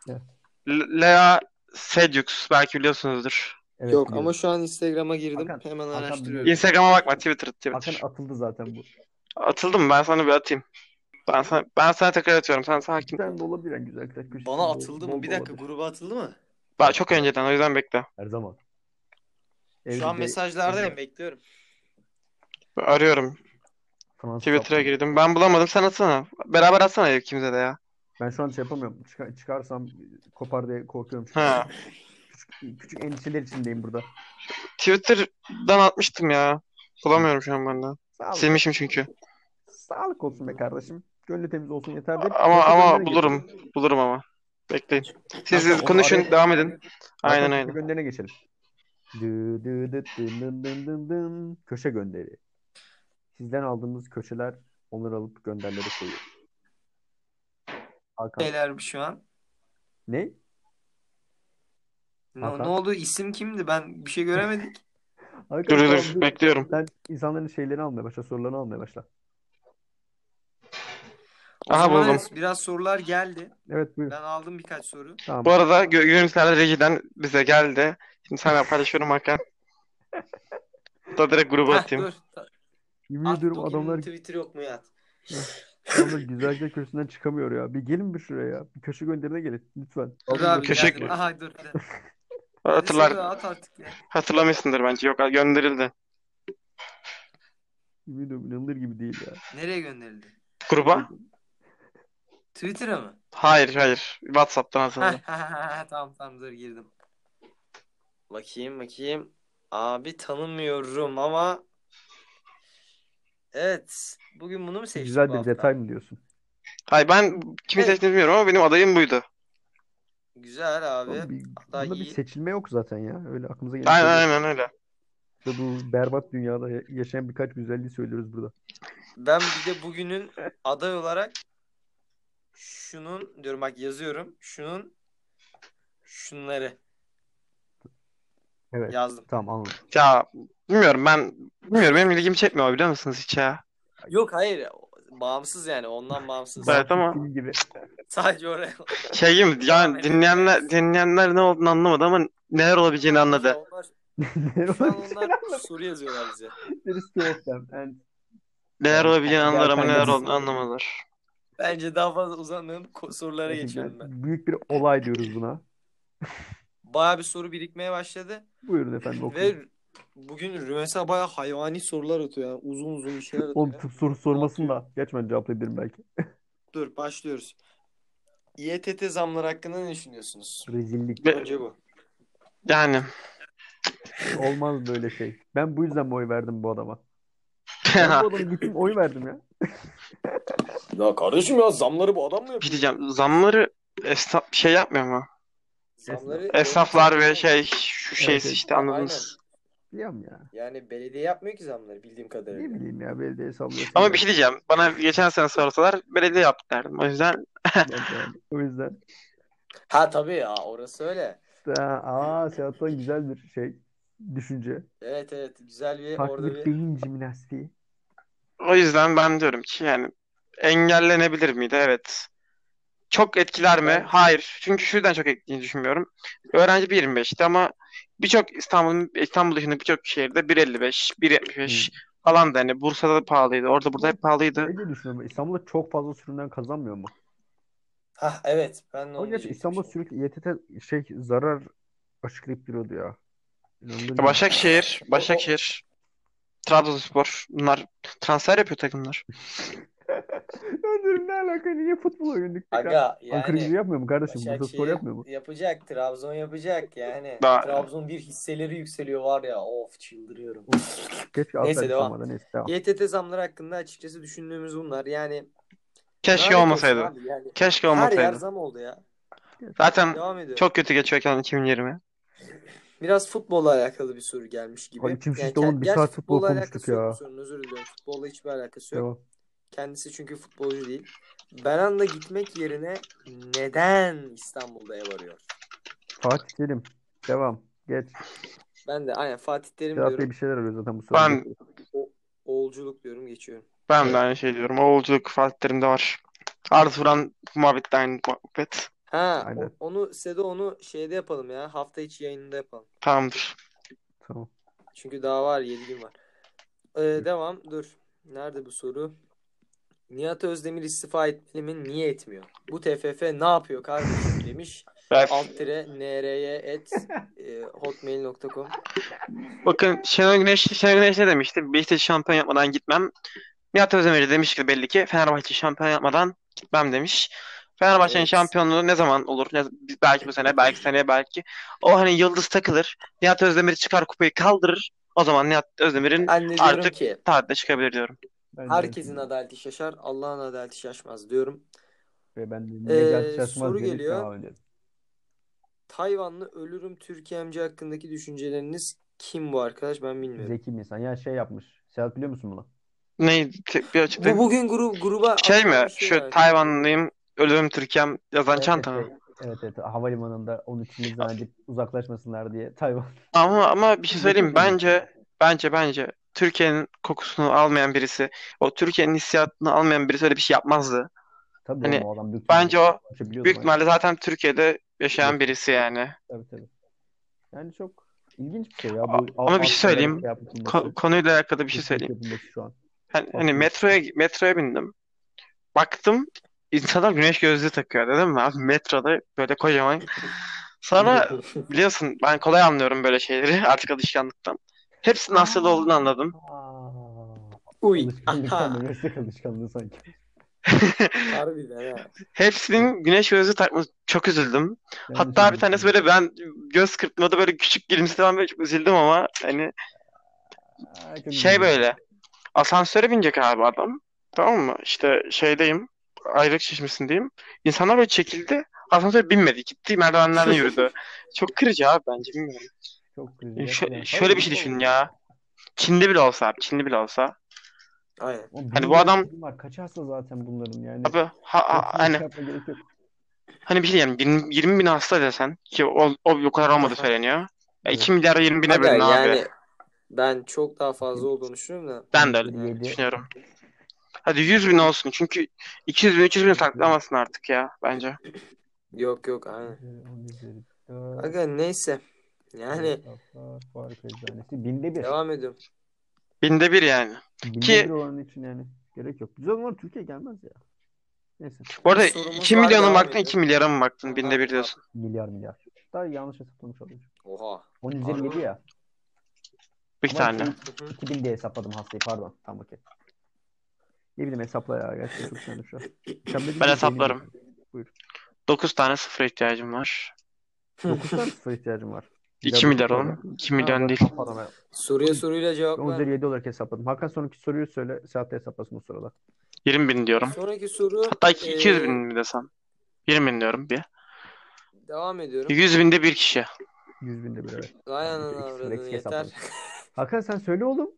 L- Lea Seydoux belki biliyorsunuzdur.
Evet,
Yok
biliyorum.
ama şu an Instagram'a girdim.
Hakan-
Hemen
Hakan
araştırıyorum.
biliyor.
Instagram'a bakma Twitter Twitter.
Hakan atıldı zaten bu.
Atıldım ben sana bir atayım. Ben sana, ben sana tekrar atıyorum. Sen sakin.
Bir tane de olabilir en güzel kıtaç köşesi.
Bana atıldı mı? Bir dakika gruba atıldı mı?
Ben çok önceden o yüzden bekle.
Her zaman.
Şu an
Evde
mesajlardayım bekliyorum.
Arıyorum.
Fransız
Twitter'a
kaplı.
girdim. Ben bulamadım. Sen atsana. Beraber atsana ikimize de ya.
Ben şu an şey yapamıyorum. Çıkar- çıkarsam kopar diye korkuyorum. çünkü.
Ha.
Küçük, küçük endişeler içindeyim burada.
Twitter'dan atmıştım ya. Bulamıyorum şu an ben de.
Sağlık,
Silmişim çünkü.
sağlık olsun be kardeşim. Gönlü temiz olsun yeter deyip
Ama
başka
ama
gönderine
bulurum. Bulurum ama. Bekleyin. Siz
Hatta onu
konuşun,
araya-
devam edin.
Zaten
Aynen
köşe
aynen.
gönderine geçelim. Dü dü dü dün dün dün dün dün. Köşe gönderi. Sizden aldığımız köşeler onları alıp gönderlere koyuyoruz. Hakan.
Beyler şu an.
Ne?
Ne,
Hakan.
ne oldu? İsim kimdi? Ben bir şey göremedik.
Hakan
Dur
tamam,
dur bekliyorum.
Sen insanların şeylerini almaya başla, sorularını almaya başla.
O
Aha,
zaman
buldum.
evet, biraz sorular geldi.
Evet buyur.
Ben aldım birkaç soru.
Tamam.
Bu arada gö görüntüler rejiden bize geldi. Şimdi sana paylaşıyorum Hakan. Da direkt gruba
Heh,
atayım.
dur.
Yemin
At
ediyorum
Doki'nin
adamlar,
Twitter yok mu ya?
<laughs> adamlar güzelce köşesinden çıkamıyor ya. Bir gelin bir şuraya ya. Bir köşe gönderine gelin lütfen.
Dur
Alın
abi
Köşe-
geldim. Aha dur. hadi. Hadi
Hatırlar,
soru at artık ya.
hatırlamışsındır bence. Yok gönderildi.
Yemin ediyorum inanılır gibi değil ya.
Nereye gönderildi?
Gruba?
Twitter'a mı?
Hayır hayır. WhatsApp'tan
Heh,
atıldı.
tamam tamam dur girdim. Bakayım bakayım. Abi tanımıyorum ama evet. Bugün bunu mu seçtik
Güzel
bu
de bir
hafta?
detay mı diyorsun?
Hayır ben kimi
Evet.
seçtiğini bilmiyorum ama benim adayım buydu.
Güzel abi.
Oğlum bir,
hatta
bunda bir
iyi.
seçilme yok zaten ya. Öyle aklımıza gelen
Aynen
şeyler.
aynen öyle.
Ve bu berbat dünyada ya- yaşayan birkaç güzelliği söylüyoruz burada.
Ben bir de bugünün aday olarak şunun diyorum bak yazıyorum. Şunun şunları
Evet.
yazdım.
Tamam anladım.
Ya bilmiyorum ben bilmiyorum benim ilgimi çekmiyor biliyor musunuz hiç ya?
Yok hayır. Bağımsız yani. Ondan bağımsız.
Evet ama-
Dediğim gibi.
Sadece oraya.
Şey gibi yani dinleyenler dinleyenler ne olduğunu anlamadı ama neler olabileceğini anladı.
Onlar,
Neler
şu an
olabilir?
onlar soru yazıyorlar bize.
There is two of them. And
Neler olabileceğini anlar ama neler
Gerçekten-
olduğunu anlamadılar.
Bence daha fazla uzanmayalım. ko- Sorulara geçiyorum ben.
gerçekten büyük bir olay diyoruz buna.
Bayağı bir soru birikmeye başladı.
Buyurun efendim okuyun.
Ve bugün Rümeysa bayağı hayvani sorular atıyor. Yani uzun uzun bir şeyler atıyor.
Oğlum tıp soru sormasın da. Geç ben cevaplayabilirim belki.
Dur başlıyoruz. İETT zamları hakkında ne düşünüyorsunuz?
Rezillik.
Be-
Önce bu.
Yani <laughs>
Olmaz böyle şey. Ben bu yüzden mi oy verdim bu adama? Ben
şey
bu adama gittim oy verdim ya.
Ya kardeşim ya zamları bu adam mı
bir şey diyeceğim zamları esnaf şey yapmıyor mu?
Zamları
Esnaflar ve şey şu şeysi
evet.
işte anladınız.
Biliyorum ya.
Yani belediye yapmıyor ki zamları bildiğim kadarıyla.
Ne bileyim ya belediye sallıyorsun.
Ama bir şey diyeceğim. Bana geçen sene sorsalar belediye yaptı derdim. O yüzden
O yüzden.
Ha tabii ya orası öyle.
Ha, Aa Seat'tan güzel bir şey. Düşünce.
Evet evet güzel bir
Farklı
E, orada
bir
bir
beyin jimnastiği.
o yüzden ben diyorum ki yani engellenebilir miydi? Evet. Çok etkiler mi? Hayır. Çünkü şuradan çok etkilediğini düşünmüyorum. Öğrenci 1.25'ti ama birçok İstanbul'un İstanbul dışında birçok şehirde 1.55, 1.75
Hmm.
falan da hani Bursa'da da pahalıydı. Orada burada hep pahalıydı.
Ne Şey diye düşünüyorum? İstanbul'da çok fazla sürümden kazanmıyor mu?
Ha evet ben de
Ama
onu
gerçi
diyecektim
İstanbul
şimdi.
sürekli İETT şey zarar açıklayıp duruyordu ya. İnanılır
Hmm.
gibi. <laughs>
Ya Başakşehir, Başakşehir, Trabzonspor bunlar transfer yapıyor takımlar.
Ben diyorum ne alaka niye futbola yönelik?
Aga
Ankara gücü
yani
şey yapmıyor mu kardeşim? Bursaspor
Başakşehir
yapmıyor mu?
yapacak, Trabzon yapacak yani.
Daha-
Trabzon bir hisseleri yükseliyor var ya. Of çıldırıyorum. Neyse,
Keşke alsaydık
devam.
ama da neyse devam.
YTT zamları hakkında açıkçası düşündüğümüz bunlar. Yani
Keşke
lanet olsun
olmasaydı.
abi yani.
Keşke
Her
olmasaydı.
yer zam oldu ya.
Zaten
Devam ediyor.
çok kötü geçiyor ekran 2020.
Biraz futbolla alakalı bir soru gelmiş gibi.
Ay, içim
Yani
şişti oğlum,
ke-
bir
gerçi
saat futbol
futbolla
konuştuk
alakası yok
ya.
bu sorunun, özür diliyorum. Futbolla hiçbir alakası yok.
Devam.
Kendisi çünkü futbolcu değil. Benan'la gitmek yerine neden İstanbul'da ev arıyor?
Fatih Terim. Devam. Geç.
Ben de aynen Fatih Terim
Sedat Bey
diyorum.
bir şeyler arıyor zaten bu soruda.
Ben
Oğulculuk diyorum geçiyorum.
ben de aynı şey diyorum. Oğulculuk Fatihlerim'de var. Arda Turan muhabbet de aynı muhabbet.
Ha
Aynen.
o- onu Sedo onu şeyde yapalım ya. Hafta içi yayınında yapalım.
Tamamdır.
Tamam.
Çünkü daha var 7 gün var. Ee, devam dur. Nerede bu soru? Nihat Özdemir istifa etmeli mi? Niye etmiyor? Bu TFF ne yapıyor kardeşim <laughs> demiş. Alt tire nr'ye et e, hotmail.com
Bakın Şenol Güneş, Şenol Güneş ne demişti? Beşiktaş'ı şampiyon yapmadan gitmem. Nihat Özdemir de demiş ki belli ki Fenerbahçe şampiyon yapmadan gitmem demiş. Fenerbahçe'nin
Evet.
şampiyonluğu ne zaman olur? Ne- belki bu sene, belki seneye, belki. O hani yıldız takılır. Nihat Özdemir çıkar kupayı kaldırır. O zaman Nihat Özdemir'in
Ben de diyorum
Artık-
ki
tahtına çıkabilir diyorum.
Ben de-
herkesin adaleti şaşar Allah'ın adaleti şaşmaz diyorum.
Ve ben de
Ee,
Necati Şaşmaz
soru
diye bir
geliyor.
devam ediyorum.
Tayvanlı ölürüm Türkiye'mci hakkındaki düşünceleriniz kim bu arkadaş ben bilmiyorum.
Zeki bir insan. Ya şey yapmış. Serhat biliyor musun bunu?
Ne? Bir açıklayın.
Bu bugün grup gruba
Şey
atılan
mi?
bir şey
Şu
var.
Tayvanlıyım, ölüm Türkiye'm yazan
Evet,
çanta mı?
evet, evet, evet. Havalimanında onu Çinli zannedip uzaklaşmasınlar diye Tayvan.
Ama ama bir şey söyleyeyim mi?
Zeki bir
Bence bence bence Türkiye'nin kokusunu almayan birisi, o Türkiye'nin hissiyatını almayan birisi öyle bir şey yapmazdı.
Tabii
Hani
oğlum o adam büyük
bence o
Şey biliyordu
büyük
bak.
ihtimalle zaten Türkiye'de yaşayan birisi yani.
Tabii tabii. Yani çok ilginç bir şey ya. Bu
A- ama bir şey söyleyeyim.
Şey yapılması,
Ko- konuyla alakalı bir şey
hırsızlık
söyleyeyim.
yapılması şu an.
Hani, hani
Aslında.
metroya metroya bindim. Baktım insanlar güneş gözlüğü takıyor dedim mi abi metroda böyle kocaman. Sonra biliyorsun ben kolay anlıyorum böyle şeyleri <laughs> artık alışkanlıktan. Hepsinin Asyalı olduğunu anladım. <laughs>
Aa,
Uy.
alışkanlıktan da meslek alışkanlığı sanki.
Harbiden ha.
Hepsinin güneş gözlüğü takması çok üzüldüm.
Ben de
Hatta bir
şimdi
tanesi böyle ben göz kırpmada böyle küçük gülümsemem böyle çok üzüldüm ama hani
Aa, çok
şey
güzel.
böyle asansöre binecek abi adam. Tamam mı? İşte şeydeyim. Ayrık çeşmesindeyim. İnsanlar böyle çekildi. Asansöre binmedi. Gitti merdivenlerden yürüdü. Çok kırıcı abi bence bilmiyorum.
Çok
Şö-
güzel. Yani
şöyle
tabii
bir şey
bu-
düşün ya. Çin'de bile olsa abi. Çin'de bile olsa.
Aynen.
Oğlum
Hani bu
bilmiyorum
adam-
kim Var. Kaçarsa zaten bunların yani.
Abi ha, ha-
Hepsini
hani,
şey yapmaya gerek yok.
hani bir şey yani 20, 20 bin hasta desen ki o, o bu kadar olmadı söyleniyor. Ya 2 milyar 20 bine
Aga
bölün abi.
yani ben çok daha fazla olduğunu düşünüyorum da.
Ben de öyle
Yani
Yedi.
E, düşünüyorum. Hadi 100 bin olsun çünkü 200 bin 300 bin saklamazsın artık ya bence.
Yok yok aynen.
on üzeri dört,
Aga hani- neyse. Yani
kitaplar, Faruk Eczanesi. Hani Binde bir.
devam ediyorum.
Binde bir yani.
Binde
Ki-
bir olan için yani. Gerek yok. Güzel olan Türkiye gelmez ya. Neyse.
Bu arada
Bir sorumuz
2
var,
milyona mı
devam
baktın
edelim.
2 milyara mı baktın binde
Aha.
bir diyorsun.
Milyar milyar. Daha yanlış hesaplamış oluyor.
Oha.
10 üzeri
Harbi.
7 ya.
Bir
Ama
tane.
Hı hı.
2000 diye hesapladım hastayı pardon. Tamam okey. Ne bileyim hesapla ya. Gerçekten çok sinirli şu an. Sen de
Ben
bir
hesaplarım.
Buyur.
9 tane sıfıra ihtiyacım var.
9 tane sıfır ihtiyacım
<laughs>
var.
2 milyar oğlum. 2 milyon değil.
Pardon ben
Soruya soruyla cevap
10 üzeri
ver.
7 olarak hesapladım. Hakan sonraki soruyu söyle. Saatte hesaplasın o sırada.
20 bin diyorum.
Sonraki soru
Hatta iki-
e,
200 bin mi desem. 20 bin diyorum bir.
devam ediyorum.
100 binde bir kişi.
100 binde bir evet.
Vay anana
Tamam, iki- iki sıfır
avradını
eksik
yeter.
hesapladım. Hakan sen söyle oğlum.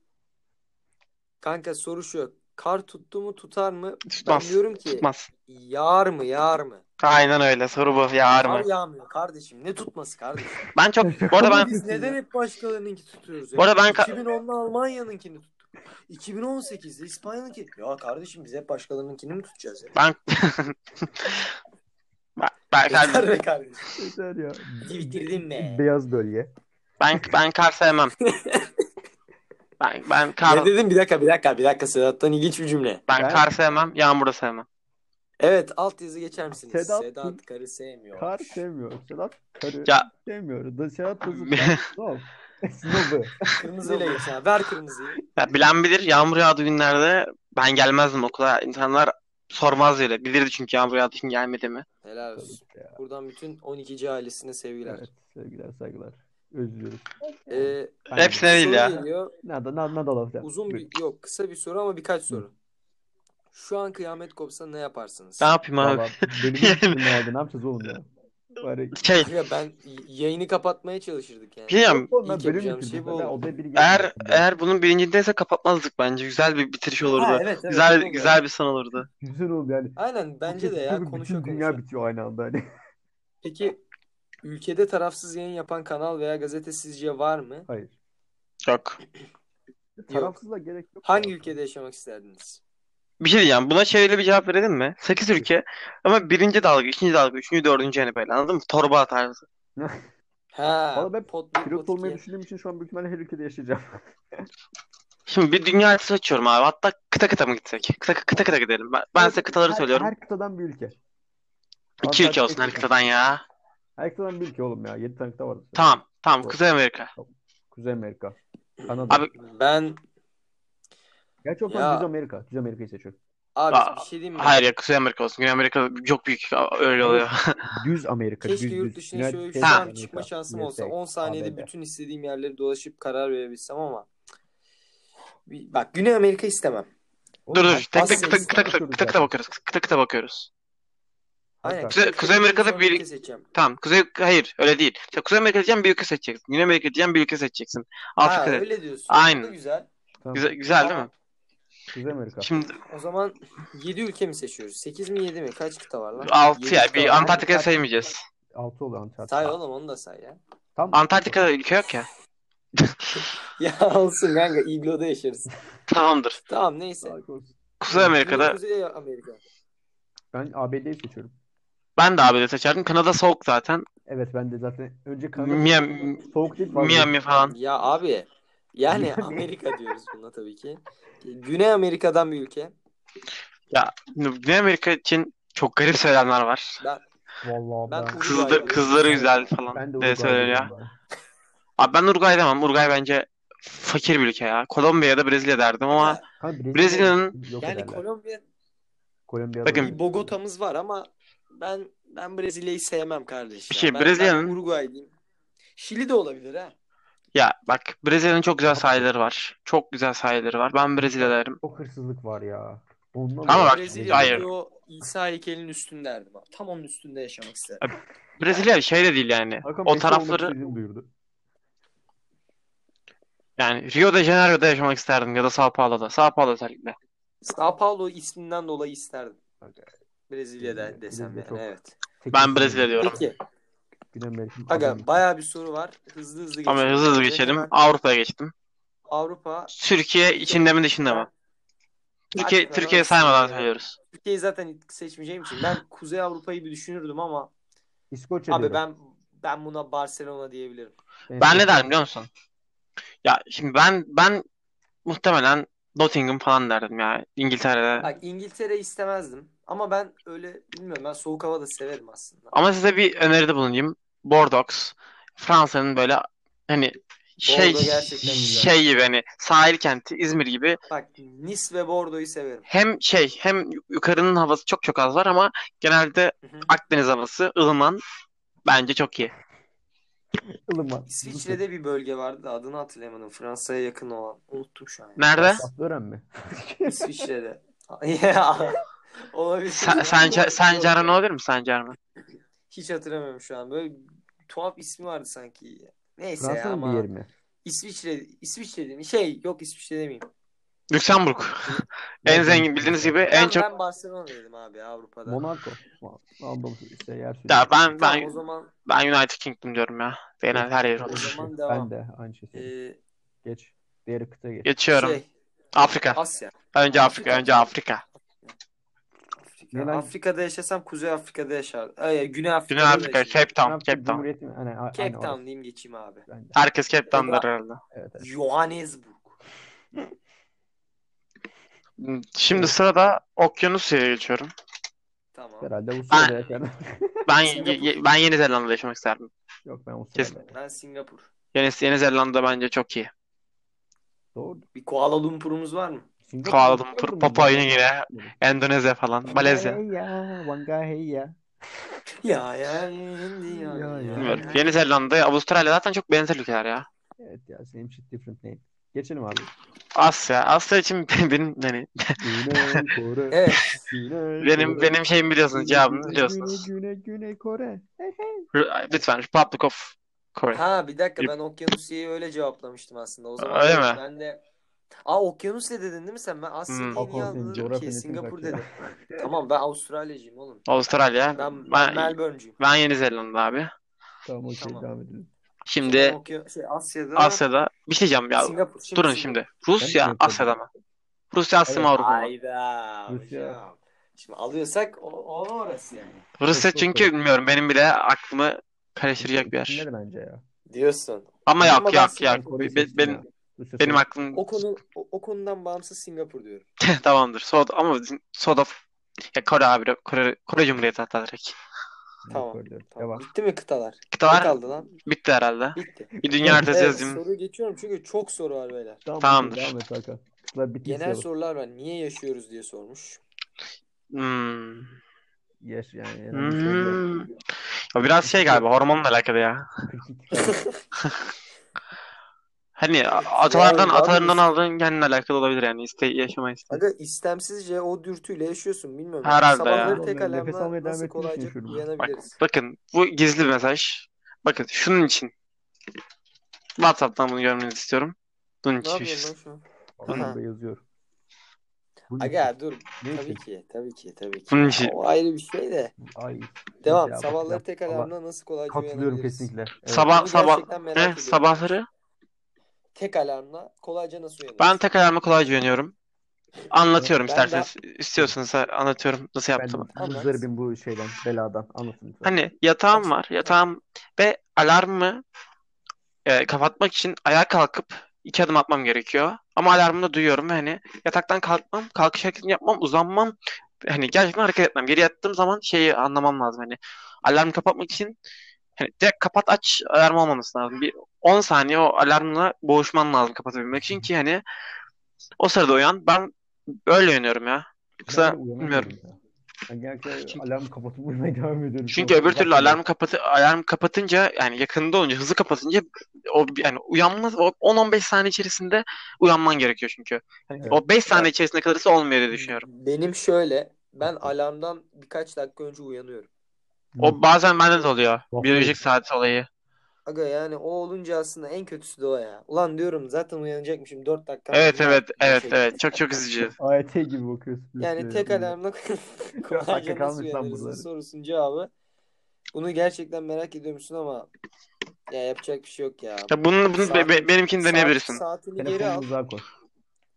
<laughs> Kanka soru şu. Kar tuttu mu tutar mı? Ben
Tutmaz.
diyorum ki
Tutmaz.
yağar mı yağar mı?
Aynen öyle. Soru bu. Yağar
Kar
mı?
yağmıyor kardeşim. Ne tutması kardeşim?
Ben çok... Bu arada
<laughs>
<laughs> ben... <laughs>
Biz neden hep başkalarınınki tutuyoruz ya?
Bu arada ben ka-
2010'da Almanya'nınkini tuttuk. 2018'de İspanya'nınki. Ya kardeşim biz hep başkalarınınkini mi tutacağız ya?
Ben... ben, ben,
Yeter be kardeşim.
Yeter ya.
Bitirdin be.
Beyaz bölge.
<laughs>
ben, ben kar sevmem. Ben, ben
Ne
kar,
dedim? Bir dakika bir dakika bir dakika Sedat'tan ilginç bir cümle.
ben
Ben-
kar sevmem. Yağmur da sevmem.
Evet alt yazı geçer misiniz?
Sedat-
Sedat, karı sevmiyor.
Kar sevmiyor. Sedat karı
Ya-
sevmiyor. Da Sedat kızı ben snob.
<laughs>
Snobu.
Kırmızıyla geçer. Ver kırmızıyı.
Ya bilen bilir yağmur yağdığı günlerde ben gelmezdim okula. İnsanlar sormaz öyle. Bilirdi çünkü yağmur yağdığı için gelmedi mi.
<laughs> Helal
Tabii
olsun. <laughs>
ki ya.
Buradan bütün 12. ailesine sevgiler.
Evet. Sevgiler saygılar. Özlüyoruz.
Ee,
Aynen.
Hepsine değil
soru
ya.
geliyor.
Nada nada nada laf yap.
Uzun bir yok kısa bir soru ama birkaç soru. Şu an kıyamet kopsa ne yaparsınız?
Ne yapayım abi?
Valla bölümün
Yani-
üstüne aldı. Ne yapacağız oğlum
<laughs>
ya? Bari
Şey,
Ya ben y- yayını kapatmaya çalışırdık yani.
bilmiyorum.
Oğlum ben
İlk
bölüm
yapacağım
bitirdim.
şey bu
Ben
oldu.
odaya biri
Eğer
gelmedim.
eğer bunun bilincindeyse kapatmazdık bence. Güzel bir bitiriş olurdu.
Ha, evet, evet,
güzel
olur.
güzel bir son olurdu.
Güzel oldu yani.
Aynen bence de ya
Tabii
konuşa
bütün dünya
konuşa.
bitiyor aynı anda. Hani.
Peki ülkede tarafsız yayın yapan kanal veya gazete sizce var mı?
<laughs> Hayır.
Yok.
Tarafsızla gerek yok.
Hangi ülkede yaşamak isterdiniz?
Bir şey diyeceğim. Buna şöyle bir cevap verelim mi? 8 ülke ama birinci dalga, ikinci dalga, üçüncü, dördüncü hani böyle anladın mı? Torba tarzı.
Ha,
Valla ben
pot, bir,
Pilot
pot iki.
olmayı düşündüğüm için şu an büyük ihtimalle her ülkede yaşayacağım.
Şimdi bir dünya haritası açıyorum abi. Hatta kıta kıta mı gitsek? Kıta kıta kıta gidelim. Ben, ben size kıtaları
Her-
söylüyorum.
Her kıtadan bir ülke.
İki ülke
Antarktika
olsun her
kıta.
kıtadan ya.
Her kıtadan bir ülke oğlum ya. 7 tane kıta var.
Tamam. Tamam.
Doğru.
Kuzey Amerika.
Kuzey Amerika. Kanada.
Abi-
Ben
Gerçi o zaman
Ya.
Düz Amerika. Düz Amerika'yı seçiyorum.
abi
Aa,
bir şey diyeyim mi?
Hayır ya Kuzey Amerika olsun. Güney Amerika çok büyük öyle oluyor.
Düz Amerika.
Keşke
düz,
yurt
düz.
dışına
United
şöyle
States
şu
of
an
America,
çıkma şansım
USA,
olsa 10 saniyede
ABD.
bütün istediğim yerleri dolaşıp karar verebilsem ama Bir- bak Güney Amerika istemem.
Oğlum,
Dur
her-
dur. Tek tek
Asya
kıta
işte,
kıta kıta
bakıyoruz
kıta kıta
zaten.
bakıyoruz. Kıta kıta bakıyoruz.
Aynen.
Kuzey-
Kuzey
Kuzey Amerika'da
Amerika'dan
bir-
ülke seçeceğim.
Tamam. Kuzey hayır öyle değil. Ya, Kuzey Amerika diyeceğim bir ülke seçeceksin. Güney Amerika diyeceğim bir ülke seçeceksin.
Ha,
Afrika. de-
öyle diyorsun.
Aynen.
Ne güzel.
Tamam,
Güzel, güzel değil mi?
Kuzey Amerika.
Şimdi
O zaman 7 ülke mi seçiyoruz? 8 mi 7 mi? Kaç kıta var lan?
6 ya
Yedi kıta
bir
var.
Antarktika'yı saymeyeceğiz.
6 oluyor Antarktika.
Say oğlum onu da say ya. <laughs>
Tam
Antarktika'da ülke yok ya.
Ya olsun kanka igloda yaşarız.
Tamamdır.
Tamam neyse.
Sağlık olsun.
Kuzey
Yine
Amerika'da
Kuzey Amerika.
Ben ABD'yi seçiyorum.
ben de ABD seçerdim. Kanada soğuk zaten.
Evet ben de zaten önce Kanada
Miami,
soğuk değil fazla.
Miami falan.
Ya abi yani Amerika diyoruz buna tabii ki. Güney Amerika'dan bir ülke.
Güney Amerika için çok garip söylemler var.
Vallahi
Ben
ben,
Uruguay
Kızlı,
diyorum.
kızları güzel falan.
ben de
diye söylüyor ya.
diyorum
Abi ben Uruguay demem. Uruguay bence fakir bir ülke ya. Kolombiya ya da Brezilya derdim ama
Ya,
ben. Kanka Brezilya-
Brezilya'nın-
yok
Yani
ederler.
Kolombiya
Kolombiya
Bakın,
bir Bogota'mız var ama ben ben Brezilya'yı sevmem kardeşim.
Şey,
ben,
Brezilya'nın-
ben Uruguay diyeyim. Şili de olabilir ha.
ya bak Brezilya'nın çok güzel sahilleri var. Çok güzel sahilleri var. Ben Brezilya derim.
çok hırsızlık var ya. Ondan
Ama
dolayı
bak,
Brezilya'da
hayır.
bir o İsa heykelinin üstünderdim abi. Tam onun üstünde yaşamak isterim.
Brezilya şey de değil yani.
Hakan
O
Messi olmak
tarafları
istediğini duyurdu.
Yani Rio de Janeiro'da yaşamak isterdim ya da Sao Paulo'da. Sao Paulo özellikle.
Sao Paulo isminden dolayı isterdim.
Aga.
Brezilya'da
Brezilya
desem yani
çok-
evet.
Tek
Ben
isim.
Brezilya diyorum.
Peki
Güney Amerika'nın
aga
kazandı.
bayağı bir soru var. Hızlı hızlı geçelim.
Ama hızlı hızlı geçelim.
Hemen
Avrupa'ya geçtim.
Avrupa
Türkiye içinde mi dışında mı? Türkiye
Hakikaten
Türkiye
orası
saymadan
yani.
söylüyoruz.
Türkiye'yi zaten seçmeyeceğim için ben Kuzey Avrupa'yı bir düşünürdüm ama
İskoçya
abi
diyorum.
ben ben buna Barcelona diyebilirim.
En
Ben ne
son-
derim biliyor musun? Ya şimdi ben ben muhtemelen Nottingham falan derdim ya İngiltere'de.
Bak İngiltere istemezdim ama ben öyle bilmiyorum ben soğuk hava da severim aslında.
Ama size bir öneride bulunayım. Bordeaux. Fransa'nın böyle hani şey
Bordeaux gerçekten güzel.
şey gibi hani sahil kenti İzmir gibi
Bak Nice ve Bordeaux'u severim.
hem şey hem yukarının havası çok çok az var ama genelde
Hı hı.
Akdeniz havası, ılıman bence çok iyi.
Ilıman.
İsviçre'de bir bölge vardı da adını hatırlayamadım. Fransa'ya yakın olan. Unuttum şu an. ya.
Nerede?
Safdören mi?
<laughs> İsviçre'de. <laughs> Ya, Olabilir.
Sen, Sencer, Sencerhan olabilir mi Sencerhan?
Hiç hatırlamıyorum şu an. Böyle tuhaf ismi vardı sanki. Neyse ya
Fransa'nın
ama.
bir yeri mi?
İsviçre, İsviçre değil mi? Şey yok İsviçre demeyeyim.
Lüksemburg. <laughs> en zengin bildiğiniz gibi en
ben,
çok.
ben Barcelona dedim abi Avrupa'da.
Monaco. Anadolu işte yer sürüyor.
Ya ben
tamam o
ben
zaman
ben United Kingdom diyorum ya. Genel her yer
o
olur.
zaman
Ben
devam.
de aynı şey söyleyeyim.
Ee,
Geç. Diğer kıta geç.
Geçiyorum.
şey
Afrika.
Asya.
Önce Afrika,
Afrika.
önce Afrika.
Afrika.
Yunan-
Afrika'da yaşasam Kuzey Afrika'da yaşardım. Ay, Güney Afrika'da
Güney Afrika,
yaşardım.
Cape Town,
Afrika
Cape Town.
Cumhuriyeti mi? Hani, a-
Cape
aynı
Town
orası.
diyeyim geçeyim abi.
Ben de.
Herkes Cape Town'dır
Orada-
herhalde.
Evet, evet.
Johannesburg.
Şimdi sırada Okyanusya'ya geçiyorum.
Tamam.
Herhalde Avustralya'da yaşarım.
Ben
Singapur.
ben Yeni Zelanda'da yaşamak isterdim.
<laughs> Yok ben
Kesin.
Avustralya'da.
Ben Singapur.
Yeni, Yeni Zelanda bence çok iyi.
Doğru.
Bir Kuala Lumpur'umuz var mı? <laughs>
Singapur.
Kuala Lumpur, Papua Yeni Gine, Endonezya falan, Malezya.
Hey ya. Hey ya.
ya ya indi ya.
Ya, ya.
Bilmiyorum. Yeni Zelanda, Avustralya zaten çok benzer ülkeler ya.
Evet ya. Same shit different name. Geçelim abi.
Asya. Asya için <laughs> benim hani
Güney <laughs> Kore.
<laughs>
Evet.
Güney
benim
Kore.
benim şeyimi biliyorsunuz,
Güney,
cevabını
Güney,
biliyorsunuz.
Güney, Güney,
<laughs>
Güney Kore. Hey, hey.
R- Lütfen Republic of Korea.
Ha bir dakika ben Okyanusya'yı öyle cevaplamıştım aslında. O zaman
Öyle
evet,
mi?
ben de Aa Okyanusya dedin değil mi sen? Ben Asya
Hmm.
diye niye
Avrupa'nın
anladım
coğrafya
ki?
nesini
Singapur
takıyor?
dedim. <laughs> tamam ben Avustralyacıyım oğlum. Ben,
Avustralya.
ben
Ben,
Melbourne'cuyum.
ben Yeni Zelanda abi.
Tamam okey
Tamam.
devam edelim.
Şimdi ben
Şimdi
Okya- şey, Asya'da
Asya'da bir şey diyeceğim ya.
Singapur. Şimdi
Durun
Singapur.
şimdi. Rusya
Ben-
Asya'da mı? Rusya Asya mı
Evet.
Avrupa mı?
Hayda.
Rusya.
hocam. Şimdi alıyorsak o, o orası yani.
Rusya
Çok
çünkü
doğru.
bilmiyorum benim bile aklımı karıştıracak bir yer.
İsimleri bence ya.
Diyorsun.
Ama
Ama
yok
ben
yok
Singapur-
yok.
Ben Kore'yi
Be-
seçtim
ben-
ya. Rusya
Benim
sonra-
aklım <laughs>
O konu o, o konudan bağımsız Singapur diyorum.
tamamdır. Soda ama bizim- Soda ya Kore abi Kore, Kore Cumhuriyeti hatta direkt.
Tamam.
Böyle.
Tamam.
Devam.
Bitti mi kıtalar? Ne
Kıtalar
kaldı lan?
bitti herhalde.
Bitti.
Bir dünya haritası
Evet,
yazayım.
soruyu geçiyorum çünkü çok soru var beyler.
Tamam,
Tamamdır.
Devam et Hakan. Kıtalar bitti.
Genel
Genel
sorular var. Niye yaşıyoruz diye sormuş.
Hmm.
Yaş yani. herhangi bir şey yok.
Hmm. Ya biraz şey galiba hormonla alakalı ya.
42
<clears throat>
tane.
Hani a- atalardan
Yani abi
atalarından
biz-
aldığın kendine alakalı olabilir yani. İste yaşama isteği.
Aga istemsizce o dürtüyle yaşıyorsun bilmiyorum.
Herhalde
Sabahları
ya.
tek
Nefes
alarmla
almaya devam
nasıl
ettiğin için
kolayca
yaşıyorum.
uyanabiliriz.
Bakın bu gizli bir mesaj. Bakın şunun için. WhatsApp'tan bunu görmenizi istiyorum. Bunun
Ne
için.
yapıyorsun lan şu an?
Burada yazıyor. Bu ne için?
Aga dur.
Ne
Tabii
için?
ki. Tabii ki. Tabii ki.
Bunun için.
Ya, o ayrı bir şey de.
Ay.
Devam.
Ya bak,
Sabahları
yap-
tek
Allah-
alarmla nasıl kolayca
Katılıyorum
uyanabiliriz?
kesinlikle. Evet.
Sabah
Bunu
sabah
gerçekten merak
he,
ediyorum.
sabahları
Tek alarmla kolayca nasıl uyanırız?
ben tek ayağıma kolayca uyanıyorum. Anlatıyorum
Ben
isterseniz. istiyorsanız anlatıyorum nasıl yaptığımı.
Ben
Anlat.
muzdaribim bu şeyden, beladan. Anlatın lütfen.
Hani yatağım
Aç-
var. Yatağım ve alarmı e, kapatmak için ayağa kalkıp iki adım atmam gerekiyor. Ama alarmı da duyuyorum ve hani yataktan kalkmam, kalkış hareketini yapmam, uzanmam. Hani gerçekten hareket etmem. Geri yattığım zaman şeyi anlamam lazım hani. Alarmı kapatmak için hani direkt kapat aç alarm olmaması lazım. Bir 10 saniye o alarmla boğuşman lazım kapatabilmek için ki hani o sırada uyan. Ben böyle uyanıyorum ya.
Ben
Yoksa
böyle uyanamıyorum
bilmiyorum.
ya. Ben genellikle
Çünkü-
alarm kapatıp uyumaya devam ediyorum.
Çünkü öbür türlü alarm kapatı alarm kapatınca yani yakında olunca hızlı kapatınca o bir- yani uyanmaz o 10-15 saniye içerisinde uyanman gerekiyor çünkü. Yani
Evet.
o 5 saniye içerisinde kalırsa olmuyor diye düşünüyorum.
Benim şöyle. Ben alarmdan birkaç dakika önce uyanıyorum. Hmm.
O bazen bende de oluyor.
Bakıyorum.
Biyolojik saat olayı.
Aga yani o olunca aslında en kötüsü de o ya. Ulan diyorum zaten uyanacakmışım 4 dakika.
Evet
Ne
evet
yaptım?
evet
Şey.
evet çok çok üzücü.
AYT E gibi bakıyorsun.
Yani tek alarmla <laughs> kolayca
Dakika
nasıl
kalmış lan
uyanırsın
bunları.
sorusunun cevabı. Bunu gerçekten merak ediyormuşsun ama ya yapacak bir şey yok ya.
Ya bunu bunu be- be- benimkini
Saat-
deneyebilirsin.
saatini geri al.
Telefonu uzağa koy.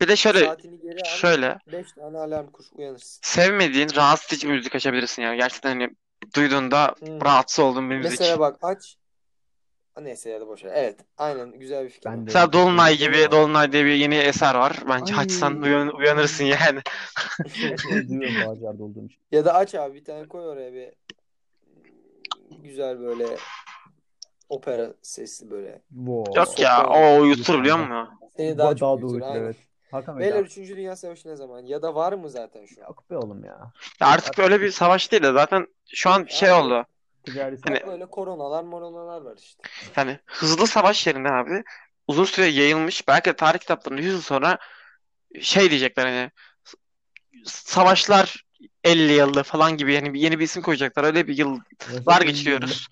Bir de şöyle
Saatini geri al.
şöyle
5 tane alarm kur uyanırsın.
sevmediğin rahatsız edici bir müzik açabilirsin yani gerçekten hani duyduğunda
Hmm.
rahatsız olduğun bir müzik.
Mesela bak aç. Ha, Neyse ya da boş ver. Evet. Aynen güzel bir fikir.
Ben de- şey
Mesela Dolunay gibi
Dolunay.
Dolunay diye bir yeni eser var. Bence
Ay.
açsan uyan- uyanırsın yani.
Şey Duyuyorum bağcılarda olduğum için.
<laughs> ya da aç abi bir tane koy oraya bir güzel böyle opera sesli böyle.
Wow.
Yok ya o uyutur biliyor musun?
Seni
Bu
daha
daha
çok
da
büyütür.
uyutur,
aynen.
evet. Hakan Bey
Beyler
daha.
3. Dünya Savaşı ne zaman? Ya da var mı zaten şu an?
Yok be oğlum ya.
Ya artık öyle bir savaş değil de zaten şu an şey oldu.
Ticari
Bak
Hani
savaş.
böyle koronalar moronalar var işte.
Yani Hani hızlı savaş yerine abi uzun süre yayılmış. Belki de tarih kitaplarında 100 yıl sonra şey diyecekler hani savaşlar 50 yılda falan gibi yani bir- yeni bir isim koyacaklar. Öyle bir yıllar
Savaşlar
geçiriyoruz.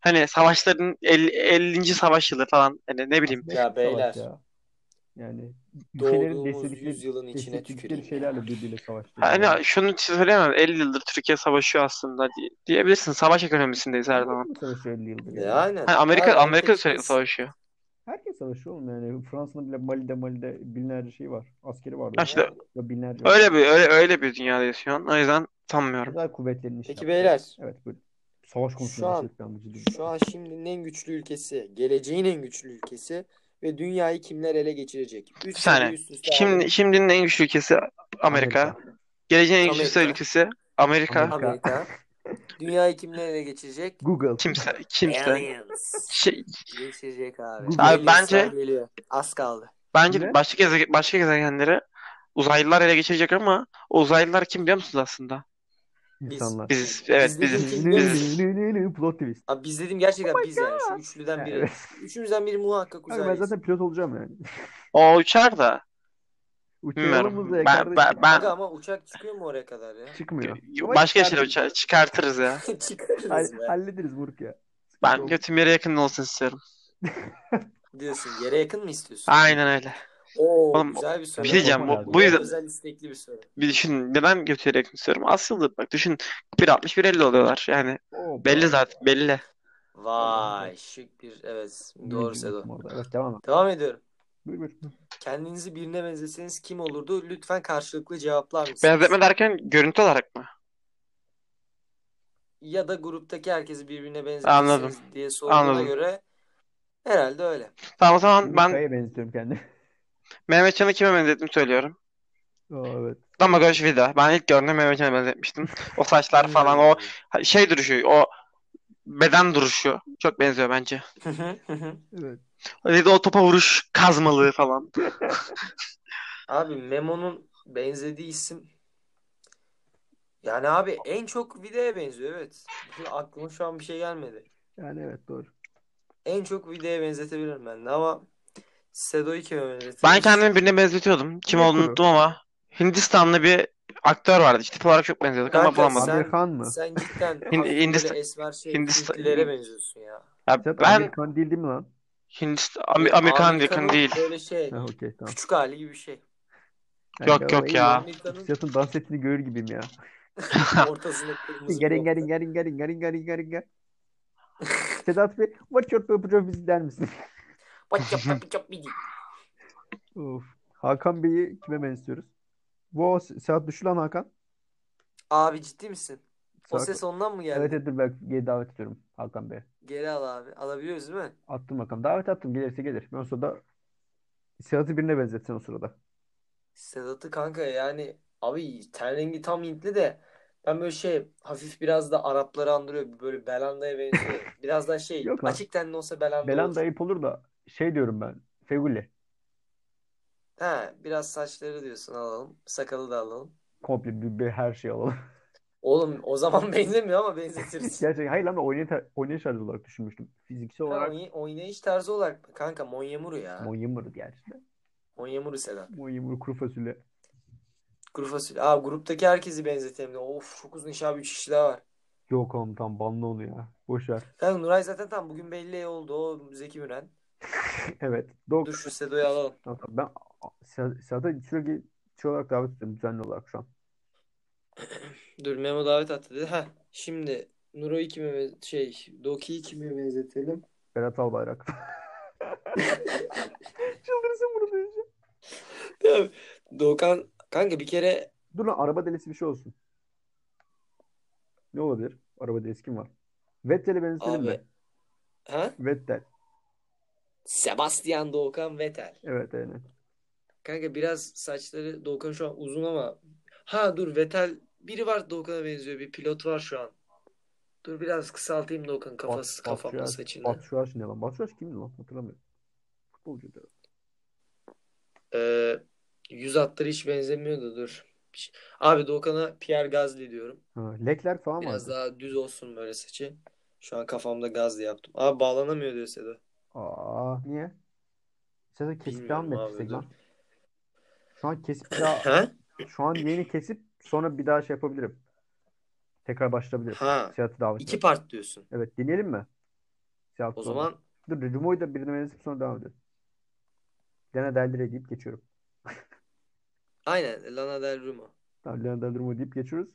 Hani savaşların 50, 50. savaş yılı falan hani ne bileyim.
Aslında
Ya
hep bir savaş
beyler.
ya. Yani ülkelerin
Doğduğumuz
destekledikleri,
yüzyılın içine
destekledikleri
tüküreyim.
şeylerle birbiriyle savaşlar.
Hani şunu söyleyemem 50 yıldır Türkiye savaşıyor aslında diye- diyebilirsin. Savaş ekonomisindeyiz her zaman.
Herkes mi savaşıyor 50 yıldır?
Ya,
Yani?
aynen.
Hani Amerika
Abi
Amerika da
artık
sürekli
biz-
savaşıyor.
Herkes savaşıyor oğlum yani. Fransa'nın bile Mali'de Mali'de binlerce şey var. Askeri var.
Ya işte
Yani.
Ya binlerce. var.
öyle bir öyle öyle bir dünyada yaşıyorsun. O yüzden sanmıyorum.
Özel kuvvetlerin işi.
Peki beyler.
Evet böyle. Savaş
Şu
konusunda
an-
gerçekten bu ciddi.
Şu an şimdinin en güçlü ülkesi, geleceğin en güçlü ülkesi ve dünyayı kimler ele geçirecek? 3
Bir saniye.
soruyu üst üste
Şimdi
aldım.
şimdinin en güçlü ülkesi Amerika. Geleceğin en güçlü
Amerika.
ülkesi Amerika.
Amerika.
Amerika. <laughs> dünyayı kimler ele geçirecek?
Google.
Kimse kimse.
Aliens.
Şey,
Geçirecek abi.
Google.
Abi bence-
Aliens'lar geliyor. Az kaldı.
bence
Ne?
başka gezegen başka gezegenleri uzaylılar ele geçirecek ama o uzaylılar kim biliyor musunuz aslında?
İnsanlar.
Biziz. Evet
Biz
biziz.
dediğim kim biliyor
Biziz.
musun?
Plot twist.
Abi biz dedim gerçekten biz yani. Şu üçlüden
Yani,
biri.
Oh evet.
Üçümüzden biri muhakkak
Abi ben
uzaylı.
zaten pilot olacağım yani.
O uçar da.
<laughs> Uçağımız da
Bilmiyorum.
yakardı.
Ben, ben, ben
Aga ama uçak çıkıyor mu oraya kadar ya?
Çıkmıyor. Ama
başka
çıkardı.
şeyler uçar, çıkartırız ya.
<laughs> Çıkarırız
Hall-
be.
hallederiz Murk ya. Sıkıntı
Ben
olmaz.
götüm yere yakın olsun istiyorum.
Diyorsun yere yakın mı istiyorsun?
Aynen öyle.
Oo
Oğlum,
güzel bir soru.
bir şey
diyeceğim,
bu- bu
Güzel,
yüzden-
Özel istekli bir soru.
Bir düşün neden götü yere yakın istiyorum? Asıldır bak düşün 1.60 1.50 oluyorlar. Yani
Oo,
belli
bravo.
zaten belli.
Vay şık bir evet doğru
Bilmiyorum
Sedo.
orada. Evet devam et.
Devam ediyorum.
Buyur buyur.
Kendinizi birine benzeseniz kim olurdu? Lütfen karşılıklı cevaplar mısınız?
Benzetme derken görüntü olarak mı?
Ya da gruptaki herkesi birbirine benzetirseniz
Anladım.
diye sorduğuna
Anladım.
göre Herhalde öyle.
Tamam o zaman ben
Luka'ya benzetiyorum <laughs> kendimi.
Mehmet Can'ı kime benzettim söylüyorum.
Aa, evet.
Damagoş Vida. Ben ilk gördüğümde Mehmet Can'a benzetmiştim. O
Hmm.
saçlar falan o şey duruşu o beden duruşu çok benziyor bence.
Hı hı, hı hı.
Evet.
Ve de o topa vuruş kazmalığı falan.
<laughs> Abi Memo'nun benzediği isim yani abi en çok Vide'ye benziyor evet. <laughs> Şimdi aklıma şu an bir şey gelmedi.
Yani evet doğru.
En çok Vide'ye benzetebilirim ben de ama Sedo'yu kime benzetirim?
Ben kendimi birine benzetiyordum. Kim olduğunu
Bilmiyorum.
unuttum ama Hindistanlı bir aktör vardı. İşte tip olarak çok benziyorduk ama
Kanka,
bulamadım.
Sen-
Amir Khan mı?
Sen cidden
Hin-
hafif
Hindistan-
böyle esmer şey
Hindistan-
Hintlilere benziyorsun ya.
Ya
Sen
ben
Amir Khan değil değil mi lan?
Hindistan Am- Amerikan
Amerika'nın
yakın değil.
Böyle şey
Ha okey tamam.
küçük hali gibi bir
<laughs>
şey.
Yok,
Kanka,
yok
iyi
ya.
lan.
Amerika'nın
Siyasın dans ettiğini görür gibiyim ya.
ortasında kırmızı
Gelin
blokta.
gelin gelin gelin gelin gelin gelin gel. Sedat Bey what your purpose is der misin?
Bak yap yap yap bir değil.
of. Hakan Bey'i kime benziyoruz? Wow Sedat düştü lan Hakan.
Abi ciddi misin? O
Sedat-
ses ondan mı geldi?
Evet evet dur ben geri davet ediyorum Hakan Bey.
Geri al abi. Alabiliyoruz değil mi?
Attım bakalım. Davet attım gelirse gelir. Ben o sırada Sedat'ı birine benzetsin o sırada.
Sedat'ı kanka yani abi ten rengi tam Hintli de ben böyle şey hafif biraz da Arapları andırıyor. Böyle Belanda'ya
<laughs>
benziyor. Biraz daha şey
Yok lan.
açık tenli olsa Belanda
Belan
olur.
da ayıp olur da şey diyorum ben. Feguli.
He, biraz saçları diyorsun alalım. Sakalı da alalım.
Komple bir, bir her şey alalım.
Oğlum o zaman <laughs> benzemiyor ama
<laughs>
benzetiriz.
Gerçekten hayır lan ben oynayış, oynayış tarzı olarak düşünmüştüm. Fiziksel
Ha,
olarak
oynay- oynayış tarzı olarak kanka Monyamuru ya.
Monyamuru gerçekten.
Monyamuru Sedat.
Monyamuru kuru fasulye.
Grup fasulye. Aa gruptaki herkesi benzetelim de. Of çok uzun iş abi 3 kişi daha var.
Yok oğlum tam banlı onu ya. Boş ver.
Kanka Nuray zaten tam bugün belli oldu. O Zeki Müren.
Evet. Dok.
Dur şu Sedo'yu alalım.
Tamam, tamam. Ben Sedat- Sedat'a sürekli şey olarak davet ediyorum düzenli olarak şu an.
Dur Memo davet attı dedi. Heh, şimdi Nuro'yu kime ben- şey Doki'yi kime benzetelim? <laughs>
Berat Albayrak. Çıldırsın bunu duyunca.
Tamam. Dokan kanka bir kere
Dur lan araba delisi bir şey olsun. Ne olabilir? Araba delisi kim var? Vettel'e benzetelim
Abi.
mi?
ha?
Vettel.
Sebastian Doğukan Vettel.
Evet aynen.
Kanka biraz saçları Doğukan şu an uzun ama ha dur Vettel biri var Doğukan'a benziyor bir pilot var şu an. Dur biraz kısaltayım Doğukan kafası
Bat-
kafamda
Batshuayi-
saçını.
Batshuayi ne lan? Batshuayi kimdi lan? Hatırlamıyorum. Futbolcu da.
Ee, yüz hatları hiç benzemiyordu dur. Abi Doğukan'a Pierre Gasly diyorum.
Ha, Leclerc falan
Biraz
vardı.
daha düz olsun böyle saçı. Şu an kafamda Gasly yaptım. Abi bağlanamıyor diyor Sedo.
Aa niye? Sen de kesip devam
Bilmiyorum
mı
abi,
etsek
dur.
lan? Şu an kesip bir daha
Ha?
şu an yeni kesip sonra bir daha şey yapabilirim. Tekrar başlayabilirim.
Ha.
Seyahatı davet
İki
edelim.
part diyorsun.
Evet deneyelim mi? Seyahat
O
sonra.
zaman
Dur Rumo'yu da birine benzeyip sonra devam edelim. Lana Del Rey deyip geçiyorum.
aynen Lana Del Rumo.
Tamam Lana Del Rey deyip geçiyoruz.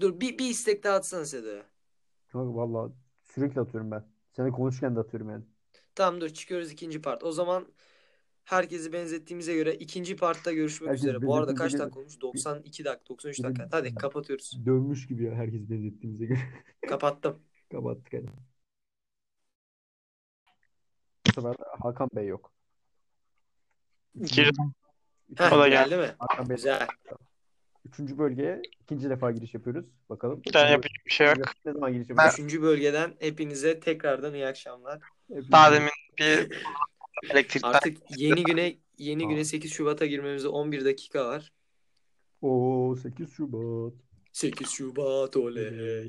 Dur bir, bir istek daha atsana Sedo'ya.
Kanka valla sürekli atıyorum ben. Seninle konuşurken de atıyorum yani.
Tamam dur çıkıyoruz ikinci part. O zaman herkesi benzettiğimize göre ikinci partta görüşmek
Herkes
üzere. Bu arada kaç
benzettiğimize
dakika olmuş? 92 dakika, 93
Bizim-
dakika. Hadi kapatıyoruz.
Dönmüş gibi ya herkes benzettiğimize göre. <laughs>
Kapattım.
Kapattık hadi. Bu sefer Hakan Bey yok.
İki-
Heh,
O da
geldi mi?
Hakan Bey
Güzel.
Üçüncü bölgeye ikinci defa giriş yapıyoruz. Bakalım.
Bir tane yapacak bir şey yok.
Ne zaman giriş
Ben-
yapacağız?
Üçüncü bölgeden hepinize tekrardan iyi akşamlar.
Hepimiz-
Daha demin bir elektrikten
Artık yeni güne yeni
Aa.
güne 8 Şubat'a girmemize 11 dakika var.
Oo 8 Şubat.
8 Şubat oley.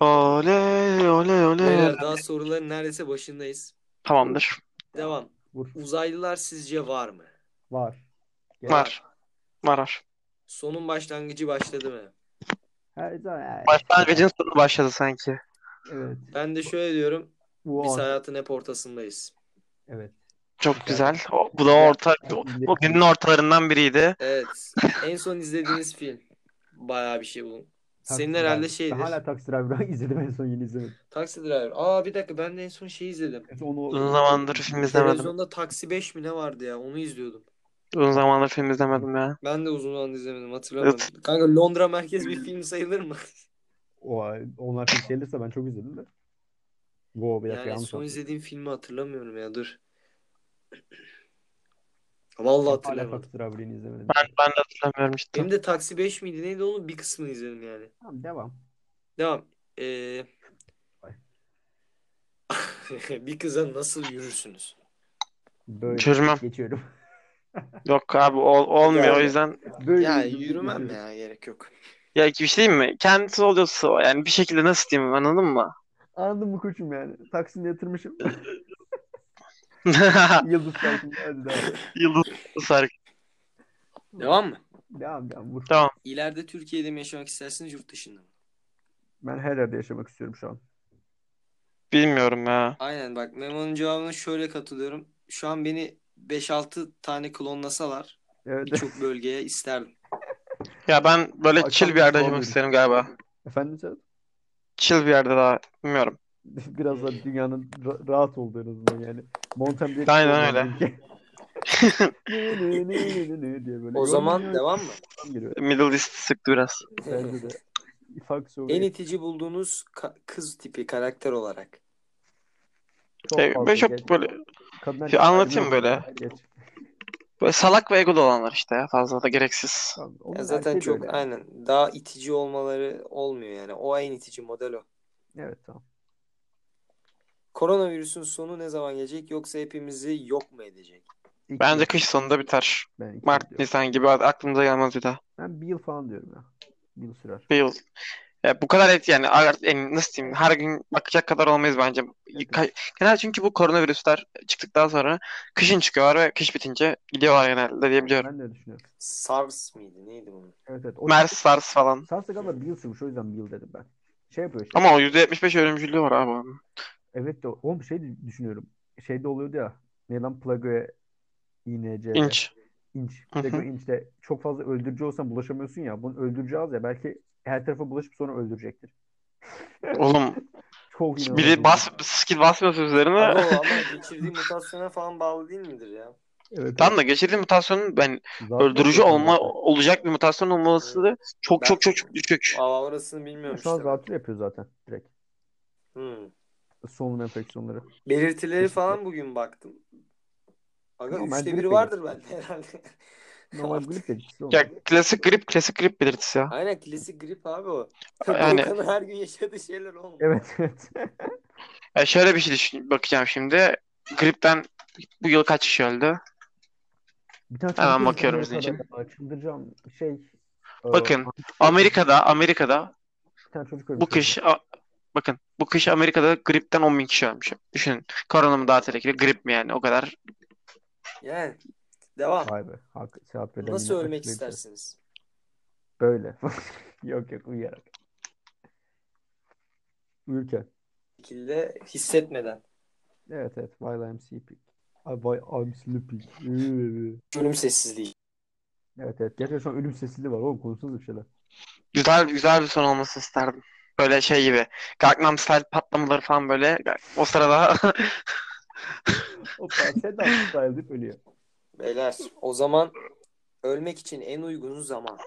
oley oley oley.
Beyler daha soruların neredeyse başındayız.
Tamamdır.
Devam.
Vur.
Uzaylılar sizce var mı?
Var. Gel.
Var. Var var.
Sonun başlangıcı başladı mı?
Her zaman. her-
Başlangıcın sonu başladı sanki.
e, Evet.
Ben de şöyle diyorum.
Bu
Biz
an-
hayatın hep ortasındayız.
Evet.
Çok güzel. O, bu da orta o- bu günün ortalarından biriydi.
Evet. En son izlediğiniz film. Bayağı bir şey bu.
Taksi
Senin herhalde
Driver.
şeydir.
Ben <laughs> hala Taksi Driver'ı izledim en son yeni izlemedim.
Taksi Driver. Aa bir dakika ben de en son şeyi izledim.
En son Onu...
Uzun zamandır film izlemedim.
Televizyonda Taksi 5 mi ne vardı ya onu izliyordum.
Uzun zamandır film izlemedim ya.
Ben de uzun zaman izlemedim hatırlamadım. Kanka Londra merkez bir film sayılır mı?
şey O, onlar film gelirse ben çok izledim de. Wow, bir dakika
Yani
yanlış
son
yaptım.
izlediğim filmi hatırlamıyorum ya dur. <clears throat> Vallahi
Hala
hatırlamadım.
Fakir Abi'ni izlemedim.
Ben, ben de hatırlamıyorum işte.
Benim de Taksi 5 miydi neydi onun bir kısmını izledim yani.
Tamam devam.
Devam. Ee, <laughs> bir kıza nasıl yürürsünüz?
Böyle
Çözmem.
geçiyorum. <laughs>
Yok abi ol- olmuyor
Yani-
o yüzden.
Böyle
Ya
geçiyorum.
yürümem ya gerek yok.
Ya bir şey diyeyim mi? Kendisi oluyorsa o. Yani bir şekilde nasıl diyeyim anladın mı? <laughs>
Anladın mı koçum yani? Taksim'de yatırmışım. <laughs> Yıldız Taksim'de. Hadi devam.
Yıldız Sarık.
Devam mı?
Devam devam vur.
Tamam.
İleride Türkiye'de mi yaşamak istersiniz yurt dışında mı?
Ben her yerde yaşamak istiyorum şu an.
Bilmiyorum ya.
Aynen bak Memo'nun cevabına şöyle katılıyorum. Şu an beni 5-6 tane klonlasalar
Evet. <laughs>
birçok bölgeye isterdim.
Ya ben böyle
Ay,
chill
tam
bir yerde
doğru.
yaşamak isterim galiba.
Efendim sen?
Chill bir yerde daha. Bilmiyorum.
<laughs> Biraz daha dünyanın ra- rahat olduğu en azından yani. Mountain Black
Aynen
olmayan
öyle.
bir ülke. Ne, ne, ne, ne, ne
<laughs>
diye <laughs> böyle.
O zaman
Yolun
devam mı?
yolundan giriyor.
Middle East sıktı biraz.
Bence de. Ifak soğuk.
En itici bulduğunuz ka- kız tipi karakter olarak.
Çok
Ya,
fazla
böyle çok
geç.
böyle,
Kadın
Ya,
erkek-
anlatayım böyle.
Geç.
böyle salak ve egolu olanlar işte ya. Fazla da gereksiz.
Tamam, şey onun
Ya zaten
erkeği de
çok
öyle yani.
aynen daha itici olmaları olmuyor yani. O en itici model o.
Evet tamam.
Koronavirüsün sonu ne zaman gelecek yoksa hepimizi yok mu edecek?
İki
Bence
yıl.
kış sonunda biter.
Ben iki yıl
Mart,
diyorum.
Nisan gibi aklımıza gelmez bir daha.
Ben bir yıl falan diyorum ya. Bir yıl sürer.
Bir yıl. Ya bu kadar et yani artık yani nasıl diyeyim her gün bakacak kadar olmayız bence. Ka- Genel çünkü bu koronavirüsler çıktıktan sonra kışın çıkıyorlar ve kış bitince gidiyorlar genelde diyebiliyorum.
Ben de öyle düşünüyorum.
SARS mıydı? Neydi <laughs> bunun?
Evet evet. O
Mers, SARS falan.
Sarsa kadar bir yıl sürmüş o yüzden bir yıl dedim ben. Şey yapıyor işte.
Ama o %75 ölümcüllüğü var abi. onun.
Evet de oğlum şey de düşünüyorum. Şeyde oluyordu ya. Ne lan Plago'ya INC'de.
İnç.
İnç.
Hı hı.
Plago inçte çok fazla öldürücü olsan bulaşamıyorsun ya. Bunun öldürücü az ya. Belki her tarafa bulaşıp sonra öldürecektir.
Oğlum
Çok
biri
inanılmaz.
bas, skill basmıyorsa
Abi o
üzerine.
ama geçirdiği mutasyona falan bağlı değil midir ya?
şey. Evet,
Tam da geçirdiği mutasyonun ben
evet. Zaten
öldürücü
yapıyor
olma
zaten.
olacak bir mutasyon olması da çok
Ben-
çok çok çok düşük.
Aa, orasını bilmiyorum
Şu an
işte. ben.
zatürre yapıyor zaten direkt.
Hmm.
Solunum enfeksiyonları.
Belirtileri
Kesinlikle.
falan bugün baktım. Aga
Normal
üçte
grip
biri
de
vardır bende herhalde. <laughs>
Normal
Artık-
grip derecesi olmuş.
Ya klasik grip, klasik grip belirtisi ya.
Aynen klasik grip abi o. <laughs>
Yani-
Volkan'ın her gün yaşadığı şeyler olmuyor.
Evet evet. <laughs>
Ya şöyle bir şey düşün, bakacağım şimdi. Gripten bu yıl kaç kişi öldü?
Bir tane
Hemen
çocuk
bakıyorum
öldü
izin
Amerika'da ya. Çıldıracağım şey. e,
Bakın Amerika'da Amerika'da
bir tane çocuk
bu
ölmüş
kış a- bakın bu kış Amerika'da gripten 10 bin kişi ölmüş. Düşünün. Korona mı daha tehlikeli? Grip mi yani? O kadar.
Yani devam.
Vay be. şey Hak, Sedat ve
Ah. Nasıl
Demir'in
ölmek
açıklayıcısı.
istersiniz?
Böyle. <laughs> yok yok uyuyarak. Uyurken.
Bir şekilde hissetmeden.
Evet evet. While I'm sleeping. Ay, Why I'm sleeping.
<laughs> Ölüm sessizliği.
evet evet. Gerçekten şu an ölüm sessizliği var. Oğlum konuşsanız bir şeyler.
Güzel güzel bir son olmasını isterdim. Böyle şey gibi. Gangnam Style patlamaları falan böyle. O sırada <laughs>
Hoppa Sedat Style deyip ölüyor.
Beyler o zaman ölmek için en uygun zaman.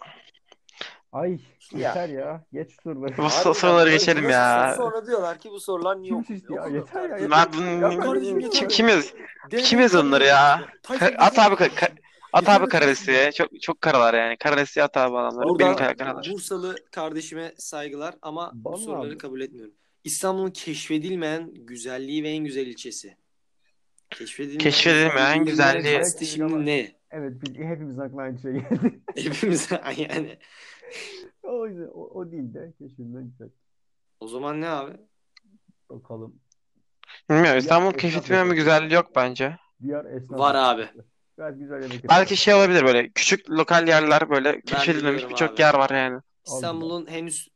Ay
Ya.
yeter ya. Geç soruları.
Bu so-
Abi
soruları
bak,
geçelim
nasıl
ya.
soru Sonra diyorlar ki bu sorular niye
<laughs> Kim
yok?
seçti ya? Yeter ya, yeter.
Ben,
kardeşim yeter.
kim, kimiz? kim yazıyor onları ya? Ka- At abi, ka- ka- at abi Karadesi'ye. Çok, çok karalar yani. Karadesi'ye at abi adamları. Benim kara-
Buradan
karalar.
Bursalı kardeşime saygılar ama bu
Vallahi
soruları
abi.
kabul etmiyorum. İstanbul'un keşfedilmeyen güzelliği ve en güzel ilçesi. Keşfedilmeyen,
Keşfedilmeyen güzelliği.
kastı şimdi ne? <laughs>
Evet biz hepimizin aklına aynı şey geldi. <laughs>
Hepimize yani.
o, yüzden- o, o değil de keşfinden güzel.
O zaman ne abi?
Bakalım.
Bilmiyorum. İstanbul
esnaf
keşfetmeyen bir
lokantası.
güzelliği yok bence.
Diğer esnaf.
Var abi.
Gayet güzel yemek
Belki şey olabilir böyle küçük lokal yerler böyle keşfedilmemiş
biliyorum
birçok
abi.
yer var yani.
İstanbul'un henüz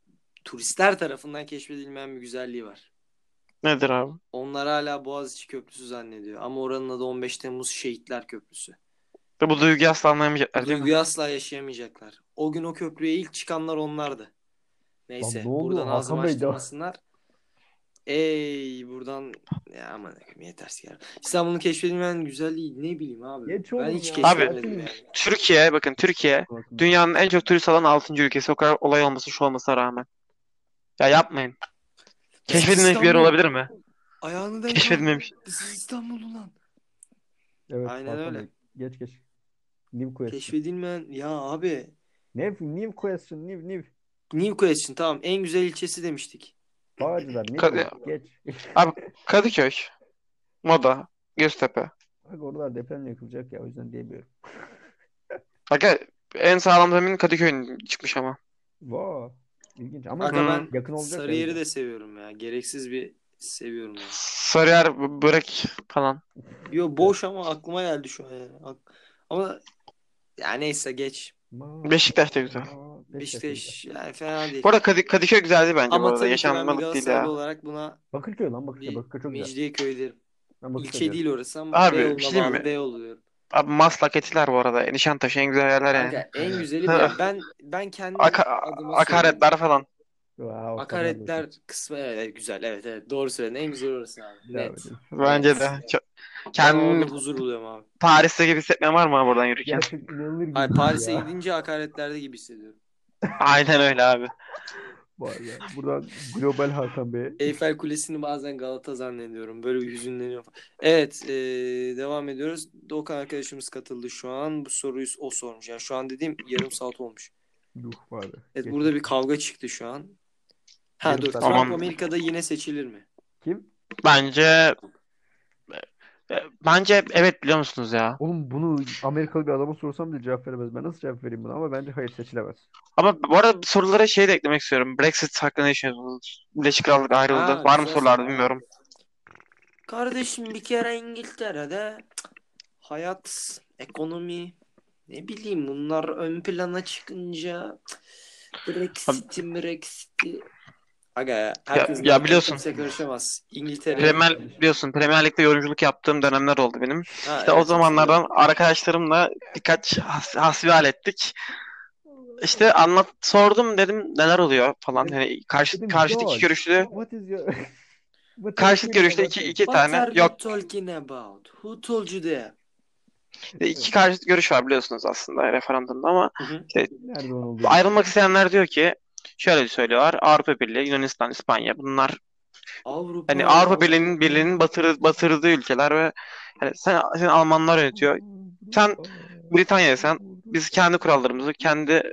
turistler tarafından keşfedilmeyen bir güzelliği var.
Nedir abi?
Onlar hala Boğaziçi Köprüsü zannediyor. Ama oranın adı 15 Temmuz Şehitler Köprüsü.
Ve bu duyguyu asla
Bu
anlayamayacaklar değil mi?
duyguyu asla yaşayamayacaklar. O gün o köprüye ilk çıkanlar onlardı. Neyse
Lan ne oldu?
buradan
Hakan
ağzımı
Bey de-
açtırmasınlar. Ey buradan ya aman akım yetersiz ya. İstanbul'un keşfedilmeyen güzelliği ne bileyim abi.
Geç
ben
oğlum
hiç
ya.
keşfetmedim
Abi.
yani.
Türkiye bakın Türkiye dünyanın en çok turist alan 6. ülkesi o kadar olay olması şu olmasına rağmen. Ya yapmayın. Keşfedilmemiş bir yer
İstanbul-
olabilir mi?
Ayağını denk al.
Keşfedilmemiş.
Siz İstanbul ulan.
Evet,
Aynen
farkındayım.
öyle.
Geç geç. New question.
Keşfedilmeyen ya abi.
New, new question. New new.
New Question tamam en güzel ilçesi demiştik.
Bağcılar. Ne
Kadı-
bileyim, Geç.
Kadıköy. Moda. Göztepe.
Bak oralar depremle yıkılacak ya o yüzden diyemiyorum.
Aga en sağlam zemin Kadıköy'ün çıkmış ama.
Vaa. İlginç ama
Aga
Hı.
ben
yakın olacak.
Sarıyer'i
yani.
de seviyorum ya. Gereksiz bir seviyorum ya.
Sarıyer b- börek falan.
Yo boş ama aklıma geldi şu an yani. Ak- Ama ya neyse geç.
Ma-
Beşiktaş da güzel.
ma-
Beşiktaş yani fena değil.
Bu arada Kadı- Kadıköy güzeldi bence bu
ama tabii
arada.
ki ben bir
Yaşanmalık değil
Galatasaraylı
ya.
olarak buna
Bakırköy lan Bakırköy.
bir
Bakırköy çok güzel.
Mecidiyeköy derim.
Ben Bakırköy
İlçe
diyorum.
değil orası ama
Abi, bir
Beyoğlu'na
şey diyeyim mi?
bağlı Beyoğlu diyorum.
Abi Maslak Etiler bu arada. Nişantaşı en güzel yerler yani.
Kanka
<laughs>
en güzeli
Ha.
ben- ben ben kendi
Aka-
adıma söyleyeyim.
akaretler falan.
Vaa, o kadar
Akaretler kısmı evet, evet, güzel evet evet doğru söyledin en güzel orası abi.
güzel.
Net.
Bence de.
Evet.
Çok...
Ben
Kendini
orada huzur buluyorum abi.
Paris'te gibi hissetmeyen var mı abi buradan yürürken?
Gerçek inanılır gibi.
Hayır
değil
Paris'e
ya.
gidince hakaretlerde gibi hissediyorum.
<laughs> Aynen öyle abi.
Vay be. Buradan global Hakan Bey'e.
Eyfel Kulesi'ni bazen Galata zannediyorum. Böyle bir hüzünleniyorum. Evet eee, devam ediyoruz. Dokan arkadaşımız katıldı şu an. Bu soruyu o sormuş. Yani şu an dediğim yarım saat olmuş.
Duh var be.
Evet
Geç.
burada bir kavga çıktı şu an. Ha
Yarım
dur.
saat.
Trump
Tamam.
Amerika'da yine seçilir mi?
Kim?
Bence e, bence evet biliyor musunuz ya?
Oğlum bunu Amerikalı bir adama sorsam bile cevap veremez. Ben nasıl cevap vereyim buna ama bence hayır seçilemez.
Ama bu arada sorulara şey de eklemek istiyorum. Brexit hakkında ne düşünüyorsunuz? Birleşik Krallık ayrıldı.
Ha,
Var mı
güzel
sorularda
soru.
bilmiyorum.
Kardeşim bir kere İngiltere'de cık, hayat, ekonomi ne bileyim bunlar ön plana çıkınca cık, Brexit'i Brexit'i Aga ya, herkes
ya
zaten
biliyorsun.
kimse karışamaz. İngiltere.
Premier biliyorsun Premier Lig'de yorumculuk yaptığım dönemler oldu benim.
Ha,
İşte o
evet,
zamanlardan arkadaşlarımla birkaç has- hasbihal ettik. İşte anlat sordum dedim neler oluyor falan. Hani karşı
Dedim,
karşıt iki
Şey "George,
görüşlü
What is your... <laughs> What
karşıt
is your-
görüşte iki iki
What
tane
are you
yok
talking about? Who told you that?
iki karşıt görüş var biliyorsunuz aslında referandumda ama
Hı hı.
Nerede onun olduğu?
ayrılmak isteyenler diyor ki şöyle söylüyorlar Avrupa Birliği, Yunanistan, İspanya bunlar
Avrupa.
Hani Avrupa Birliği'nin Birliği'nin batırı, batırdığı ülkeler ve hani sen, seni Almanlar yönetiyor. Sen Britanya'ya sen, Biz kendi kurallarımızı, kendi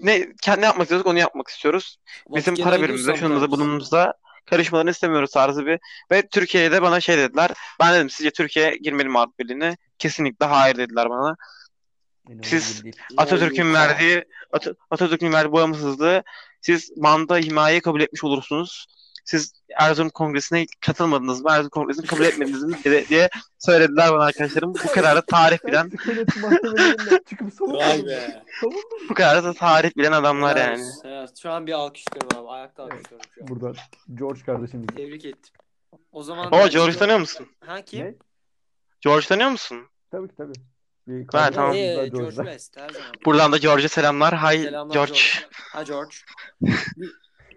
ne kendi yapmak istiyorsak onu yapmak istiyoruz. Bizim
What
para
can I do
birimimize, şunumuza,
sometimes?
bunumuza karışmalarını istemiyoruz tarzı bir. Ve Türkiye'de bana şey dediler. Ben dedim sizce Türkiye girmeli mi Avrupa Birliği'ne? Kesinlikle hayır dediler bana.
İnanılır
siz-
gibi değil.
Atatürk'ün
Layıka.
verdiği At- Atatürk'ün verdiği bağımsızlığı siz manda himayeyi kabul etmiş olursunuz. Siz Erzurum Kongresi'ne katılmadınız mı? Erzurum Kongresi'ni kabul etmediniz mi? diye, diye söylediler bana arkadaşlarım. Bu kadar da tarih bilen,
Sen sükunet
<laughs>
mahkemelerinden çıkıp
Vay
savunmadın mı?
be.
Savundun mu?
bu kadar da tarih bilen adamlar yani.
Helal olsun, helal olsun. Şu an bir alkışlıyorum abi. Ayakta
Evet.
alkışlıyorum şu an.
Buradan George kardeşim.
Tebrik ettim. O zaman
O George tanıyor musun?
Ha kim?
Ne?
George tanıyor musun?
Tabii ki tabii. Bir
Ha,
kardeşim
tamam.
var
Ee, George
George'da.
West her zaman.
Buradan da George'a selamlar. Hay
Selamlar
George.
Ha
<laughs>
George. bir,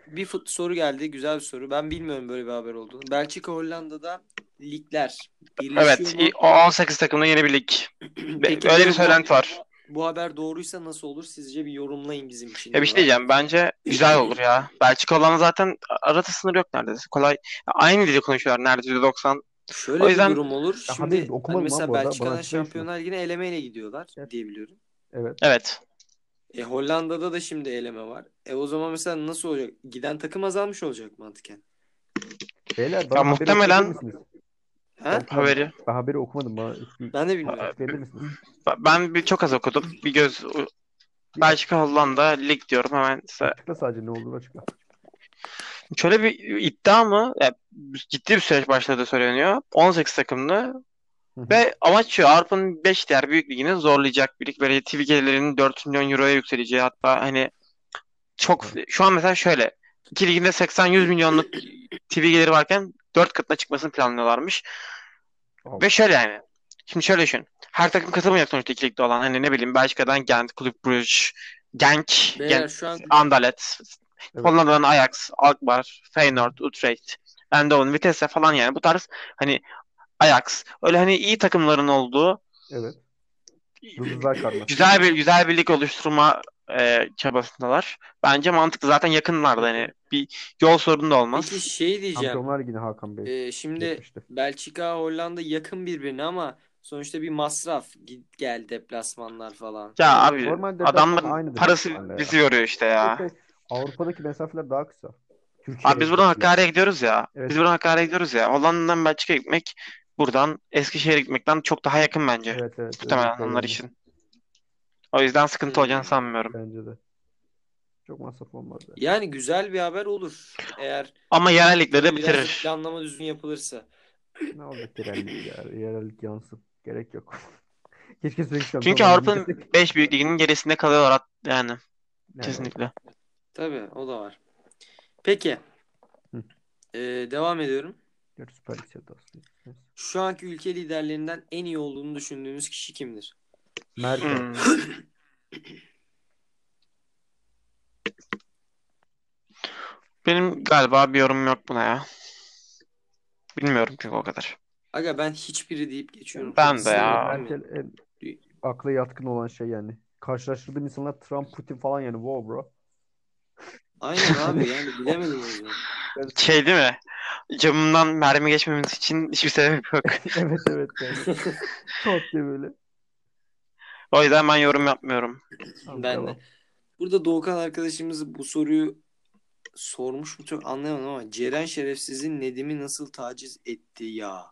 bir fut- soru geldi. Güzel bir soru. Ben bilmiyorum böyle bir haber olduğunu. Belçika Hollanda'da ligler birleşiyor
Evet,
mu?
i- o 18 takımda yeni bir lig. Be-
Peki
Öyle bir
bu-
söylenti var.
Bu haber doğruysa nasıl olur? Sizce bir yorumlayın bizim için.
Ya bir şey diyeceğim. Bence güzel olur ya. Belçika olan zaten arada sınır yok neredeyse. Kolay. Aynı dili konuşuyorlar neredeyse 90.
Şöyle
O
bir
yüzden-
durum olur.
Ya
Şimdi
haberi de okumadım
hani
lan
mesela
bu arada.
Belçika'dan
Bana açıklayın şunu.
Şampiyonlar Ligi'ne elemeyle gidiyorlar
Evet.
diye biliyorum.
Evet.
Evet.
E Hollanda'da da şimdi eleme var. E o zaman mesela nasıl olacak? Giden takım azalmış olacak mantıken.
Beyler bana haberi
muhtemelen-
okuyabilir misiniz?
Ha?
Haberi.
Ben haberi okumadım. Bana eski
Ben de bilmiyorum.
açıklayabilir misiniz?
Ben bir çok az okudum. Bir göz Belçika Hollanda lig diyorum hemen size.
Açıkla sadece ne olduğunu açıkla.
Şöyle bir iddia mı? Ya, ciddi bir süreç başladığı söyleniyor. 18 takımlı
Hı hı.
ve amaç şu Avrupa'nın 5 diğer büyük ligini zorlayacak bir lig. Böyle TV gelirlerinin 4 milyon euroya yükseleceği hatta hani çok şu an mesela şöyle iki liginde 80-100 milyonluk TV geliri varken 4 katına çıkmasını planlıyorlarmış.
Al.
Ve şöyle yani. Şimdi şöyle düşün. Her takım katılmayacak sonuçta iki ligde olan. Hani ne bileyim Belçika'dan Gent, Club Brugge, Genk,
Beyler
Gent,
şu an
Anderlecht,
Evet.
Hollanda'dan Ajax, Alkmaar, Feyenoord, Utrecht, Eindhoven, Vitesse falan yani bu tarz hani Ajax. Öyle hani iyi takımların olduğu
Evet. Yıldızlar karması.
güzel bir güzel bir lig oluşturma e, çabasındalar. Bence mantıklı. Zaten yakınlardı hani. Bir yol sorunu da olmaz.
Peki şey diyeceğim.
Şampiyonlar Ligi'ne Hakan Bey.
Ee, şimdi
geçmişti.
Belçika, Hollanda yakın birbirine ama sonuçta bir masraf. Git gel deplasmanlar falan.
Ya abi
Normal
adamın
deplasman aynıdır
parası
deplasmanla ya.
bizi yoruyor işte ya.
Yok, yok. Şey, Avrupa'daki mesafeler daha kısa. Türkiye'ye
Abi biz buradan
yaklaşıyor.
Hakkari'ye gidiyoruz ya.
Evet.
Biz buradan Hakkari'ye gidiyoruz ya. Hollanda'dan Belçika'ya gitmek buradan Eskişehir'e gitmekten çok daha yakın bence.
Evet evet. evet.
Muhtemelen onlar
Öyle.
için. O yüzden sıkıntı
Hı.
olacağını sanmıyorum.
Bence de. Çok masraf olmaz. Yani.
Yani güzel bir haber olur. Eğer
Ama yerel ligleri de
biraz
bitirir.
planlama düzgün yapılırsa.
Ne olacak yerellik ya? Yerellik yansın. Gerek yok. <laughs> Keşke sürekli
Çünkü
şampiyonlar
Avrupa'nın
Ligi'nde-
5 büyük liginin gerisinde kalıyorlar at- yani
Yani
kesinlikle.
Tabii o da var. Peki.
Hı.
Ee, devam ediyorum.
diyor, Süper şey Lig sevdası. Neyse.
Şu anki ülke liderlerinden en iyi olduğunu düşündüğümüz kişi kimdir?
Merkel.
Hmm. Benim galiba bir yorumum yok buna ya. Bilmiyorum çünkü o kadar.
Aga ben hiçbiri deyip geçiyorum.
Ben
Çok
de ya.
sinirlenmeyin.
Merkel en akla yatkın olan şey yani. Karşılaştırdığım insanlar Trump, Putin falan yani. Wow bro. <laughs>
Aynen abi yani bilemedim o yüzden.
Şey değil mi? Camımdan mermi geçmemiz için hiçbir sebep yok.
evet evet.
<laughs>
Yani. Tot diye böyle.
O yüzden ben yorum yapmıyorum.
Tamam,
Ben
devam.
de. Burada Doğukan arkadaşımız bu soruyu sormuş mu çok anlayamadım ama Ceren Şerefsiz'in Nedim'i nasıl taciz etti ya?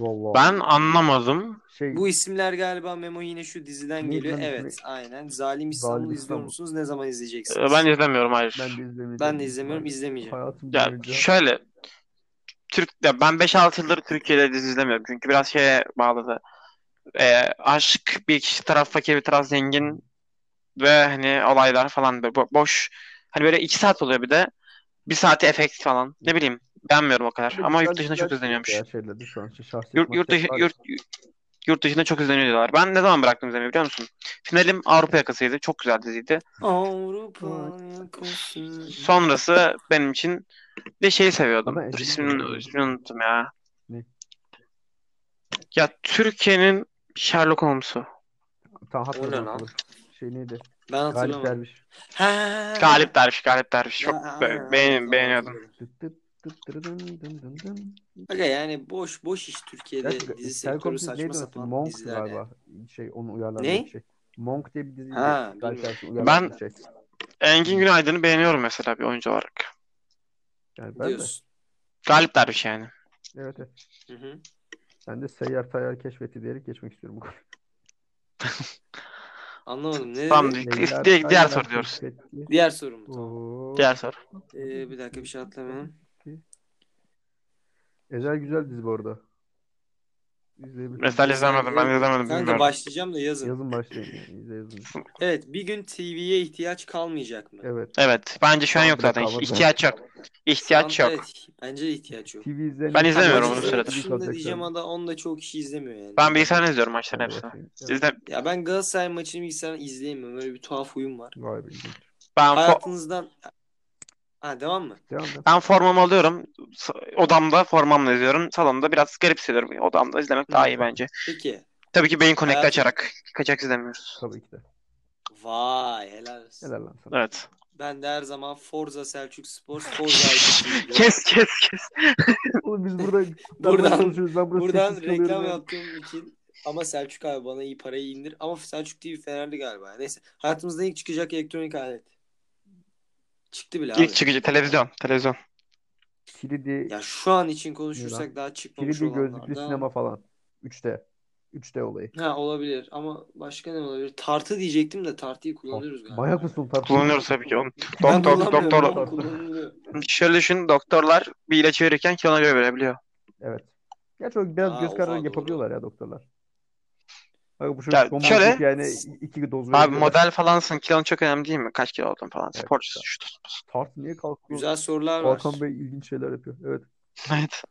Vallahi.
Ben anlamadım.
şey,
Bu isimler galiba Memo yine şu diziden
Ne-
geliyor.
ne-
Evet aynen. Zalim
Zalim
İstanbul'u izliyor
İstanbul.
musunuz? Ne zaman izleyeceksiniz?
Ee, Ben izlemiyorum hayır.
ben de izlemeyeceğim.
Ben de izlemiyorum. izlemeyeceğim.
Hayatım
Ya
boyunca
şöyle Türk ya ben 5-6 yıldır Türkiye'de dizi izlemiyorum. Çünkü biraz şeye bağladı. Ee, aşk bir kişi taraf fakir bir taraf zengin ve hani olaylar falan böyle bo- boş. Hani böyle 2 saat oluyor bir de. Bir saati efekt falan. Ne bileyim. Beğenmiyorum o kadar.
Böyle
Ama
güzel-
yurt dışında
güzel
çok izleniyormuş.
Ya şeyler şu an. Şey, şahsi
Yurt, yurt, dışı,
maçlar var.
yurt, yurt dışında çok izleniyor diyorlar. Ben ne zaman bıraktım izlemeyi biliyor musun? Finalim Avrupa Yakası'ydı. Çok güzel diziydi.
Avrupa yakası.
Sonrası benim için bir de şeyi seviyordum.
Ama
Dur
eski
ismini,
bir-
ismini unuttum ya.
Ne?
Ya Türkiye'nin Sherlock Holmes'u.
Tamam hatırladım.
O ne lan?
hatırladım. Şey neydi?
Ben
Galip
hatırlamadım.
Derviş.
Ha.
Galip Derviş, Galip Derviş.
Ya,
Çok
aynen,
be-
aynen,
beğen-
tamam,
beğeniyordum.
hatırladım.
Dıt dıt dıt dırı dın dın dın dın.
Aga yani boş boş iş Türkiye'de
Gerçi
dizi sektörü
Telekom Türk
saçma
neydi orası?
sapan
Monk
diziler yani.
galiba. Şey onu uyarlanan
Ne?
bir şey. Monk diye bir diziydi.
Ha,
Galip
bilmiyorum.
Derviş'in uyarladığı bir şey.
Engin Günaydın'ı beğeniyorum mesela bir oyuncu olarak.
Yani ben de.
Diyorsun.
Galip Derviş yani.
Evet, evet.
Hı hı.
Ben de seyyar tayyar keşfetti diyerek geçmek istiyorum.
Anlamadım. Ne
Tamam.
dedi?
Diğer-
Seyyar
diğer
tayyar
soru diyoruz.
keşfetti.
Diğer sorum. Tamam.
Oo.
Diğer soru.
Ee, bir dakika bir şey atlamayalım.
Ezel güzel dizi bu arada. İzleyebilirsiniz.
Mesela izlemedim. Ben izlemedim.
Kanka
bilmiyorum.
başlayacağım da yazın.
Yazın başlayın. Yani. İzle yazın.
Evet bir gün TV'ye ihtiyaç kalmayacak mı?
Evet.
Evet. Bence şu an
Tamam,
yok zaten.
rekabet
İhtiyaç yok. İhtiyaç
Şu an-
yok.
Evet, bence ihtiyaç yok.
TV izleyen
Ben izlemiyorum
Maç
uzun
izlemek
süredir.
dışında diyeceğim ama onda çok kişi izlemiyor yani.
Ben bilgisayardan izliyorum maçların hepsini. İzle,
Ya ben Galatasaray maçını bilgisayardan izleyemiyorum. Öyle bir tuhaf huyum var.
Vay be. ilginç.
ben, fo-
Hayatınızdan... Ha devam mı?
Devam et.
ben formamı alıyorum. S- Odamda formamla izliyorum. Salonda biraz garip hissediyorum. Odamda izlemek daha iyi bence.
Peki.
Tabii ki beyin connect'i
Hayatım-
açarak. Kaçak izlemiyoruz.
Tabii ki de.
Vay helal olsun.
Helal lan
<laughs>
sana.
Evet.
Ben de her zaman Forza Selçuk Spor,
<laughs>
Forza
<laughs>
ITC diyorum.
Kes kes kes.
Oğlum biz burada
<laughs> Buradan-
konuşuyoruz. Ben burada
Buradan
sekiz kalıyorum
reklam
ya.
yaptığım için ama Selçuk abi bana iyi parayı indir. Ama Selçuk TV Fenerli galiba. Neyse. Hayatımızda ilk çıkacak elektronik alet. Çıktı bile abi.
İlk çıkıcı televizyon. Televizyon.
Kilidi,
Ya şu an için konuşursak daha çıkmamış
kilidi gözlüklü
olanlardan.
sinema falan. 3D. 3D olayı.
Ha olabilir ama başka ne olabilir? Tartı diyecektim de tartıyı kullanıyoruz galiba.
Bayağı mısın tatlı?
Kullanıyoruz tabii ki onu.
Ben
Doktor,
kullanmıyorum
doktor.
ama kullanılıyor.
Şöyle düşün. Doktorlar bir ilaç verirken ki ona göre verebiliyor.
Evet. Gerçi o biraz
Aa,
göz
oha,
kararı
doğru.
yapabiliyorlar ya doktorlar. Bak bu
Ya
çocuk bomboş
şöyle-
yani iki doz
Abi
veriyorlar.
model falansın. Kilon çok önemli değil mi? Kaç kilo oldun falan.
Evet.
Sporcusun. şusun.
Tart niye kalkıyor?
Güzel sorular var.
Hakan Bey ilginç şeyler yapıyor. Evet.
Evet.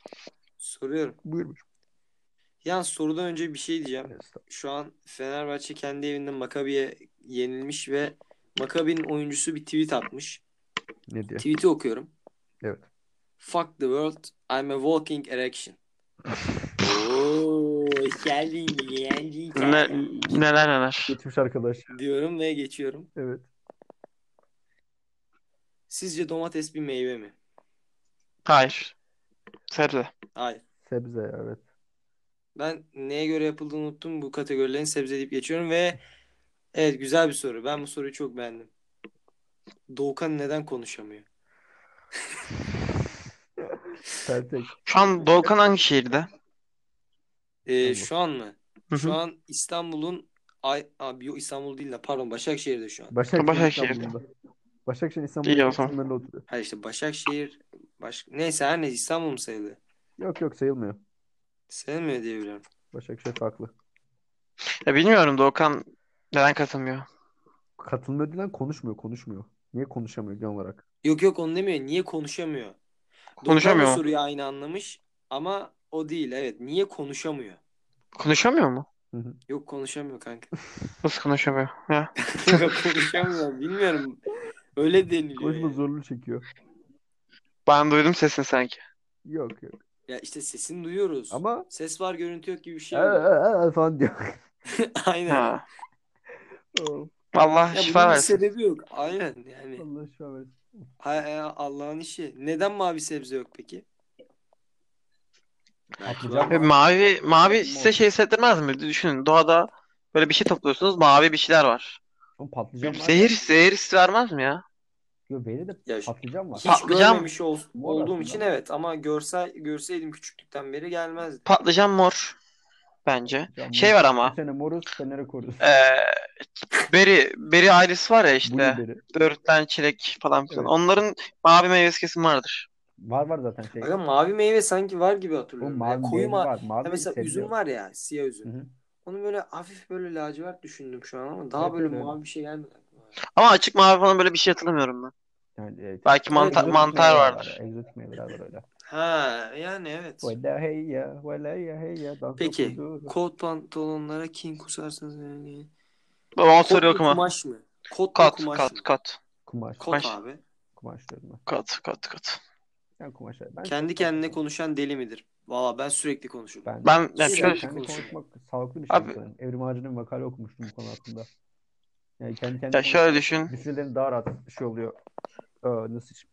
Soruyorum.
Buyurmuş.
Yani sorudan önce bir şey diyeceğim. Şu an Fenerbahçe kendi evinde Makabi'ye yenilmiş ve Makabi'nin oyuncusu bir tweet atmış.
Ne diye?
Tweet'i okuyorum.
Evet.
Fuck the world, I'm a walking erection. Oo, Hoş geldin, geldin.
Ne- neler neler.
Geçmiş arkadaş.
Diyorum ve geçiyorum.
Evet.
Sizce domates bir meyve mi?
Hayır. Sebze.
Hayır.
Sebze evet.
Ben neye göre yapıldığını unuttum. Bu kategorilerin sebze deyip geçiyorum ve evet güzel bir soru. Ben bu soruyu çok beğendim. Doğukan neden konuşamıyor?
Pertek.
Şu an Doğukan hangi şehirde?
Ee,
Tamam.
şu an mı?
Hı hı.
Şu an İstanbul'un ay abi yok İstanbul değil de pardon Başakşehir'de şu an.
Başakşehir
Başakşehir'de.
İstanbul'da. Başakşehir
İyi
İstanbul'da
o zaman.
sınırlı oturuyor.
Hayır işte Başakşehir baş... neyse her neyse İstanbul mu sayılıyor?
Yok yok sayılmıyor.
Sayılmıyor diye biliyorum.
Başakşehir farklı.
Ya bilmiyorum Doğukan neden katılmıyor?
Katılmıyor değil lan, konuşmuyor konuşmuyor. Niye konuşamıyor genel olarak?
Yok yok onu demiyor. Niye konuşamıyor?
Konuşamıyor
Doğukan
mu?
da soruyu aynı anlamış ama o değil evet. Niye konuşamıyor?
Konuşamıyor mu?
Hı hı.
Yok konuşamıyor kanka. <laughs>
Nasıl konuşamıyor? Ya.
Yok konuşamıyor bilmiyorum. Öyle deniliyor.
Konuşma
yani.
zorluğu çekiyor.
Ben duydum sesini sanki.
Yok yok.
Ya işte sesini duyuyoruz.
Ama
Ses var görüntü yok gibi bir şey.
"Ee, ee, ee," falan diyor.
<laughs> Aynen.
Ha. Allah
Ya
şifa
bunun bir
versin.
sebebi yok. Aynen yani.
Allah şifa versin.
Hay- hay- e, Allah'ın işi. Neden mavi sebze yok peki? Belki var.
Atlayacak
E, Mavi mavi size şey hissettirmez mi? Düşünün doğada böyle bir şey topluyorsunuz mavi bir şeyler var.
Oğlum patlıcan var.
Zehir zehir hissi vermez mi ya?
Yok beni de
Ya şu-
patlıcan var.
Hiç
Patlıcan-
görmemiş ol-
Mor
olduğum
aslında.
için evet ama görse görseydim küçüklükten beri gelmezdi.
Patlıcan mor bence.
Patlıcan
Şey
var.
var ama
Bu sene moruz, senere koruz.
e, beri beri ailesi var ya işte.
Blueberry.
Dörtten çilek falan filan.
Evet.
Onların mavi meyvesi kesin vardır.
Var var zaten şey.
Aga mavi meyve sanki var gibi hatırlıyorum.
Oğlum
Ya
mavi
koyu
meyve
ma-
var. Mavi
Ya mesela
sebze
üzüm
var.
var ya siyah üzüm.
Hı hı.
Onu böyle hafif böyle lacivert düşündüm şu an ama daha
Evet,
böyle
evet,
mavi bir şey gelmedi aklıma.
Ama açık mavi falan böyle bir şey hatırlamıyorum ben.
Yani, evet.
Belki mantar,
evet.
mantar
meyveler
vardır.
var, e, Egzotik meyveler var öyle.
Ha yani evet.
Vela hey ya, vela ya hey ya. Dans
Peki.
okudu.
Kot pantolonlara kim kusarsınız yani?
Babam
Kot
soruyor
mu
okuma.
kumaş mı? Kot mu
Kat,
kumaş
kat,
mı?
kat.
Kumaş.
Kot
Kumaş.
abi.
Kumaş diyorum ben.
Kat, kat, kat.
Ben kumaş. Ben,
Kendi kendine konuşan deli midir? Valla ben sürekli konuşurum.
Ben,
Ben yani
Siz-
şöyle
Sürekli
kendi
konuşuyorum.
konuşmak sağlıklı bir şey
Abi-
sanırım. Evrim Ağacı'nın makale okumuştum bu konu hakkında. Yani kendi kendine
ya şöyle düşün.
düşüncelerin daha rahat şey oluyor. Ee, nasıl diyeyim?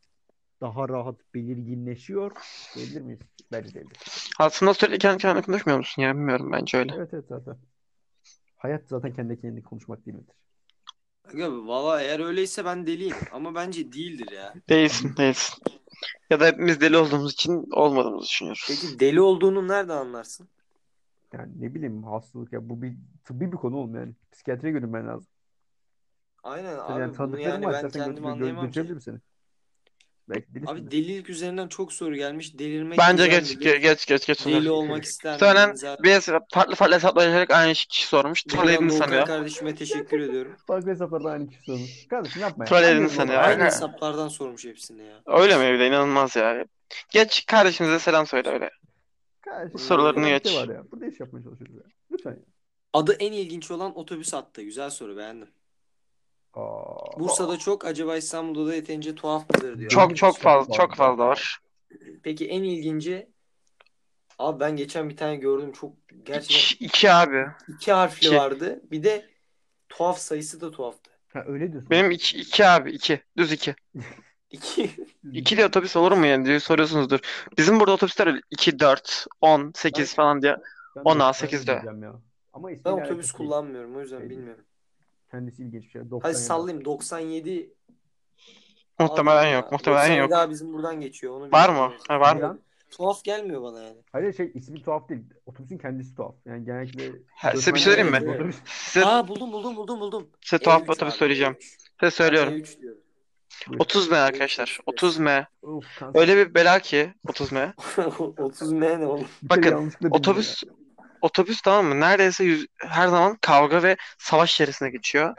daha rahat belirginleşiyor. Diyebilir miyiz? Bence değildir.
Aslında sürekli kendi kendine konuşmuyor musun ya? Bilmiyorum bence öyle.
Evet evet zaten. Hayat zaten kendi kendine konuşmak değil midir?
Aga valla eğer öyleyse ben deliyim ama bence değildir ya.
Değilsin, değilsin. Ya da hepimiz deli olduğumuz için olmadığımızı düşünüyoruz.
Peki deli olduğunu nereden anlarsın?
Yani ne bileyim hastalık ya bu bir tıbbi bir konu oğlum yani. Psikiyatriye görünmen lazım.
Aynen
Sen
abi
yani
bunu
tanıdıkların
yani
var
ben
zaten gö-
kendim
gö-
anlayamam ki.
götürebilir mi seni? Belki delisin de.
Abi delilik üzerinden çok soru gelmiş. Delirmek
Bence
güzel
geç,
midir?
geç, geç, geç, geç.
Deli olmak ister
Söylenen
miydin zaten?
Biz farklı farklı hesaplaşarak aynı kişi sormuş.
Buradan
Trollediğini
Doğukan
sanıyor.
kardeşime teşekkür
<laughs>
ediyorum.
Farklı hesaplarda aynı kişi sormuş. Kardeşim yapma ya.
Troll edin
Anlıyorum
seni
oğlum.
Ya,
Aynı
he.
hesaplardan sormuş hepsini ya.
Öyle mi? Bir de inanılmaz ya. Geç kardeşimize selam söyle öyle.
Kardeşim,
Sorularını
böyle bir
geç.
Şey var ya. Burada iş yapmaya çalışıyoruz ya. Lütfen ya.
Adı en ilginç olan otobüs hattı. Güzel soru beğendim.
Aa,
Bursa'da çok acaba İstanbul'da da yeterince tuhaf mıdır diyor.
Çok çok fazla çok
Çok fazla.
fazla var.
Peki en ilginci Abi ben geçen bir tane gördüm çok gerçekten
İki, iki abi.
iki harfli
İki.
vardı. Bir de tuhaf sayısı da tuhaftı.
Ha, öyle diyorsun.
Benim iki, iki abi iki. Düz iki.
İki. <laughs>
İki de otobüs olur mu yani diye soruyorsunuzdur. Bizim burada otobüsler öyle 2, 4, 10, 8 falan diye.
Ben de
10 A,
otobüs
8 de.
diyeceğim ya. Ama
Ben
ismiyle
otobüs
alakası değil.
kullanmıyorum o yüzden
Şey değil.
bilmiyorum.
Kendisi ilginç bir şey.
Hadi
97.
sallayayım 97
Muhtemelen
Abi
yok.
ya,
Muhtemelen
97
yok.
daha bizim buradan geçiyor. Onu
Var
bilmiyorum.
mı? Ha, var
mı?
Tuhaf gelmiyor bana yani.
Hayır şey ismi tuhaf değil. Otobüsün kendisi tuhaf. Yani genellikle
Ha, size bir
göçmenler
şey söyleyeyim mi?
bu
Evet.
otobüs-
Size,
Aa buldum buldum buldum buldum.
size tuhaf bir
E3
otobüs
abi,
söyleyeceğim.
E3.
Size
Ben
söylüyorum.
E3 diyorum.
30 M arkadaşlar. 30 M. Öyle bir bela ki 30 M.
<laughs> 30 M ne oğlum?
Bir kere
Bakın,
yanlışlıkla bildim ya.
Otobüs otobüs tamam mı? Neredeyse yüz- her zaman kavga ve savaş içerisinde geçiyor.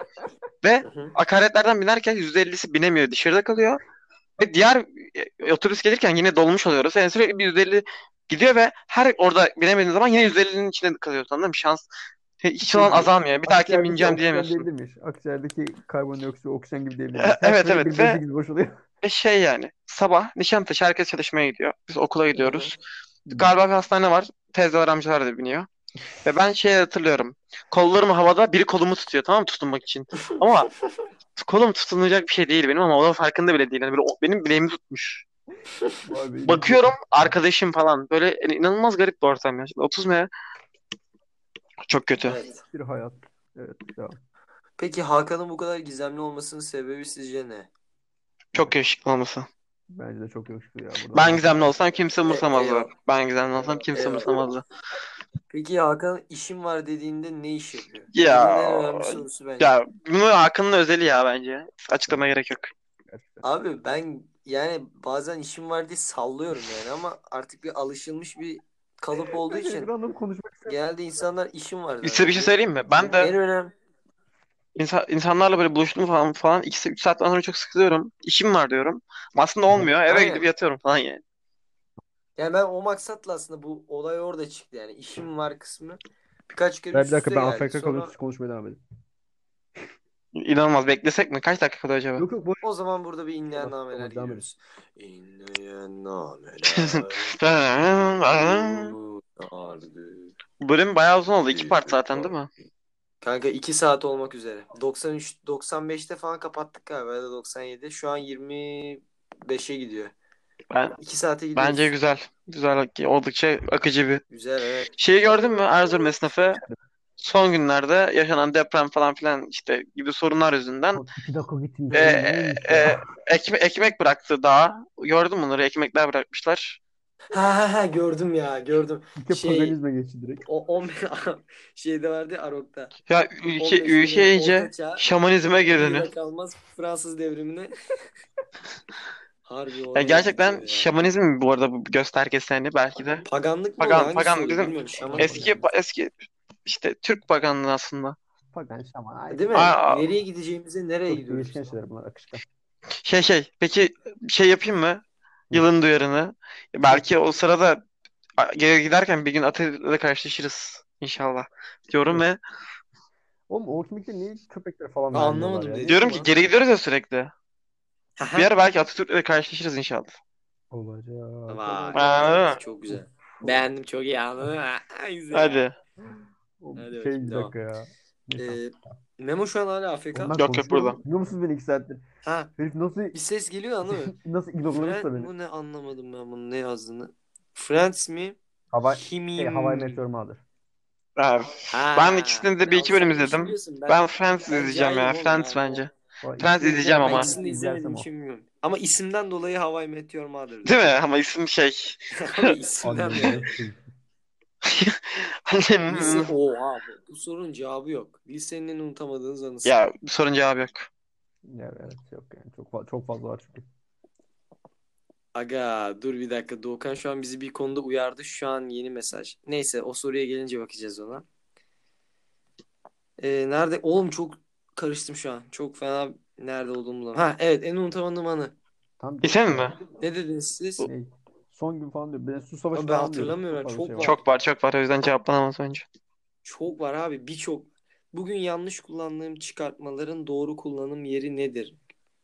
Ve
Hı hı.
akaretlerden binerken %50'si binemiyor. Dışarıda kalıyor. Ve diğer e, otobüs gelirken yine dolmuş oluyoruz. Yani sürekli bir %50 gidiyor ve her orada binemediğin zaman yine %50'nin içinde kalıyorsun anladın mı? Şans hiç olan azalmıyor. Bir dahakine
Akciğerdeki
bineceğim
oksijen
diyemiyorsun.
değil miymiş? Akciğerdeki karbondioksit, oksijen gibi diyebilir
E,
miyiz? Her
<laughs> evet,
sene
evet
bir
ve-
böcek gibi boş
<laughs>
oluyor.
Ve şey yani sabah Nişantaşı herkes çalışmaya gidiyor. Biz okula gidiyoruz. Galiba bir hastane var. Teyzeler amcalar da biniyor. Ve ben şey hatırlıyorum. Kollarım havada biri kolumu tutuyor tamam mı tutunmak için. Ama kolum tutunacak bir şey değil benim ama o da farkında bile değil. Yani böyle o- benim bileğimi tutmuş. Bakıyorum arkadaşım falan. Böyle yani inanılmaz garip bir ortam ya. Şimdi 30 ne? Çok kötü.
Evet.
Bir hayat. Evet. Ya.
Peki Hakan'ın bu kadar gizemli olmasının sebebi sizce ne?
Çok yakışıklı olması.
Bence de çok yakışıklı ya. Buradan
Ben gizemli olsam kimse
Eyvah.
umursamazdı. Ben gizemli olsam kimse
Eyvah.
umursamazdı.
Peki Hakan işim var dediğinde ne iş yapıyor?
Ya.
Bunun en önemli sorusu bence.
Ya bunu Hakan'ın özeli ya bence. Açıklama gerek yok.
gerçekten.
Abi ben yani bazen işim var diye sallıyorum yani ama artık bir alışılmış bir kalıp olduğu
Bir
için
anda konuşmak istemiyorum.
genelde insanlar işim var. der.
Size bir şey söyleyeyim mi? Ben de
En önemli
İnsan, insanlarla böyle buluştum falan falan. 2-3 saatten sonra çok sıkılıyorum. İşim var diyorum. Aslında olmuyor. Eve
Aynen.
gidip yatıyorum falan yani.
Yani ben o maksatla aslında bu olay orada çıktı yani işim var kısmı birkaç kere
Ben
üst
bir dakika
üste
ben
geldi.
AFK
Sonra
kalıp konuşmaya devam edeyim.
İnanılmaz. Beklesek mi? Kaç dakika kadar acaba?
Yok yok boş.
o zaman burada bir
Tamam,
inleyen
tamam,
nameler
devam
giriyoruz. İnleyen
<laughs>
nameler vardı.
Bölüm bayağı uzun oldu. 2 part zaten değil mi?
Kanka 2 saat olmak üzere. 93 95'te falan kapattık galiba ya da 97. Şu an 25'e gidiyor.
Ben,
2 saate gidiyoruz.
bence güzel. Güzel. Oldukça akıcı bir.
Güzel evet.
Şeyi gördün mü? Erzurum esnafı son günlerde yaşanan deprem falan filan işte gibi sorunlar yüzünden
İki dakika gittim.
Ee, e, ekme- ekmek bıraktı daha. Gördün mü bunları? Ekmekler bırakmışlar.
Ha ha ha gördüm ya gördüm.
İki
şey-
paganizme geçti direkt.
O 10 <laughs> şeyde vardı ya, Arok'ta.
Ya
15
ülke
milyon
ülke iyice
orta çağ,
şamanizme girdiğini.
yılda kalmaz Fransız
<laughs>
devrimine. Harbi
Ya
oraya
gerçekten
gidiyor ya.
şamanizm bu arada bu göstergesi hani belki de.
Paganlık mı?
Pagan-
Hangisi
pagan
oluyor
bizim
bilmiyorum. Şaman
Eski
mı?
eski işte Türk paganlığı aslında.
Pagan şaman. şey- Ay,
Değil mi?
Aa.
Nereye gideceğimize nereye
Çok
gidiyoruz?
değişken şeyler bunlar akışkan.
Şey şey peki şey yapayım mı? Yılın duyarını. Belki o sırada a- geri giderken bir gün Atilla'da karşılaşırız inşallah diyorum ve
Oğlum Ultimate'de niye köpekler falan
Ben
vermiyorlar
anlamadım
ya?
dedi.
diyorum
Neyse
ki
lan.
geri gidiyoruz ya sürekli.
Aha.
Bir ara belki Atatürk'le karşılaşırız inşallah.
Olacak.
Vay.
Anladın mı?
Çok güzel. Beğendim çok iyi anladın mı? Ha, güzel.
Hadi.
Oğlum,
Hadi
şey
bakayım,
bir dakika ya. Neyse.
Ee, Memo şu an hala AFK.
Onlar
yok,
konuşuyor mu?
burada.
Biliyor musunuz beni iki saattir?
Ha,
Herif nasıl <laughs>
bir ses geliyor anladın mı?
nasıl ignorlamışsa
Friend,
beni.
bu ne anlamadım ben bunun ne yazdığını. Friends mi?
Havai,
Himim.
şey, Havai Meteor Mother.
Abi,
Ha,
Ben ikisini de bir
ya
iki bölüm
sen
izledim.
biliyorsun,
ben Friends
ben
izleyeceğim ya.
cahilim oğlum
Friends
ben.
bence.
Vay,
Friends
ikisini izleyen
izleyeceğim
Ben
ama.
ben
ikisini de
izlersem
izlemedim
o.
için bilmiyorum. Ama isimden dolayı Hawaii Meteor Mother. <laughs>
Değil mi? Ama isim şey. <laughs>
Abi isimden dolayı. Lise,
Annem.
oha bu- bu sorunun cevabı yok. Lisenin en unutamadığınız anısı.
Ya sorun cevabı yok.
Ya evet yok yani çok fa- çok fazla var çünkü.
Aga dur bir dakika Doğukan şu an bizi bir konuda uyardı. Şu an yeni mesaj. Neyse o soruya gelince bakacağız ona. Ee, nerede? Oğlum çok karıştım şu an. Çok fena nerede olduğumu bulamadım. Ha evet en unutamadığım anı.
Tam
İsim mi?
Ne dediniz siz?
Ne? Son gün falan diyor. Ben su savaşı
Abi ben
falan diyorum.
hatırlamıyorum.
fazla
Çok
şey
var.
Çok var çok var. O yüzden cevaplanamaz bence.
Çok var abi birçok. Bugün yanlış kullandığım çıkartmaların doğru kullanım yeri nedir?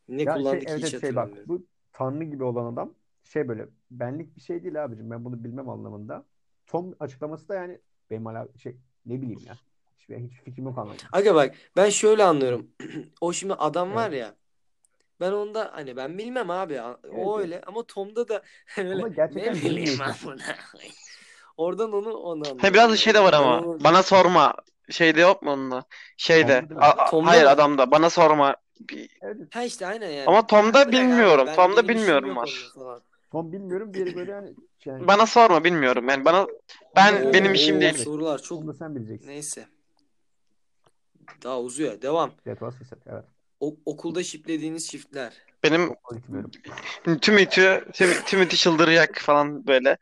Ne
Ya şey
kullandık
evet
hiç
evet şey bak
hatırlamıyorum.
bu tanrı gibi olan adam şey böyle benlik bir şey değil abicim ben bunu bilmem anlamında. Tom açıklaması da yani benim hala şey ne bileyim ya. Hiçbir, hiç fikrim yok anlamda.
Aga bak ben şöyle anlıyorum. <clears throat> O şimdi adam var ya. Ben onda hani ben bilmem abi. O
evet.
öyle ama Tom'da da <laughs> öyle
Ama
ne
gerçekten
bileyim
bilmiyorsun.
amına. Oradan onu onu anlıyorum.
He, biraz da şey de var
Ben
ama.
onu-
Bana sorma. Şeyde yok mu onunla? Şeyde.
Tom'da değil mi?
A- a-
Tom'da
hayır
mı?
adamda. Bana sorma. Bir-
Evet.
Ha işte aynen yani.
Ama Tom'da
Bırak abi,
bilmiyorum.
ben-
Tom'da
benim işim
bilmiyorum
şey yok
var.
onunla falan.
Tom bilmiyorum diğeri böyle yani şey,
Bana sorma bilmiyorum. Yani bana ben
Oo,
benim işim
oo,
değil.
Sorular çok <laughs>
onu da sen bileceksin.
neyse. Daha uzuyor. Devam.
Evet varsa set evet.
O- okulda şiplediğiniz şiftler.
Benim
Okula gitmiyorum.
tüm iti tüm, tüm iti çıldıracak falan böyle.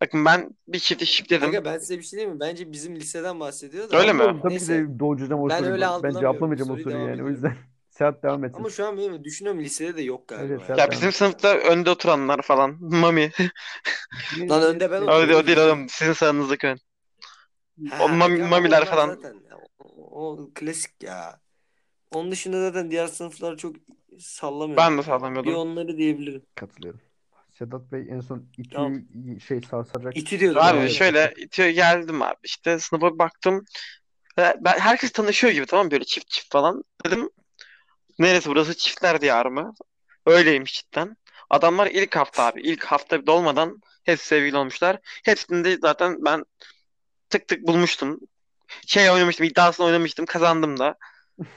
Bakın ben bir çift şip dedim.
Aga ben size bir şey diyeyim mi? Bence bizim liseden bahsediyor da.
Öyle mi?
Oğlum tabii ki
Neyse.
de dolduracağım o
Ben
soruyu.
öyle
ben
algılamıyorum.
cevaplamayacağım o
Soruyu
soruyu
devam
yani o
ediyorum.
yüzden. <laughs> Serhat devam etsin.
Ama şu an benim düşünüyorum lisede de yok galiba.
Evet,
ya.
evet.
Ya bizim sınıfta önde oturanlar falan.
<laughs>
Mami.
Benim-
Lan önde
şey
ben
Öyle değil,
oturuyorum.
o değil oğlum. Sizin sağınızdaki ön. O
Ha,
mami-
aga, ama
mamiler
onlar
falan.
Zaten o, o klasik ya. Onun dışında zaten diğer sınıflar çok sallamıyor.
Ben de
Bir
sallamıyordum.
onları diyebilirim.
Katılıyorum. Sedat Bey en son iki
Tamam.
şey sarsacak.
İti diyordum.
Abi
Evet.
şöyle itiyor geldim abi işte sınıfa baktım. Ve Ben herkes tanışıyor gibi tamam mı? böyle çift çift falan. Dedim neresi burası çiftler diyarı mı? Öyleymiş cidden. Adamlar ilk hafta abi ilk hafta dolmadan hepsi sevgili olmuşlar. Hepsinde zaten ben tık tık bulmuştum. Şey oynamıştım iddiasını oynamıştım kazandım da.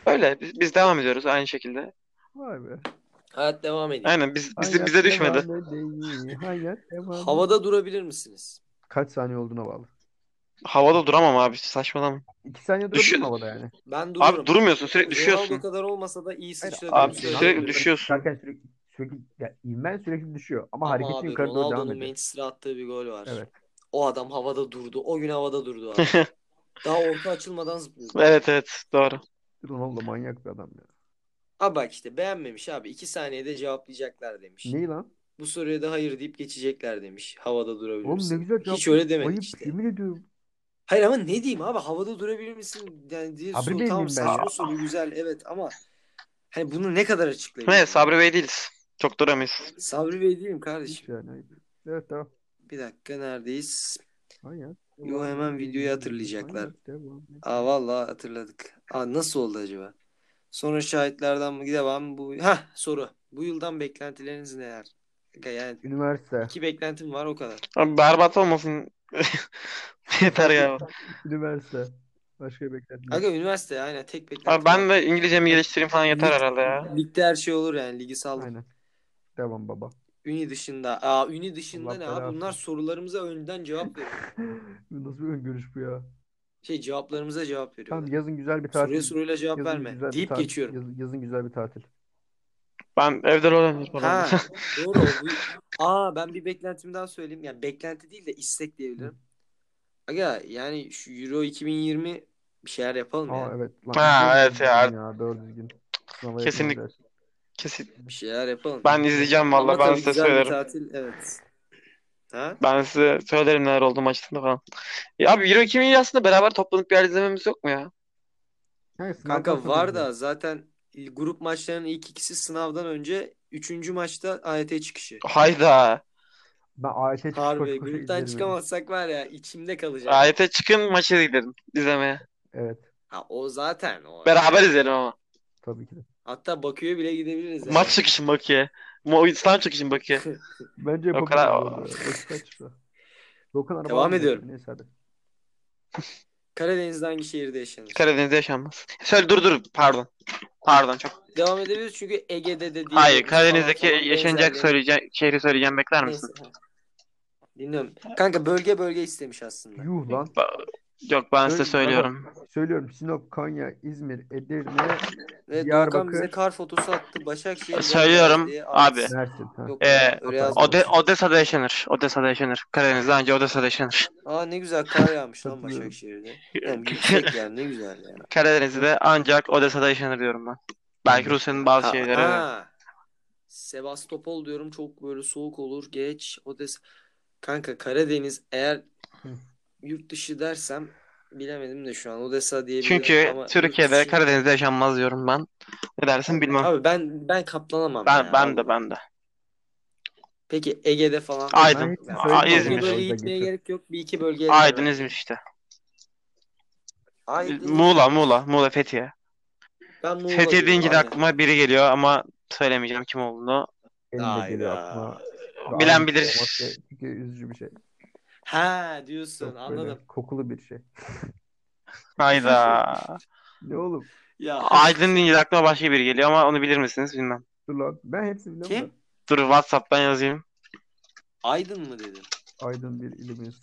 Öyle biz, biz devam ediyoruz aynı şekilde.
Vay be.
Hayat devam ediyor.
Aynen biz, bizi-
Hayat
bize düşmedi.
devam edeyim, hayat devam
Havada durabilir misiniz?
Kaç saniye olduğuna bağlı.
Havada duramam abi saçmalama.
İki saniye
Düşün.
durabilir mi havada yani?
Ben dururum.
Abi durmuyorsun sürekli
Ronaldo
düşüyorsun.
kadar olmasa da iyi sıçradım.
Abi
söyleyeyim.
sürekli düşüyorsun.
Zaten sürekli, sürekli ya ivmen sürekli düşüyor ama,
Ama
hareketi
abi,
yukarı doğru devam
Ronaldo'nun
ediyor.
Manchester'a attığı bir gol var.
Evet.
O adam havada durdu. O gün havada durdu abi.
<laughs>
Daha orta açılmadan zıplıyordu.
Evet evet doğru.
Ronaldo manyak bir adam ya.
Abi bak işte beğenmemiş abi. İki saniyede cevaplayacaklar demiş.
Neyi lan?
Bu soruya da hayır deyip geçecekler demiş. Havada durabilir
Oğlum
misin?
ne güzel cevap.
Hiç öyle demedik
Ayıp
işte.
yemin ediyorum.
Hayır ama ne diyeyim abi havada durabilir misin yani diye
Sabri
soru
Bey
tamam
miyim ben
saçma
ya?
soru güzel evet ama hani bunu ne kadar açıklayayım?
Evet Sabri Bey değiliz. Çok duramayız.
Sabri Bey değilim
Hiç
kardeşim.
yani ayıp. Evet tamam.
Bir dakika neredeyiz?
Hayat.
Yo,
devam
hemen
ediyor,
videoyu hatırlayacaklar.
hayat devam ediyor.
Aa vallahi hatırladık. Aa nasıl oldu acaba? Sonra şahitlerden mi devam bu ha soru. Bu yıldan beklentileriniz neler? Yani
Üniversite.
iki beklentim var o kadar.
Abi berbat olmasın. <laughs> Yeter ya.
Üniversite. Başka beklentim. yok.
Aga üniversite aynen tek beklentim.
Abi
var.
ben de İngilizcemi geliştireyim falan yeter
Lig-
herhalde ya.
Ligde her şey olur yani ligi saldım.
Aynen. Devam baba. <laughs>
Üni dışında. Aa üni dışında
Allah
ne
belasını.
abi? Bunlar sorularımıza önden cevap veriyor.
Bu Nasıl bir öngörüş bu ya?
Şey cevaplarımıza cevap veriyor.
Tamam yazın güzel bir tatil.
Soruya soruyla cevap
Yazın
verme.
güzel bir
Deyip
tatil.
geçiyorum.
Yazın, yazın güzel bir tatil.
Ben evde rol oynuyorum
Ha,
falan.
<laughs> doğru. o Bu... Aa ben bir beklentimi daha söyleyeyim. Yani beklenti değil de istek diyebilirim. Aga yani şu Euro 2020 bir şeyler yapalım
Aa
ya.
evet. Lan,
Ha,
doğru
evet
düzgün
ya.
doğru düzgün. Sınava
Kesinlikle.
yakın olacağız.
<laughs> Kesin.
Bir şeyler yapalım.
Ben izleyeceğim
Ama
valla. Ben
tabii
size
güzel bir
söylerim.
tatil evet. Ha?
Ben size söylerim neler oldu maçlarında falan. Ya abi Euro 2000'i aslında beraber toplanıp bir yer izlememiz yok mu ya?
Hayır, sınavdan
Kanka
sonra
var
izleyeceğiz.
da zaten grup maçlarının ilk ikisi sınavdan önce üçüncü maçta AYT çıkışı.
Hayda.
Ben AYT çıkıp
Harbi
koşu koşu
gruptan
izlerim.
çıkamazsak var ya içimde kalacak.
Ayete çıkın maçı izleyelim. izlemeye.
Evet.
Ha, o zaten o.
Beraber izleyelim ama.
Tabii ki de.
Hatta Bakü'ye bile gidebiliriz. yani.
Maç çıkışı Bakü'ye. Mo- İslam çıkışı Bakü'ye.
<laughs> Bence
O
yapabiliriz
kadar-
orada. Vakit açıkta. Dokan araba
Devam
almayacak.
ediyorum.
Neyse hadi.
Karadeniz'de hangi şehirde yaşanır?
Karadeniz'de yaşanmaz. Söyle dur dur pardon. Pardon çok.
Devam edebiliriz çünkü Ege'de de değil.
Hayır Karadeniz'deki yaşanacak söyleyeceğim şehri söyleyeceğim bekler misin?
Dinliyorum. Kanka bölge bölge istemiş aslında.
Yuh lan.
Yok ben size
Söyle-
söylüyorum.
Söylüyorum. Sinop, Konya, İzmir, Edirne,
Ve Doğukan
Diyarbakır.
bize kar fotosu attı. Başakşehir.
Söylüyorum,
diye
abi.
artist.
Mersin. Ha.
Yok,
Ee,
öyle
Ode-
yazmamış.
Ode Odessa'da yaşanır. Odessa'da yaşanır. Karadeniz'de anca Odessa'da yaşanır.
Aa ne güzel kar yağmış lan
Katılıyorum.
Başakşehir'de. Yani yüksek yani ne güzel
<laughs>
yani.
Karadeniz'de ancak Odessa'da yaşanır diyorum ben. Belki Rusya'nın bazı
Hmm. Ha,
şeyleri.
ha. Sebastopol diyorum çok böyle soğuk olur. Geç Odessa. Kanka Karadeniz eğer
Hı.
yurt dışı dersem bilemedim de şu an Odessa diyebilirim
Çünkü
ama yurt
Türkiye'de
dışı-
Karadeniz'de yaşanmaz diyorum ben. Ne dersin bilmem.
Abi şey ben ben katlanamam
ben
ya,
ben de
vallahi.
ben de.
Peki Ege'de falan.
Aydın.
Ben hiç
Ya,
Aa,
bir
söylemedim.
İzmir.
bölgeye
Orada
gitmeye
geçer.
gerek yok. Bir iki bölgeye.
Aydın İzmir işte.
Aydın.
Muğla Muğla Muğla Fethiye.
Ben Muğla
Fethiye
diyorum,
deyince de
aynen.
aklıma biri geliyor ama söylemeyeceğim kim olduğunu.
Benim de
Hayda.
geliyor aklıma. Ve
Bilen
aynı şey
bilir.
olması Çünkü üzücü bir şey.
Ha diyorsun
Çok böyle
anladım.
kokulu bir şey.
<laughs>
Hayda.
Ne oğlum?
Ya
Aydın deyince de aklıma başka biri geliyor ama onu bilir misiniz bilmem.
Dur lan. Ben hepsini biliyorum
kim?
da.
Dur WhatsApp'tan yazayım.
Aydın mı dedin?
Aydın bir ilimiz.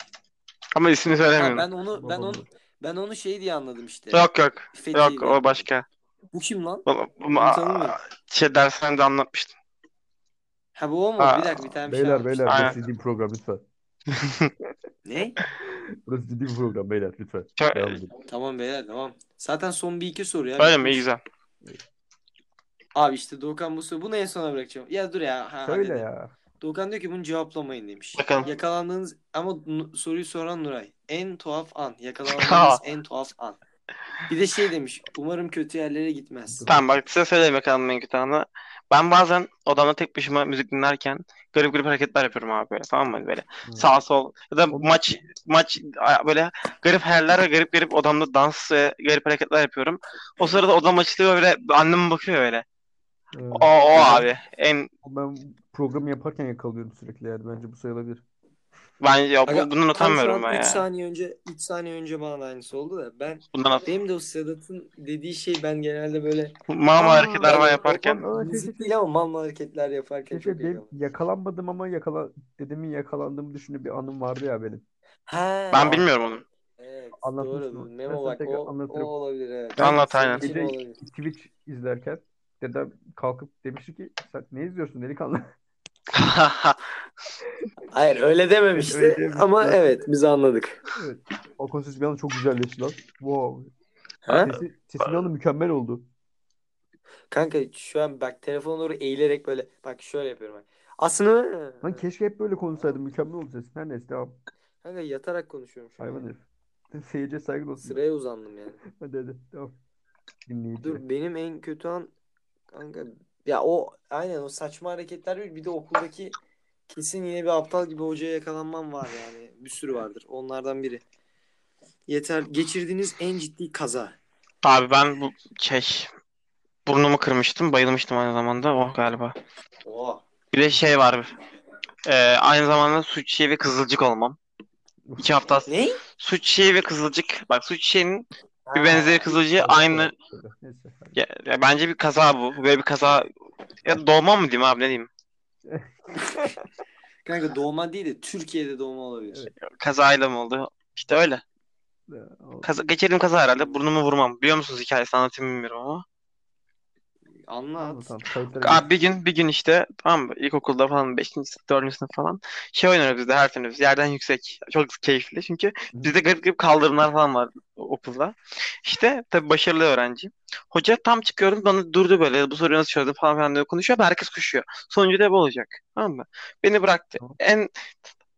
Ama ismini
Ha,
söylemiyorum.
ben onu ben onu ben onu şey diye anladım işte.
Yok yok.
Fethiye
Yok
diye.
o başka.
Bu kim lan?
Bu- bu-
Şey Bunu tanımıyorum.
Şey derslerinde anlatmıştım.
Ha bu o mu?
Aa,
bir dakika bir tane bir şey
Beyler
anlatmıştım.
beyler
Aynen.
burası ciddi bir program lütfen.
Ne?
Burası ciddi bir program beyler lütfen.
Şöyle-
Devam edin.
Tamam beyler tamam. Zaten son bir iki soru ya.
Öyle mi?
Bitmiş.
İyi güzel.
Abi işte Doğukan bu soru. Bunu en sona bırakacağım. Ya dur ya. Ha,
Söyle
halledelim.
ya.
Doğukan diyor ki bunu cevaplamayın demiş.
Bakalım.
Yakalandığınız ama nu- soruyu soran Nuray. En tuhaf an.
Ha. <laughs>
Yakalandığınız en tuhaf an. Bir de şey demiş. Umarım kötü yerlere gitmez.
Tamam bak size söyleyeyim bakalım en kötü anı. Ben bazen odamda tek başıma müzik dinlerken garip garip hareketler yapıyorum abi böyle tamam mı böyle sağ sol ya da
Oğlum-
maç maç a- böyle garip hayaller ve garip garip odamda dans ve garip hareketler yapıyorum. O sırada odam açılıyor böyle annem bakıyor böyle.
Ee,
O, o abi en
ben programı yaparken yakalıyorum sürekli yani. Bence bu sayılabilir.
ben ya, bu-
Aga,
bundan
Tam şu
utanmıyorum
an
ben
üç
ya.
saniye önce 3 saniye önce bana da aynısı oldu da ben
Bundan
benim de o Sedat'ın dediği şey ben genelde böyle
mama
Aa,
hareketler
ben-
falan yaparken
Aa, şey, şey,
müzik değil ama mal mal hareketler yaparken
şey,
çok
şey, benim
eğlenceli.
yakalanmadım ama yakala dedemin yakalandığımı düşündüğü bir anım vardı ya benim.
He.
ben bilmiyorum onu.
Evet,
Anlatmıştım.
doğru.
Ben
Memo
sana
bak
tekrar
o, o
anlatırım.
olabilir evet.
Ben- Anlat,
Senin
aynen.
için
Gece-
olabilir.
Twitch izlerken dedem kalkıp demişti ki sen ne izliyorsun delikanlı? <laughs>
Hayır öyle dememişti
Öyle dememiş.
ama
Ben-
evet biz anladık.
evet. Balkon sesi bir anda çok güzelleşti lan. Wow.
Ha?
Sesi, sesi bir anda mükemmel oldu.
Kanka şu an bak telefona doğru eğilerek böyle bak şöyle yapıyorum bak. Aslında
Lan keşke hep böyle konuşsaydım. Mükemmel oldu sesin. Her neyse devam.
kanka yatarak konuşuyorum şu an.
Hayvan herif. <laughs> Seyirciye saygın olsun.
Sıraya uzandım yani.
Hadi hadi. Devam. Dinleyici.
Dur benim en kötü an kanka ya o aynen o saçma hareketler bir, bir de okuldaki kesin yine bir aptal gibi hocaya yakalanmam var yani. Bir sürü vardır. Onlardan biri. Yeter geçirdiğiniz en ciddi kaza.
<laughs> Abi ben bu şey burnumu kırmıştım, bayılmıştım aynı zamanda. Oh galiba.
Oha.
Bir de şey var. Ee, aynı zamanda su çiçeği ve kızılcık olmam. İki hafta
Ne?
su çiçeği ve kızılcık. Bak su çiçeğinin bir benzeri kızılcığı aynı.
Neyse. hadi.
Ya, ya bence bir kaza bu. Böyle bir kaza. Ya dolma mı diyeyim abi ne diyeyim?
Kanka doğma değil de Türkiye'de doğma olabilir.
Evet.
Kazayla mı oldu? İşte öyle.
Ee,
Kaza, geçirdiğim kaza herhalde. Burnumu vurmam. Biliyor musunuz hikayesini anlatayım bilmiyorum ama.
Anlat.
Anlatalım. Kayıtlara
Abi bir gün bir gün işte tamam mı ilkokulda falan 5. sınıf 4. sınıf falan şey oynuyoruz bizde her sene biz yerden yüksek çok keyifli çünkü bizde garip garip kaldırımlar falan var okulda. İşte tabii başarılı öğrenci. Hoca tam çıkıyorum bana durdu böyle bu soruyu nasıl çözdün falan filan diye konuşuyor ama herkes koşuyor. Sonucu da bu olacak tamam mı? Beni bıraktı.
Tamam.
En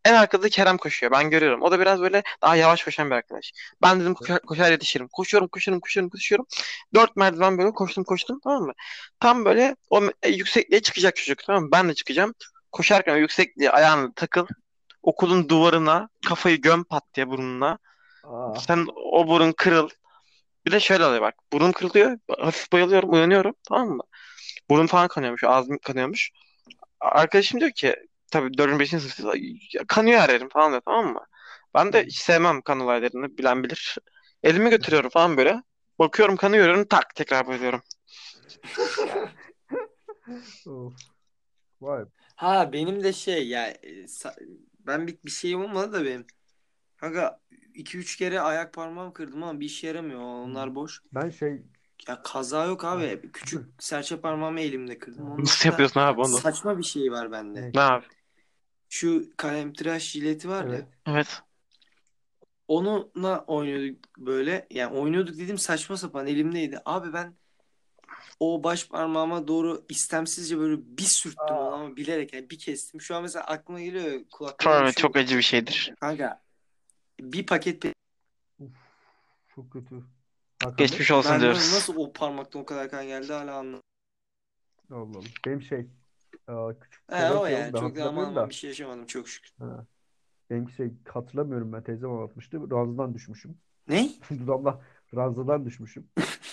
en arkada Kerem koşuyor. Ben görüyorum. O da biraz böyle daha yavaş koşan bir arkadaş. Ben dedim koşar, koşar yetişirim. Koşuyorum, koşuyorum, koşuyorum, koşuyorum. Dört merdiven böyle koştum, koştum. Tamam mı? Tam böyle o me- e, yüksekliğe çıkacak çocuk tamam mı? Ben de çıkacağım. Koşarken o yüksekliğe ayağını takıl. Okulun duvarına kafayı göm pat diye burnuna.
Aa,
Sen o burun kırıl. Bir de şöyle oluyor bak. Burun kırılıyor. Hafif bayılıyorum. Uyanıyorum. Tamam mı? Burun falan kanıyormuş. Ağzım kanıyormuş. Arkadaşım diyor ki tabii 4. 5. sınıf kanıyor her yerim falan diyor. Tamam mı? Ben de hiç sevmem kan olaylarını. Bilen bilir. Elimi götürüyorum falan böyle. Bakıyorum kanıyorum. Tak tekrar bayılıyorum.
of. Vay.
Ha benim de şey ya e, sa- ben bir, bir şeyim olmadı da benim. Kanka 2-3 kere ayak parmağım kırdım ama bir işe yaramıyor. Onlar boş.
Ben şey
Ya kaza yok abi. Küçük serçe parmağımı elimde kırdım. Onun
Nasıl
dışında
yapıyorsun abi onu?
Saçma bir şey var bende.
Ne?
Ne abi?
Şu kalemtıraş jileti var
Evet.
ya.
Evet.
Onunla oynuyorduk böyle. Yani oynuyorduk dedim saçma sapan elimdeydi. Abi ben o baş parmağıma doğru istemsizce böyle bir sürttüm
Aa.
onu ama bilerek yani bir kestim. Şu an mesela aklıma geliyor kulaklarım
Tabii
uçuyor.
çok acı bir şeydir.
Kanka bir paket pe-
çok kötü. Hakan Bey?
Geçmiş olsun
ben
diyoruz.
nasıl o parmaktan o kadar kan geldi hala anlamadım.
Allah Allah. Benim şey aa, küçük
He
teyzem
o
şey
yani
oldu,
çok
ben
da aman
hatırlamıyorum
aman
da.
bir şey yaşamadım çok şükür.
Benimki şey hatırlamıyorum ben teyzem anlatmıştı. Ranzadan düşmüşüm. <laughs>
Ne?
Dudamla ranzadan düşmüşüm.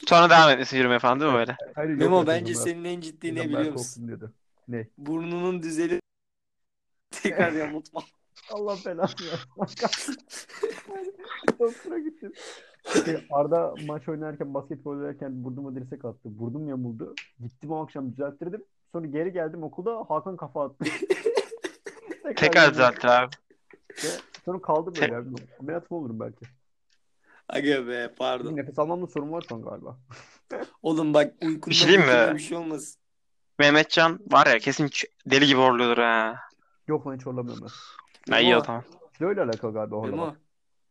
Sonra devam etmesi yürümeye falan değil mi böyle?
Hayır yok
Memo
ya teyzem
bence
ben-
senin en ciddi ne
teyzem ben
biliyor musun?
korktum diyordu.
Burnunun düzeli <laughs>
<laughs>
tekrar yamultma.
Allah belanı
<laughs>
versin. Doktora gittim. Şey, Arda maç oynarken, basketbol oynarken burnuma dirsek attı. Burnum yamuldu. Gittim o akşam düzelttirdim. Sonra geri geldim okulda Hakan
<laughs>
kafa attı. Tekrar
Tekrar
yamuldu.
düzelttir abi.
Sonra kaldı böyle. abi. Ameliyat mı olurum belki?
Aga be
Bir
pardon.
nefes almamda sorun var şu an galiba.
Oğlum bak uykunda
Bir şey diyeyim mi?
uykunda bir şey olmaz.
Mehmetcan var ya kesin ç- deli gibi horluyordur ha.
Yok lan hiç horlamıyorum ben.
Ya iyi o tamam.
Kiloyla alakalı galiba horlamak.
Memo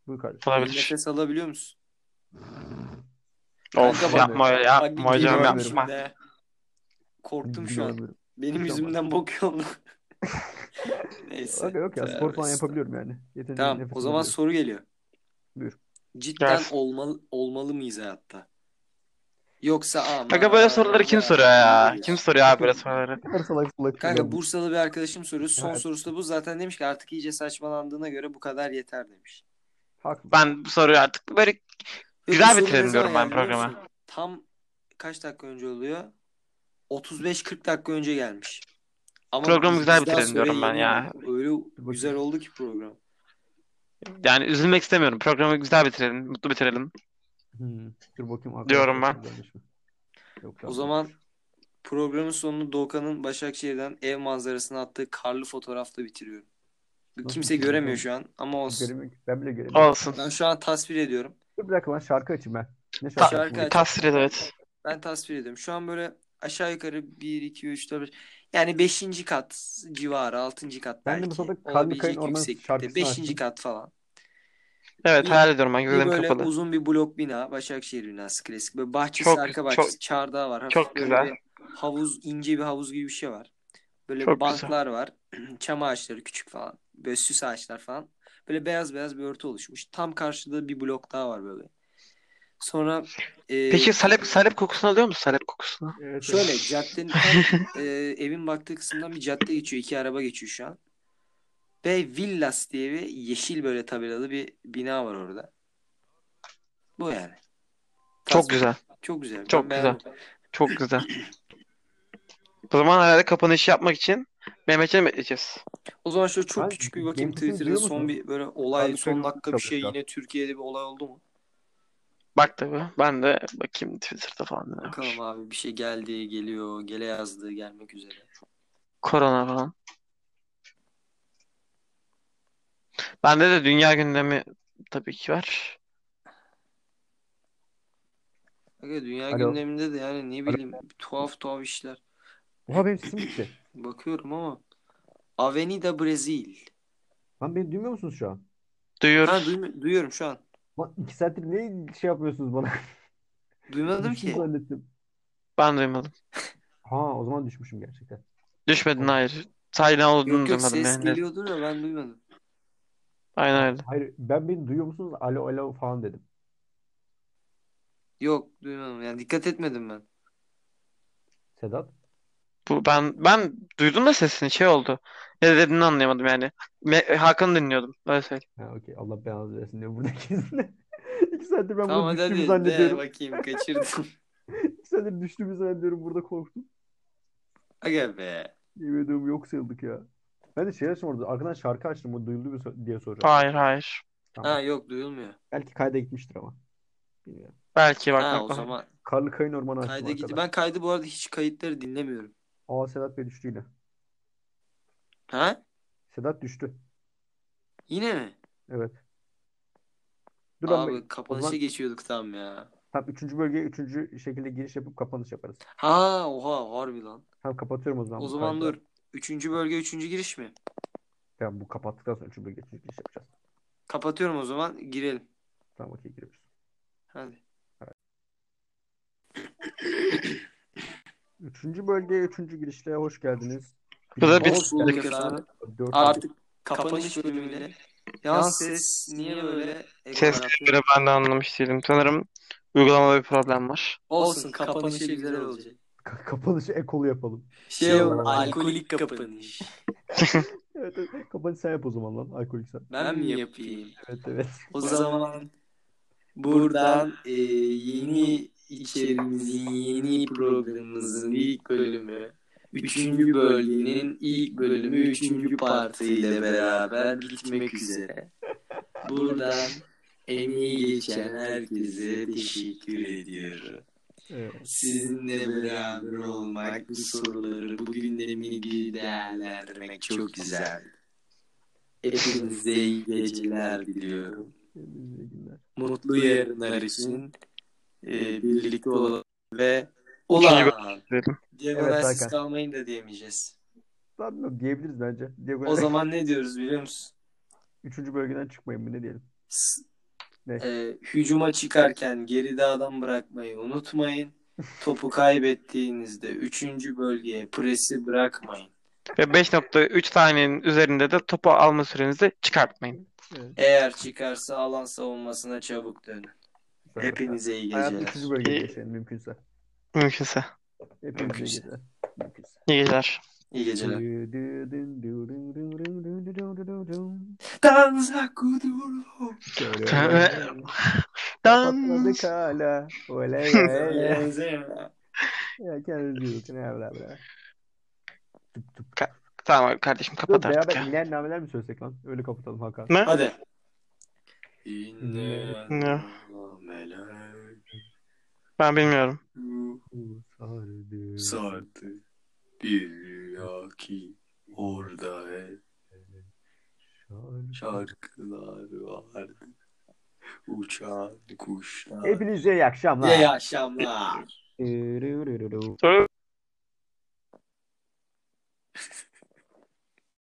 Buyur kardeşim.
bir
Olabilir.
nefes alabiliyor musun?
Of
Kanka bak-
yapma öyle yapma
Bak bir
hocam
geliyorum
yapma.
şimdi he. Korktum
Bilmiyorum,
şu an.
bilmiyorum.
Benim
Tamam.
yüzümden bok
<laughs>
yoldu. Neyse.
Aga yok ya spor falan
Tövbe
yapabiliyorum yani. Yeterince
Tamam
nefes
o zaman
alabiliyorum.
soru geliyor.
Buyur.
Cidden
Gelsin.
olmalı, olmalı mıyız hayatta? Yoksa ama
Kanka böyle soruları kim soruyor ya? Kim soruyor abi böyle soruları?
Ne kadar salak salak
Kanka
sorular
Bursalı bir arkadaşım soruyor. Son
Evet.
sorusu da bu. Zaten demiş ki artık iyice saçmalandığına göre bu kadar yeter demiş.
Haklı.
Ben bu soruyu artık böyle
Ve
Güzel
bu soru
bitirelim
ne
diyorum
zaman
ben
geldi biliyor
programa.
musun? Tam kaç dakika önce oluyor? 35-40 dakika önce gelmiş. Ama
Programı
biz-
güzel
biz daha
bitirelim diyorum
soruya
ben ya.
yeni- Öyle güzel oldu ki program.
yani üzülmek istemiyorum. Programı güzel bitirelim, mutlu bitirelim.
Hmm. Dur bakayım arkadaşlar
Diyorum ben.
güzelmiş mi? Yok,
O
yapmamış.
zaman programın sonunu Doğukan'ın Başakşehir'den ev manzarasına attığı karlı fotoğrafla bitiriyorum.
Nasıl
Kimse
bitiriyorsun
göremiyor
oğlum?
şu an ama olsun.
Göremiyorum ki. Ben bile göremiyorum.
Olsun.
Ben şu an tasvir ediyorum.
Dur bir dakika ben şarkı açayım ben. Ne
Ta-
şarkı açayım?
şarkı aç.
Tasvir et, evet.
Ben tasvir ediyorum. Şu an böyle aşağı yukarı 1, 2, 3, 4, 5 yani 5. kat civarı 6. kat
Ben de bu
belki.
sırada Karlı Kayın
olabilecek
Ormanı
yükseklikte.
şarkısını
5.
açtım.
kat falan.
Evet
Bir-
hayal ediyorum ben
Bir
gözlerim
böyle
kapalı.
uzun bir blok bina. Başakşehir binası klasik. Böyle bahçesi
Çok-
arka
çok-
bahçesi. çardağı var. Hafif
çok
böyle
güzel.
bir havuz ince bir havuz gibi bir şey var. Böyle
Çok güzel.
banklar var. <clears throat> Çam ağaçları küçük falan. Böyle süs ağaçlar falan. Böyle beyaz beyaz bir örtü oluşmuş. Tam karşıda bir blok daha var böyle. Sonra e,
Peki salep salep kokusunu alıyor musun? Salep kokusunu.
Evet, evet.
<laughs>
Şöyle caddenin tam, e, evin baktığı kısımdan bir cadde geçiyor. iki araba geçiyor şu an. Ve Villas diye bir yeşil böyle tabelalı bir bina var orada. Bu yani.
Çok
Tasvir.
güzel.
Çok güzel. Ben
Çok güzel.
beğendim.
Çok güzel. O zaman herhalde kapanışı yapmak için Mehmet'e mi bekleyeceğiz?
O zaman şöyle çok
Ben-
küçük bir bakayım
benim sesimi
Twitter'da
duyuyor
son
musun?
bir böyle olay
Abi
son
söyle,
dakika bir şey
çalıyor.
yine Türkiye'de bir olay oldu mu?
Bak tabii. Ben de bakayım Twitter'da falan neler var.
Bakalım abi bir şey geldi, geliyor, gele yazdı, gelmek üzere.
Korona falan. Bende de dünya gündemi tabii ki var.
Aga dünya
Alo.
gündeminde de yani ne
Alo.
bileyim tuhaf tuhaf işler.
Oha benim sesim gitti.
Bakıyorum ama Avenida Brezil.
Lan beni duymuyor musunuz şu an?
Duyuyoruz.
Ha duymu- duyuyorum şu an.
Lan iki saattir ne şey yapıyorsunuz bana?
Duymadım
Düştüm
ki.
zannettim.
Ben duymadım.
Ha o zaman düşmüşüm gerçekten.
Düşmedin hayır. Sahiden olduğunu
Yok yok
duymadım
ses
yani.
geliyordur da ben duymadım.
Aynen öyle.
Hayır ben beni duyuyor musunuz? Alo alo falan dedim.
Yok duymadım yani dikkat etmedim ben.
Sedat.
Bu ben ben duydum da sesini şey oldu. Ne dediğini anlayamadım yani. Me- Hakan'ı dinliyordum. Öyle söyleyeyim.
Ha okey Allah belanızı versin diyor <laughs> buradaki izle. İki saattir ben
Tamam
burada
hadi
düştüğümü
hadi de
zannediyorum.
bakayım kaçırdım. <laughs>
İki saattir düştüğümü zannediyorum burada korktum.
Aga be.
Yemin ediyorum yok sayıldık ya. Ben de şey açtım orada. Arkadan şarkı açtım. O duyuldu mu so- diye soracağım.
Hayır hayır.
Ha yok duyulmuyor.
Belki kayda gitmiştir ama. Bilmiyorum.
Belki bak
Ha o
bak-
zaman
Karlı Kayın Ormanı açtım
kayda gitti.
arkadan.
Ben kaydı bu arada hiç kayıtları dinlemiyorum.
Aa Sedat Bey düştü yine.
Ha?
Sedat düştü.
Yine mi?
Evet. Dur ben
Abi
bek- o
kapanışa
zaman
geçiyorduk tam ya.
tam üçüncü bölgeye üçüncü şekilde giriş yapıp kapanış yaparız.
Ha oha harbi lan.
Tamam kapatıyorum o zaman
O
bu
zaman
kaydı.
dur. Üçüncü bölge üçüncü giriş mi?
Tamam bu kapattıktan sonra üçüncü bölgeye üçüncü giriş yapacağız.
Kapatıyorum o zaman girelim.
Tamam okey giriyoruz.
Hadi.
Üçüncü bölgeye üçüncü girişle hoş geldiniz.
Bu da bir-
Hoş bulduk efendim.
Dört-
Artık kapanış bölümüyle. Yalnız ses niye böyle?
Ses
Ekolar atıyor?
kayıtları ben de anlamış değilim. Sanırım uygulamada bir problem var.
Olsun kapanışı güzel olacak.
Ka- <laughs> kapanışı ekolu yapalım.
Şey
ol,
alkolik kapanış.
Evet, evet. Kapanışı sen yap o zaman lan. Alkolik sen.
Ben mi yapayım?
Evet evet.
O zaman buradan e, yeni içerimizin, yeni programımızın ilk bölümü, üçüncü bölgenin ilk bölümü, üçüncü partiyle beraber bitmek üzere. Buradan emeği geçen herkese teşekkür ediyorum.
Evet.
Sizinle beraber olmak, bu soruları, bu gündemi iyi değerlendirmek çok güzel. Hepinize iyi geceler diliyorum.
Kendinize iyi günler.
Mutlu yarınlar için e, birlikte olalım ve
İkinci
ulan
Dedim.
diagonalsiz
Hakan.
kalmayın da diyemeyeceğiz.
Sanmıyorum diyebiliriz bence. Diagonal-
O zaman ne diyoruz biliyor musun?
<laughs> Üçüncü bölgeden çıkmayın mı ne diyelim.
S-
Ne?
e, hücuma çıkarken geride adam bırakmayı unutmayın. Topu kaybettiğinizde üçüncü bölgeye presi bırakmayın.
Ve 5.3 saniyenin üzerinde de topu alma sürenizi çıkartmayın.
Eğer çıkarsa alan savunmasına çabuk dönün. Hepinize iyi
Hayatın
geceler.
ikinci bölgeye
İyi.
geçelim mümkünse.
Mümkünse.
Hepinize iyi
Mümkünse.
geceler. Mümkünse.
İyi geceler.
İyi geceler. Danza kuduro.
Patladı kala.
<laughs>
Oley oley.
Eğlenceli.
Ya kendinize iyi bakın. Evra evra. Tıp tıp.
Tamam abi kardeşim kapat artık
Beraber
ya.
iner nameler mi söylesek lan? Öyle kapatalım Hakan.
Ne?
Hadi.
İnne
Ne? Ben bilmiyorum.
Sardı.
Sardı bir rüya ki orada hep
Şarkı.
şarkılar vardı. Uçan kuşlar.
Hepinize iyi akşamlar.
İyi akşamlar.
Dırırırırı.
Sonra-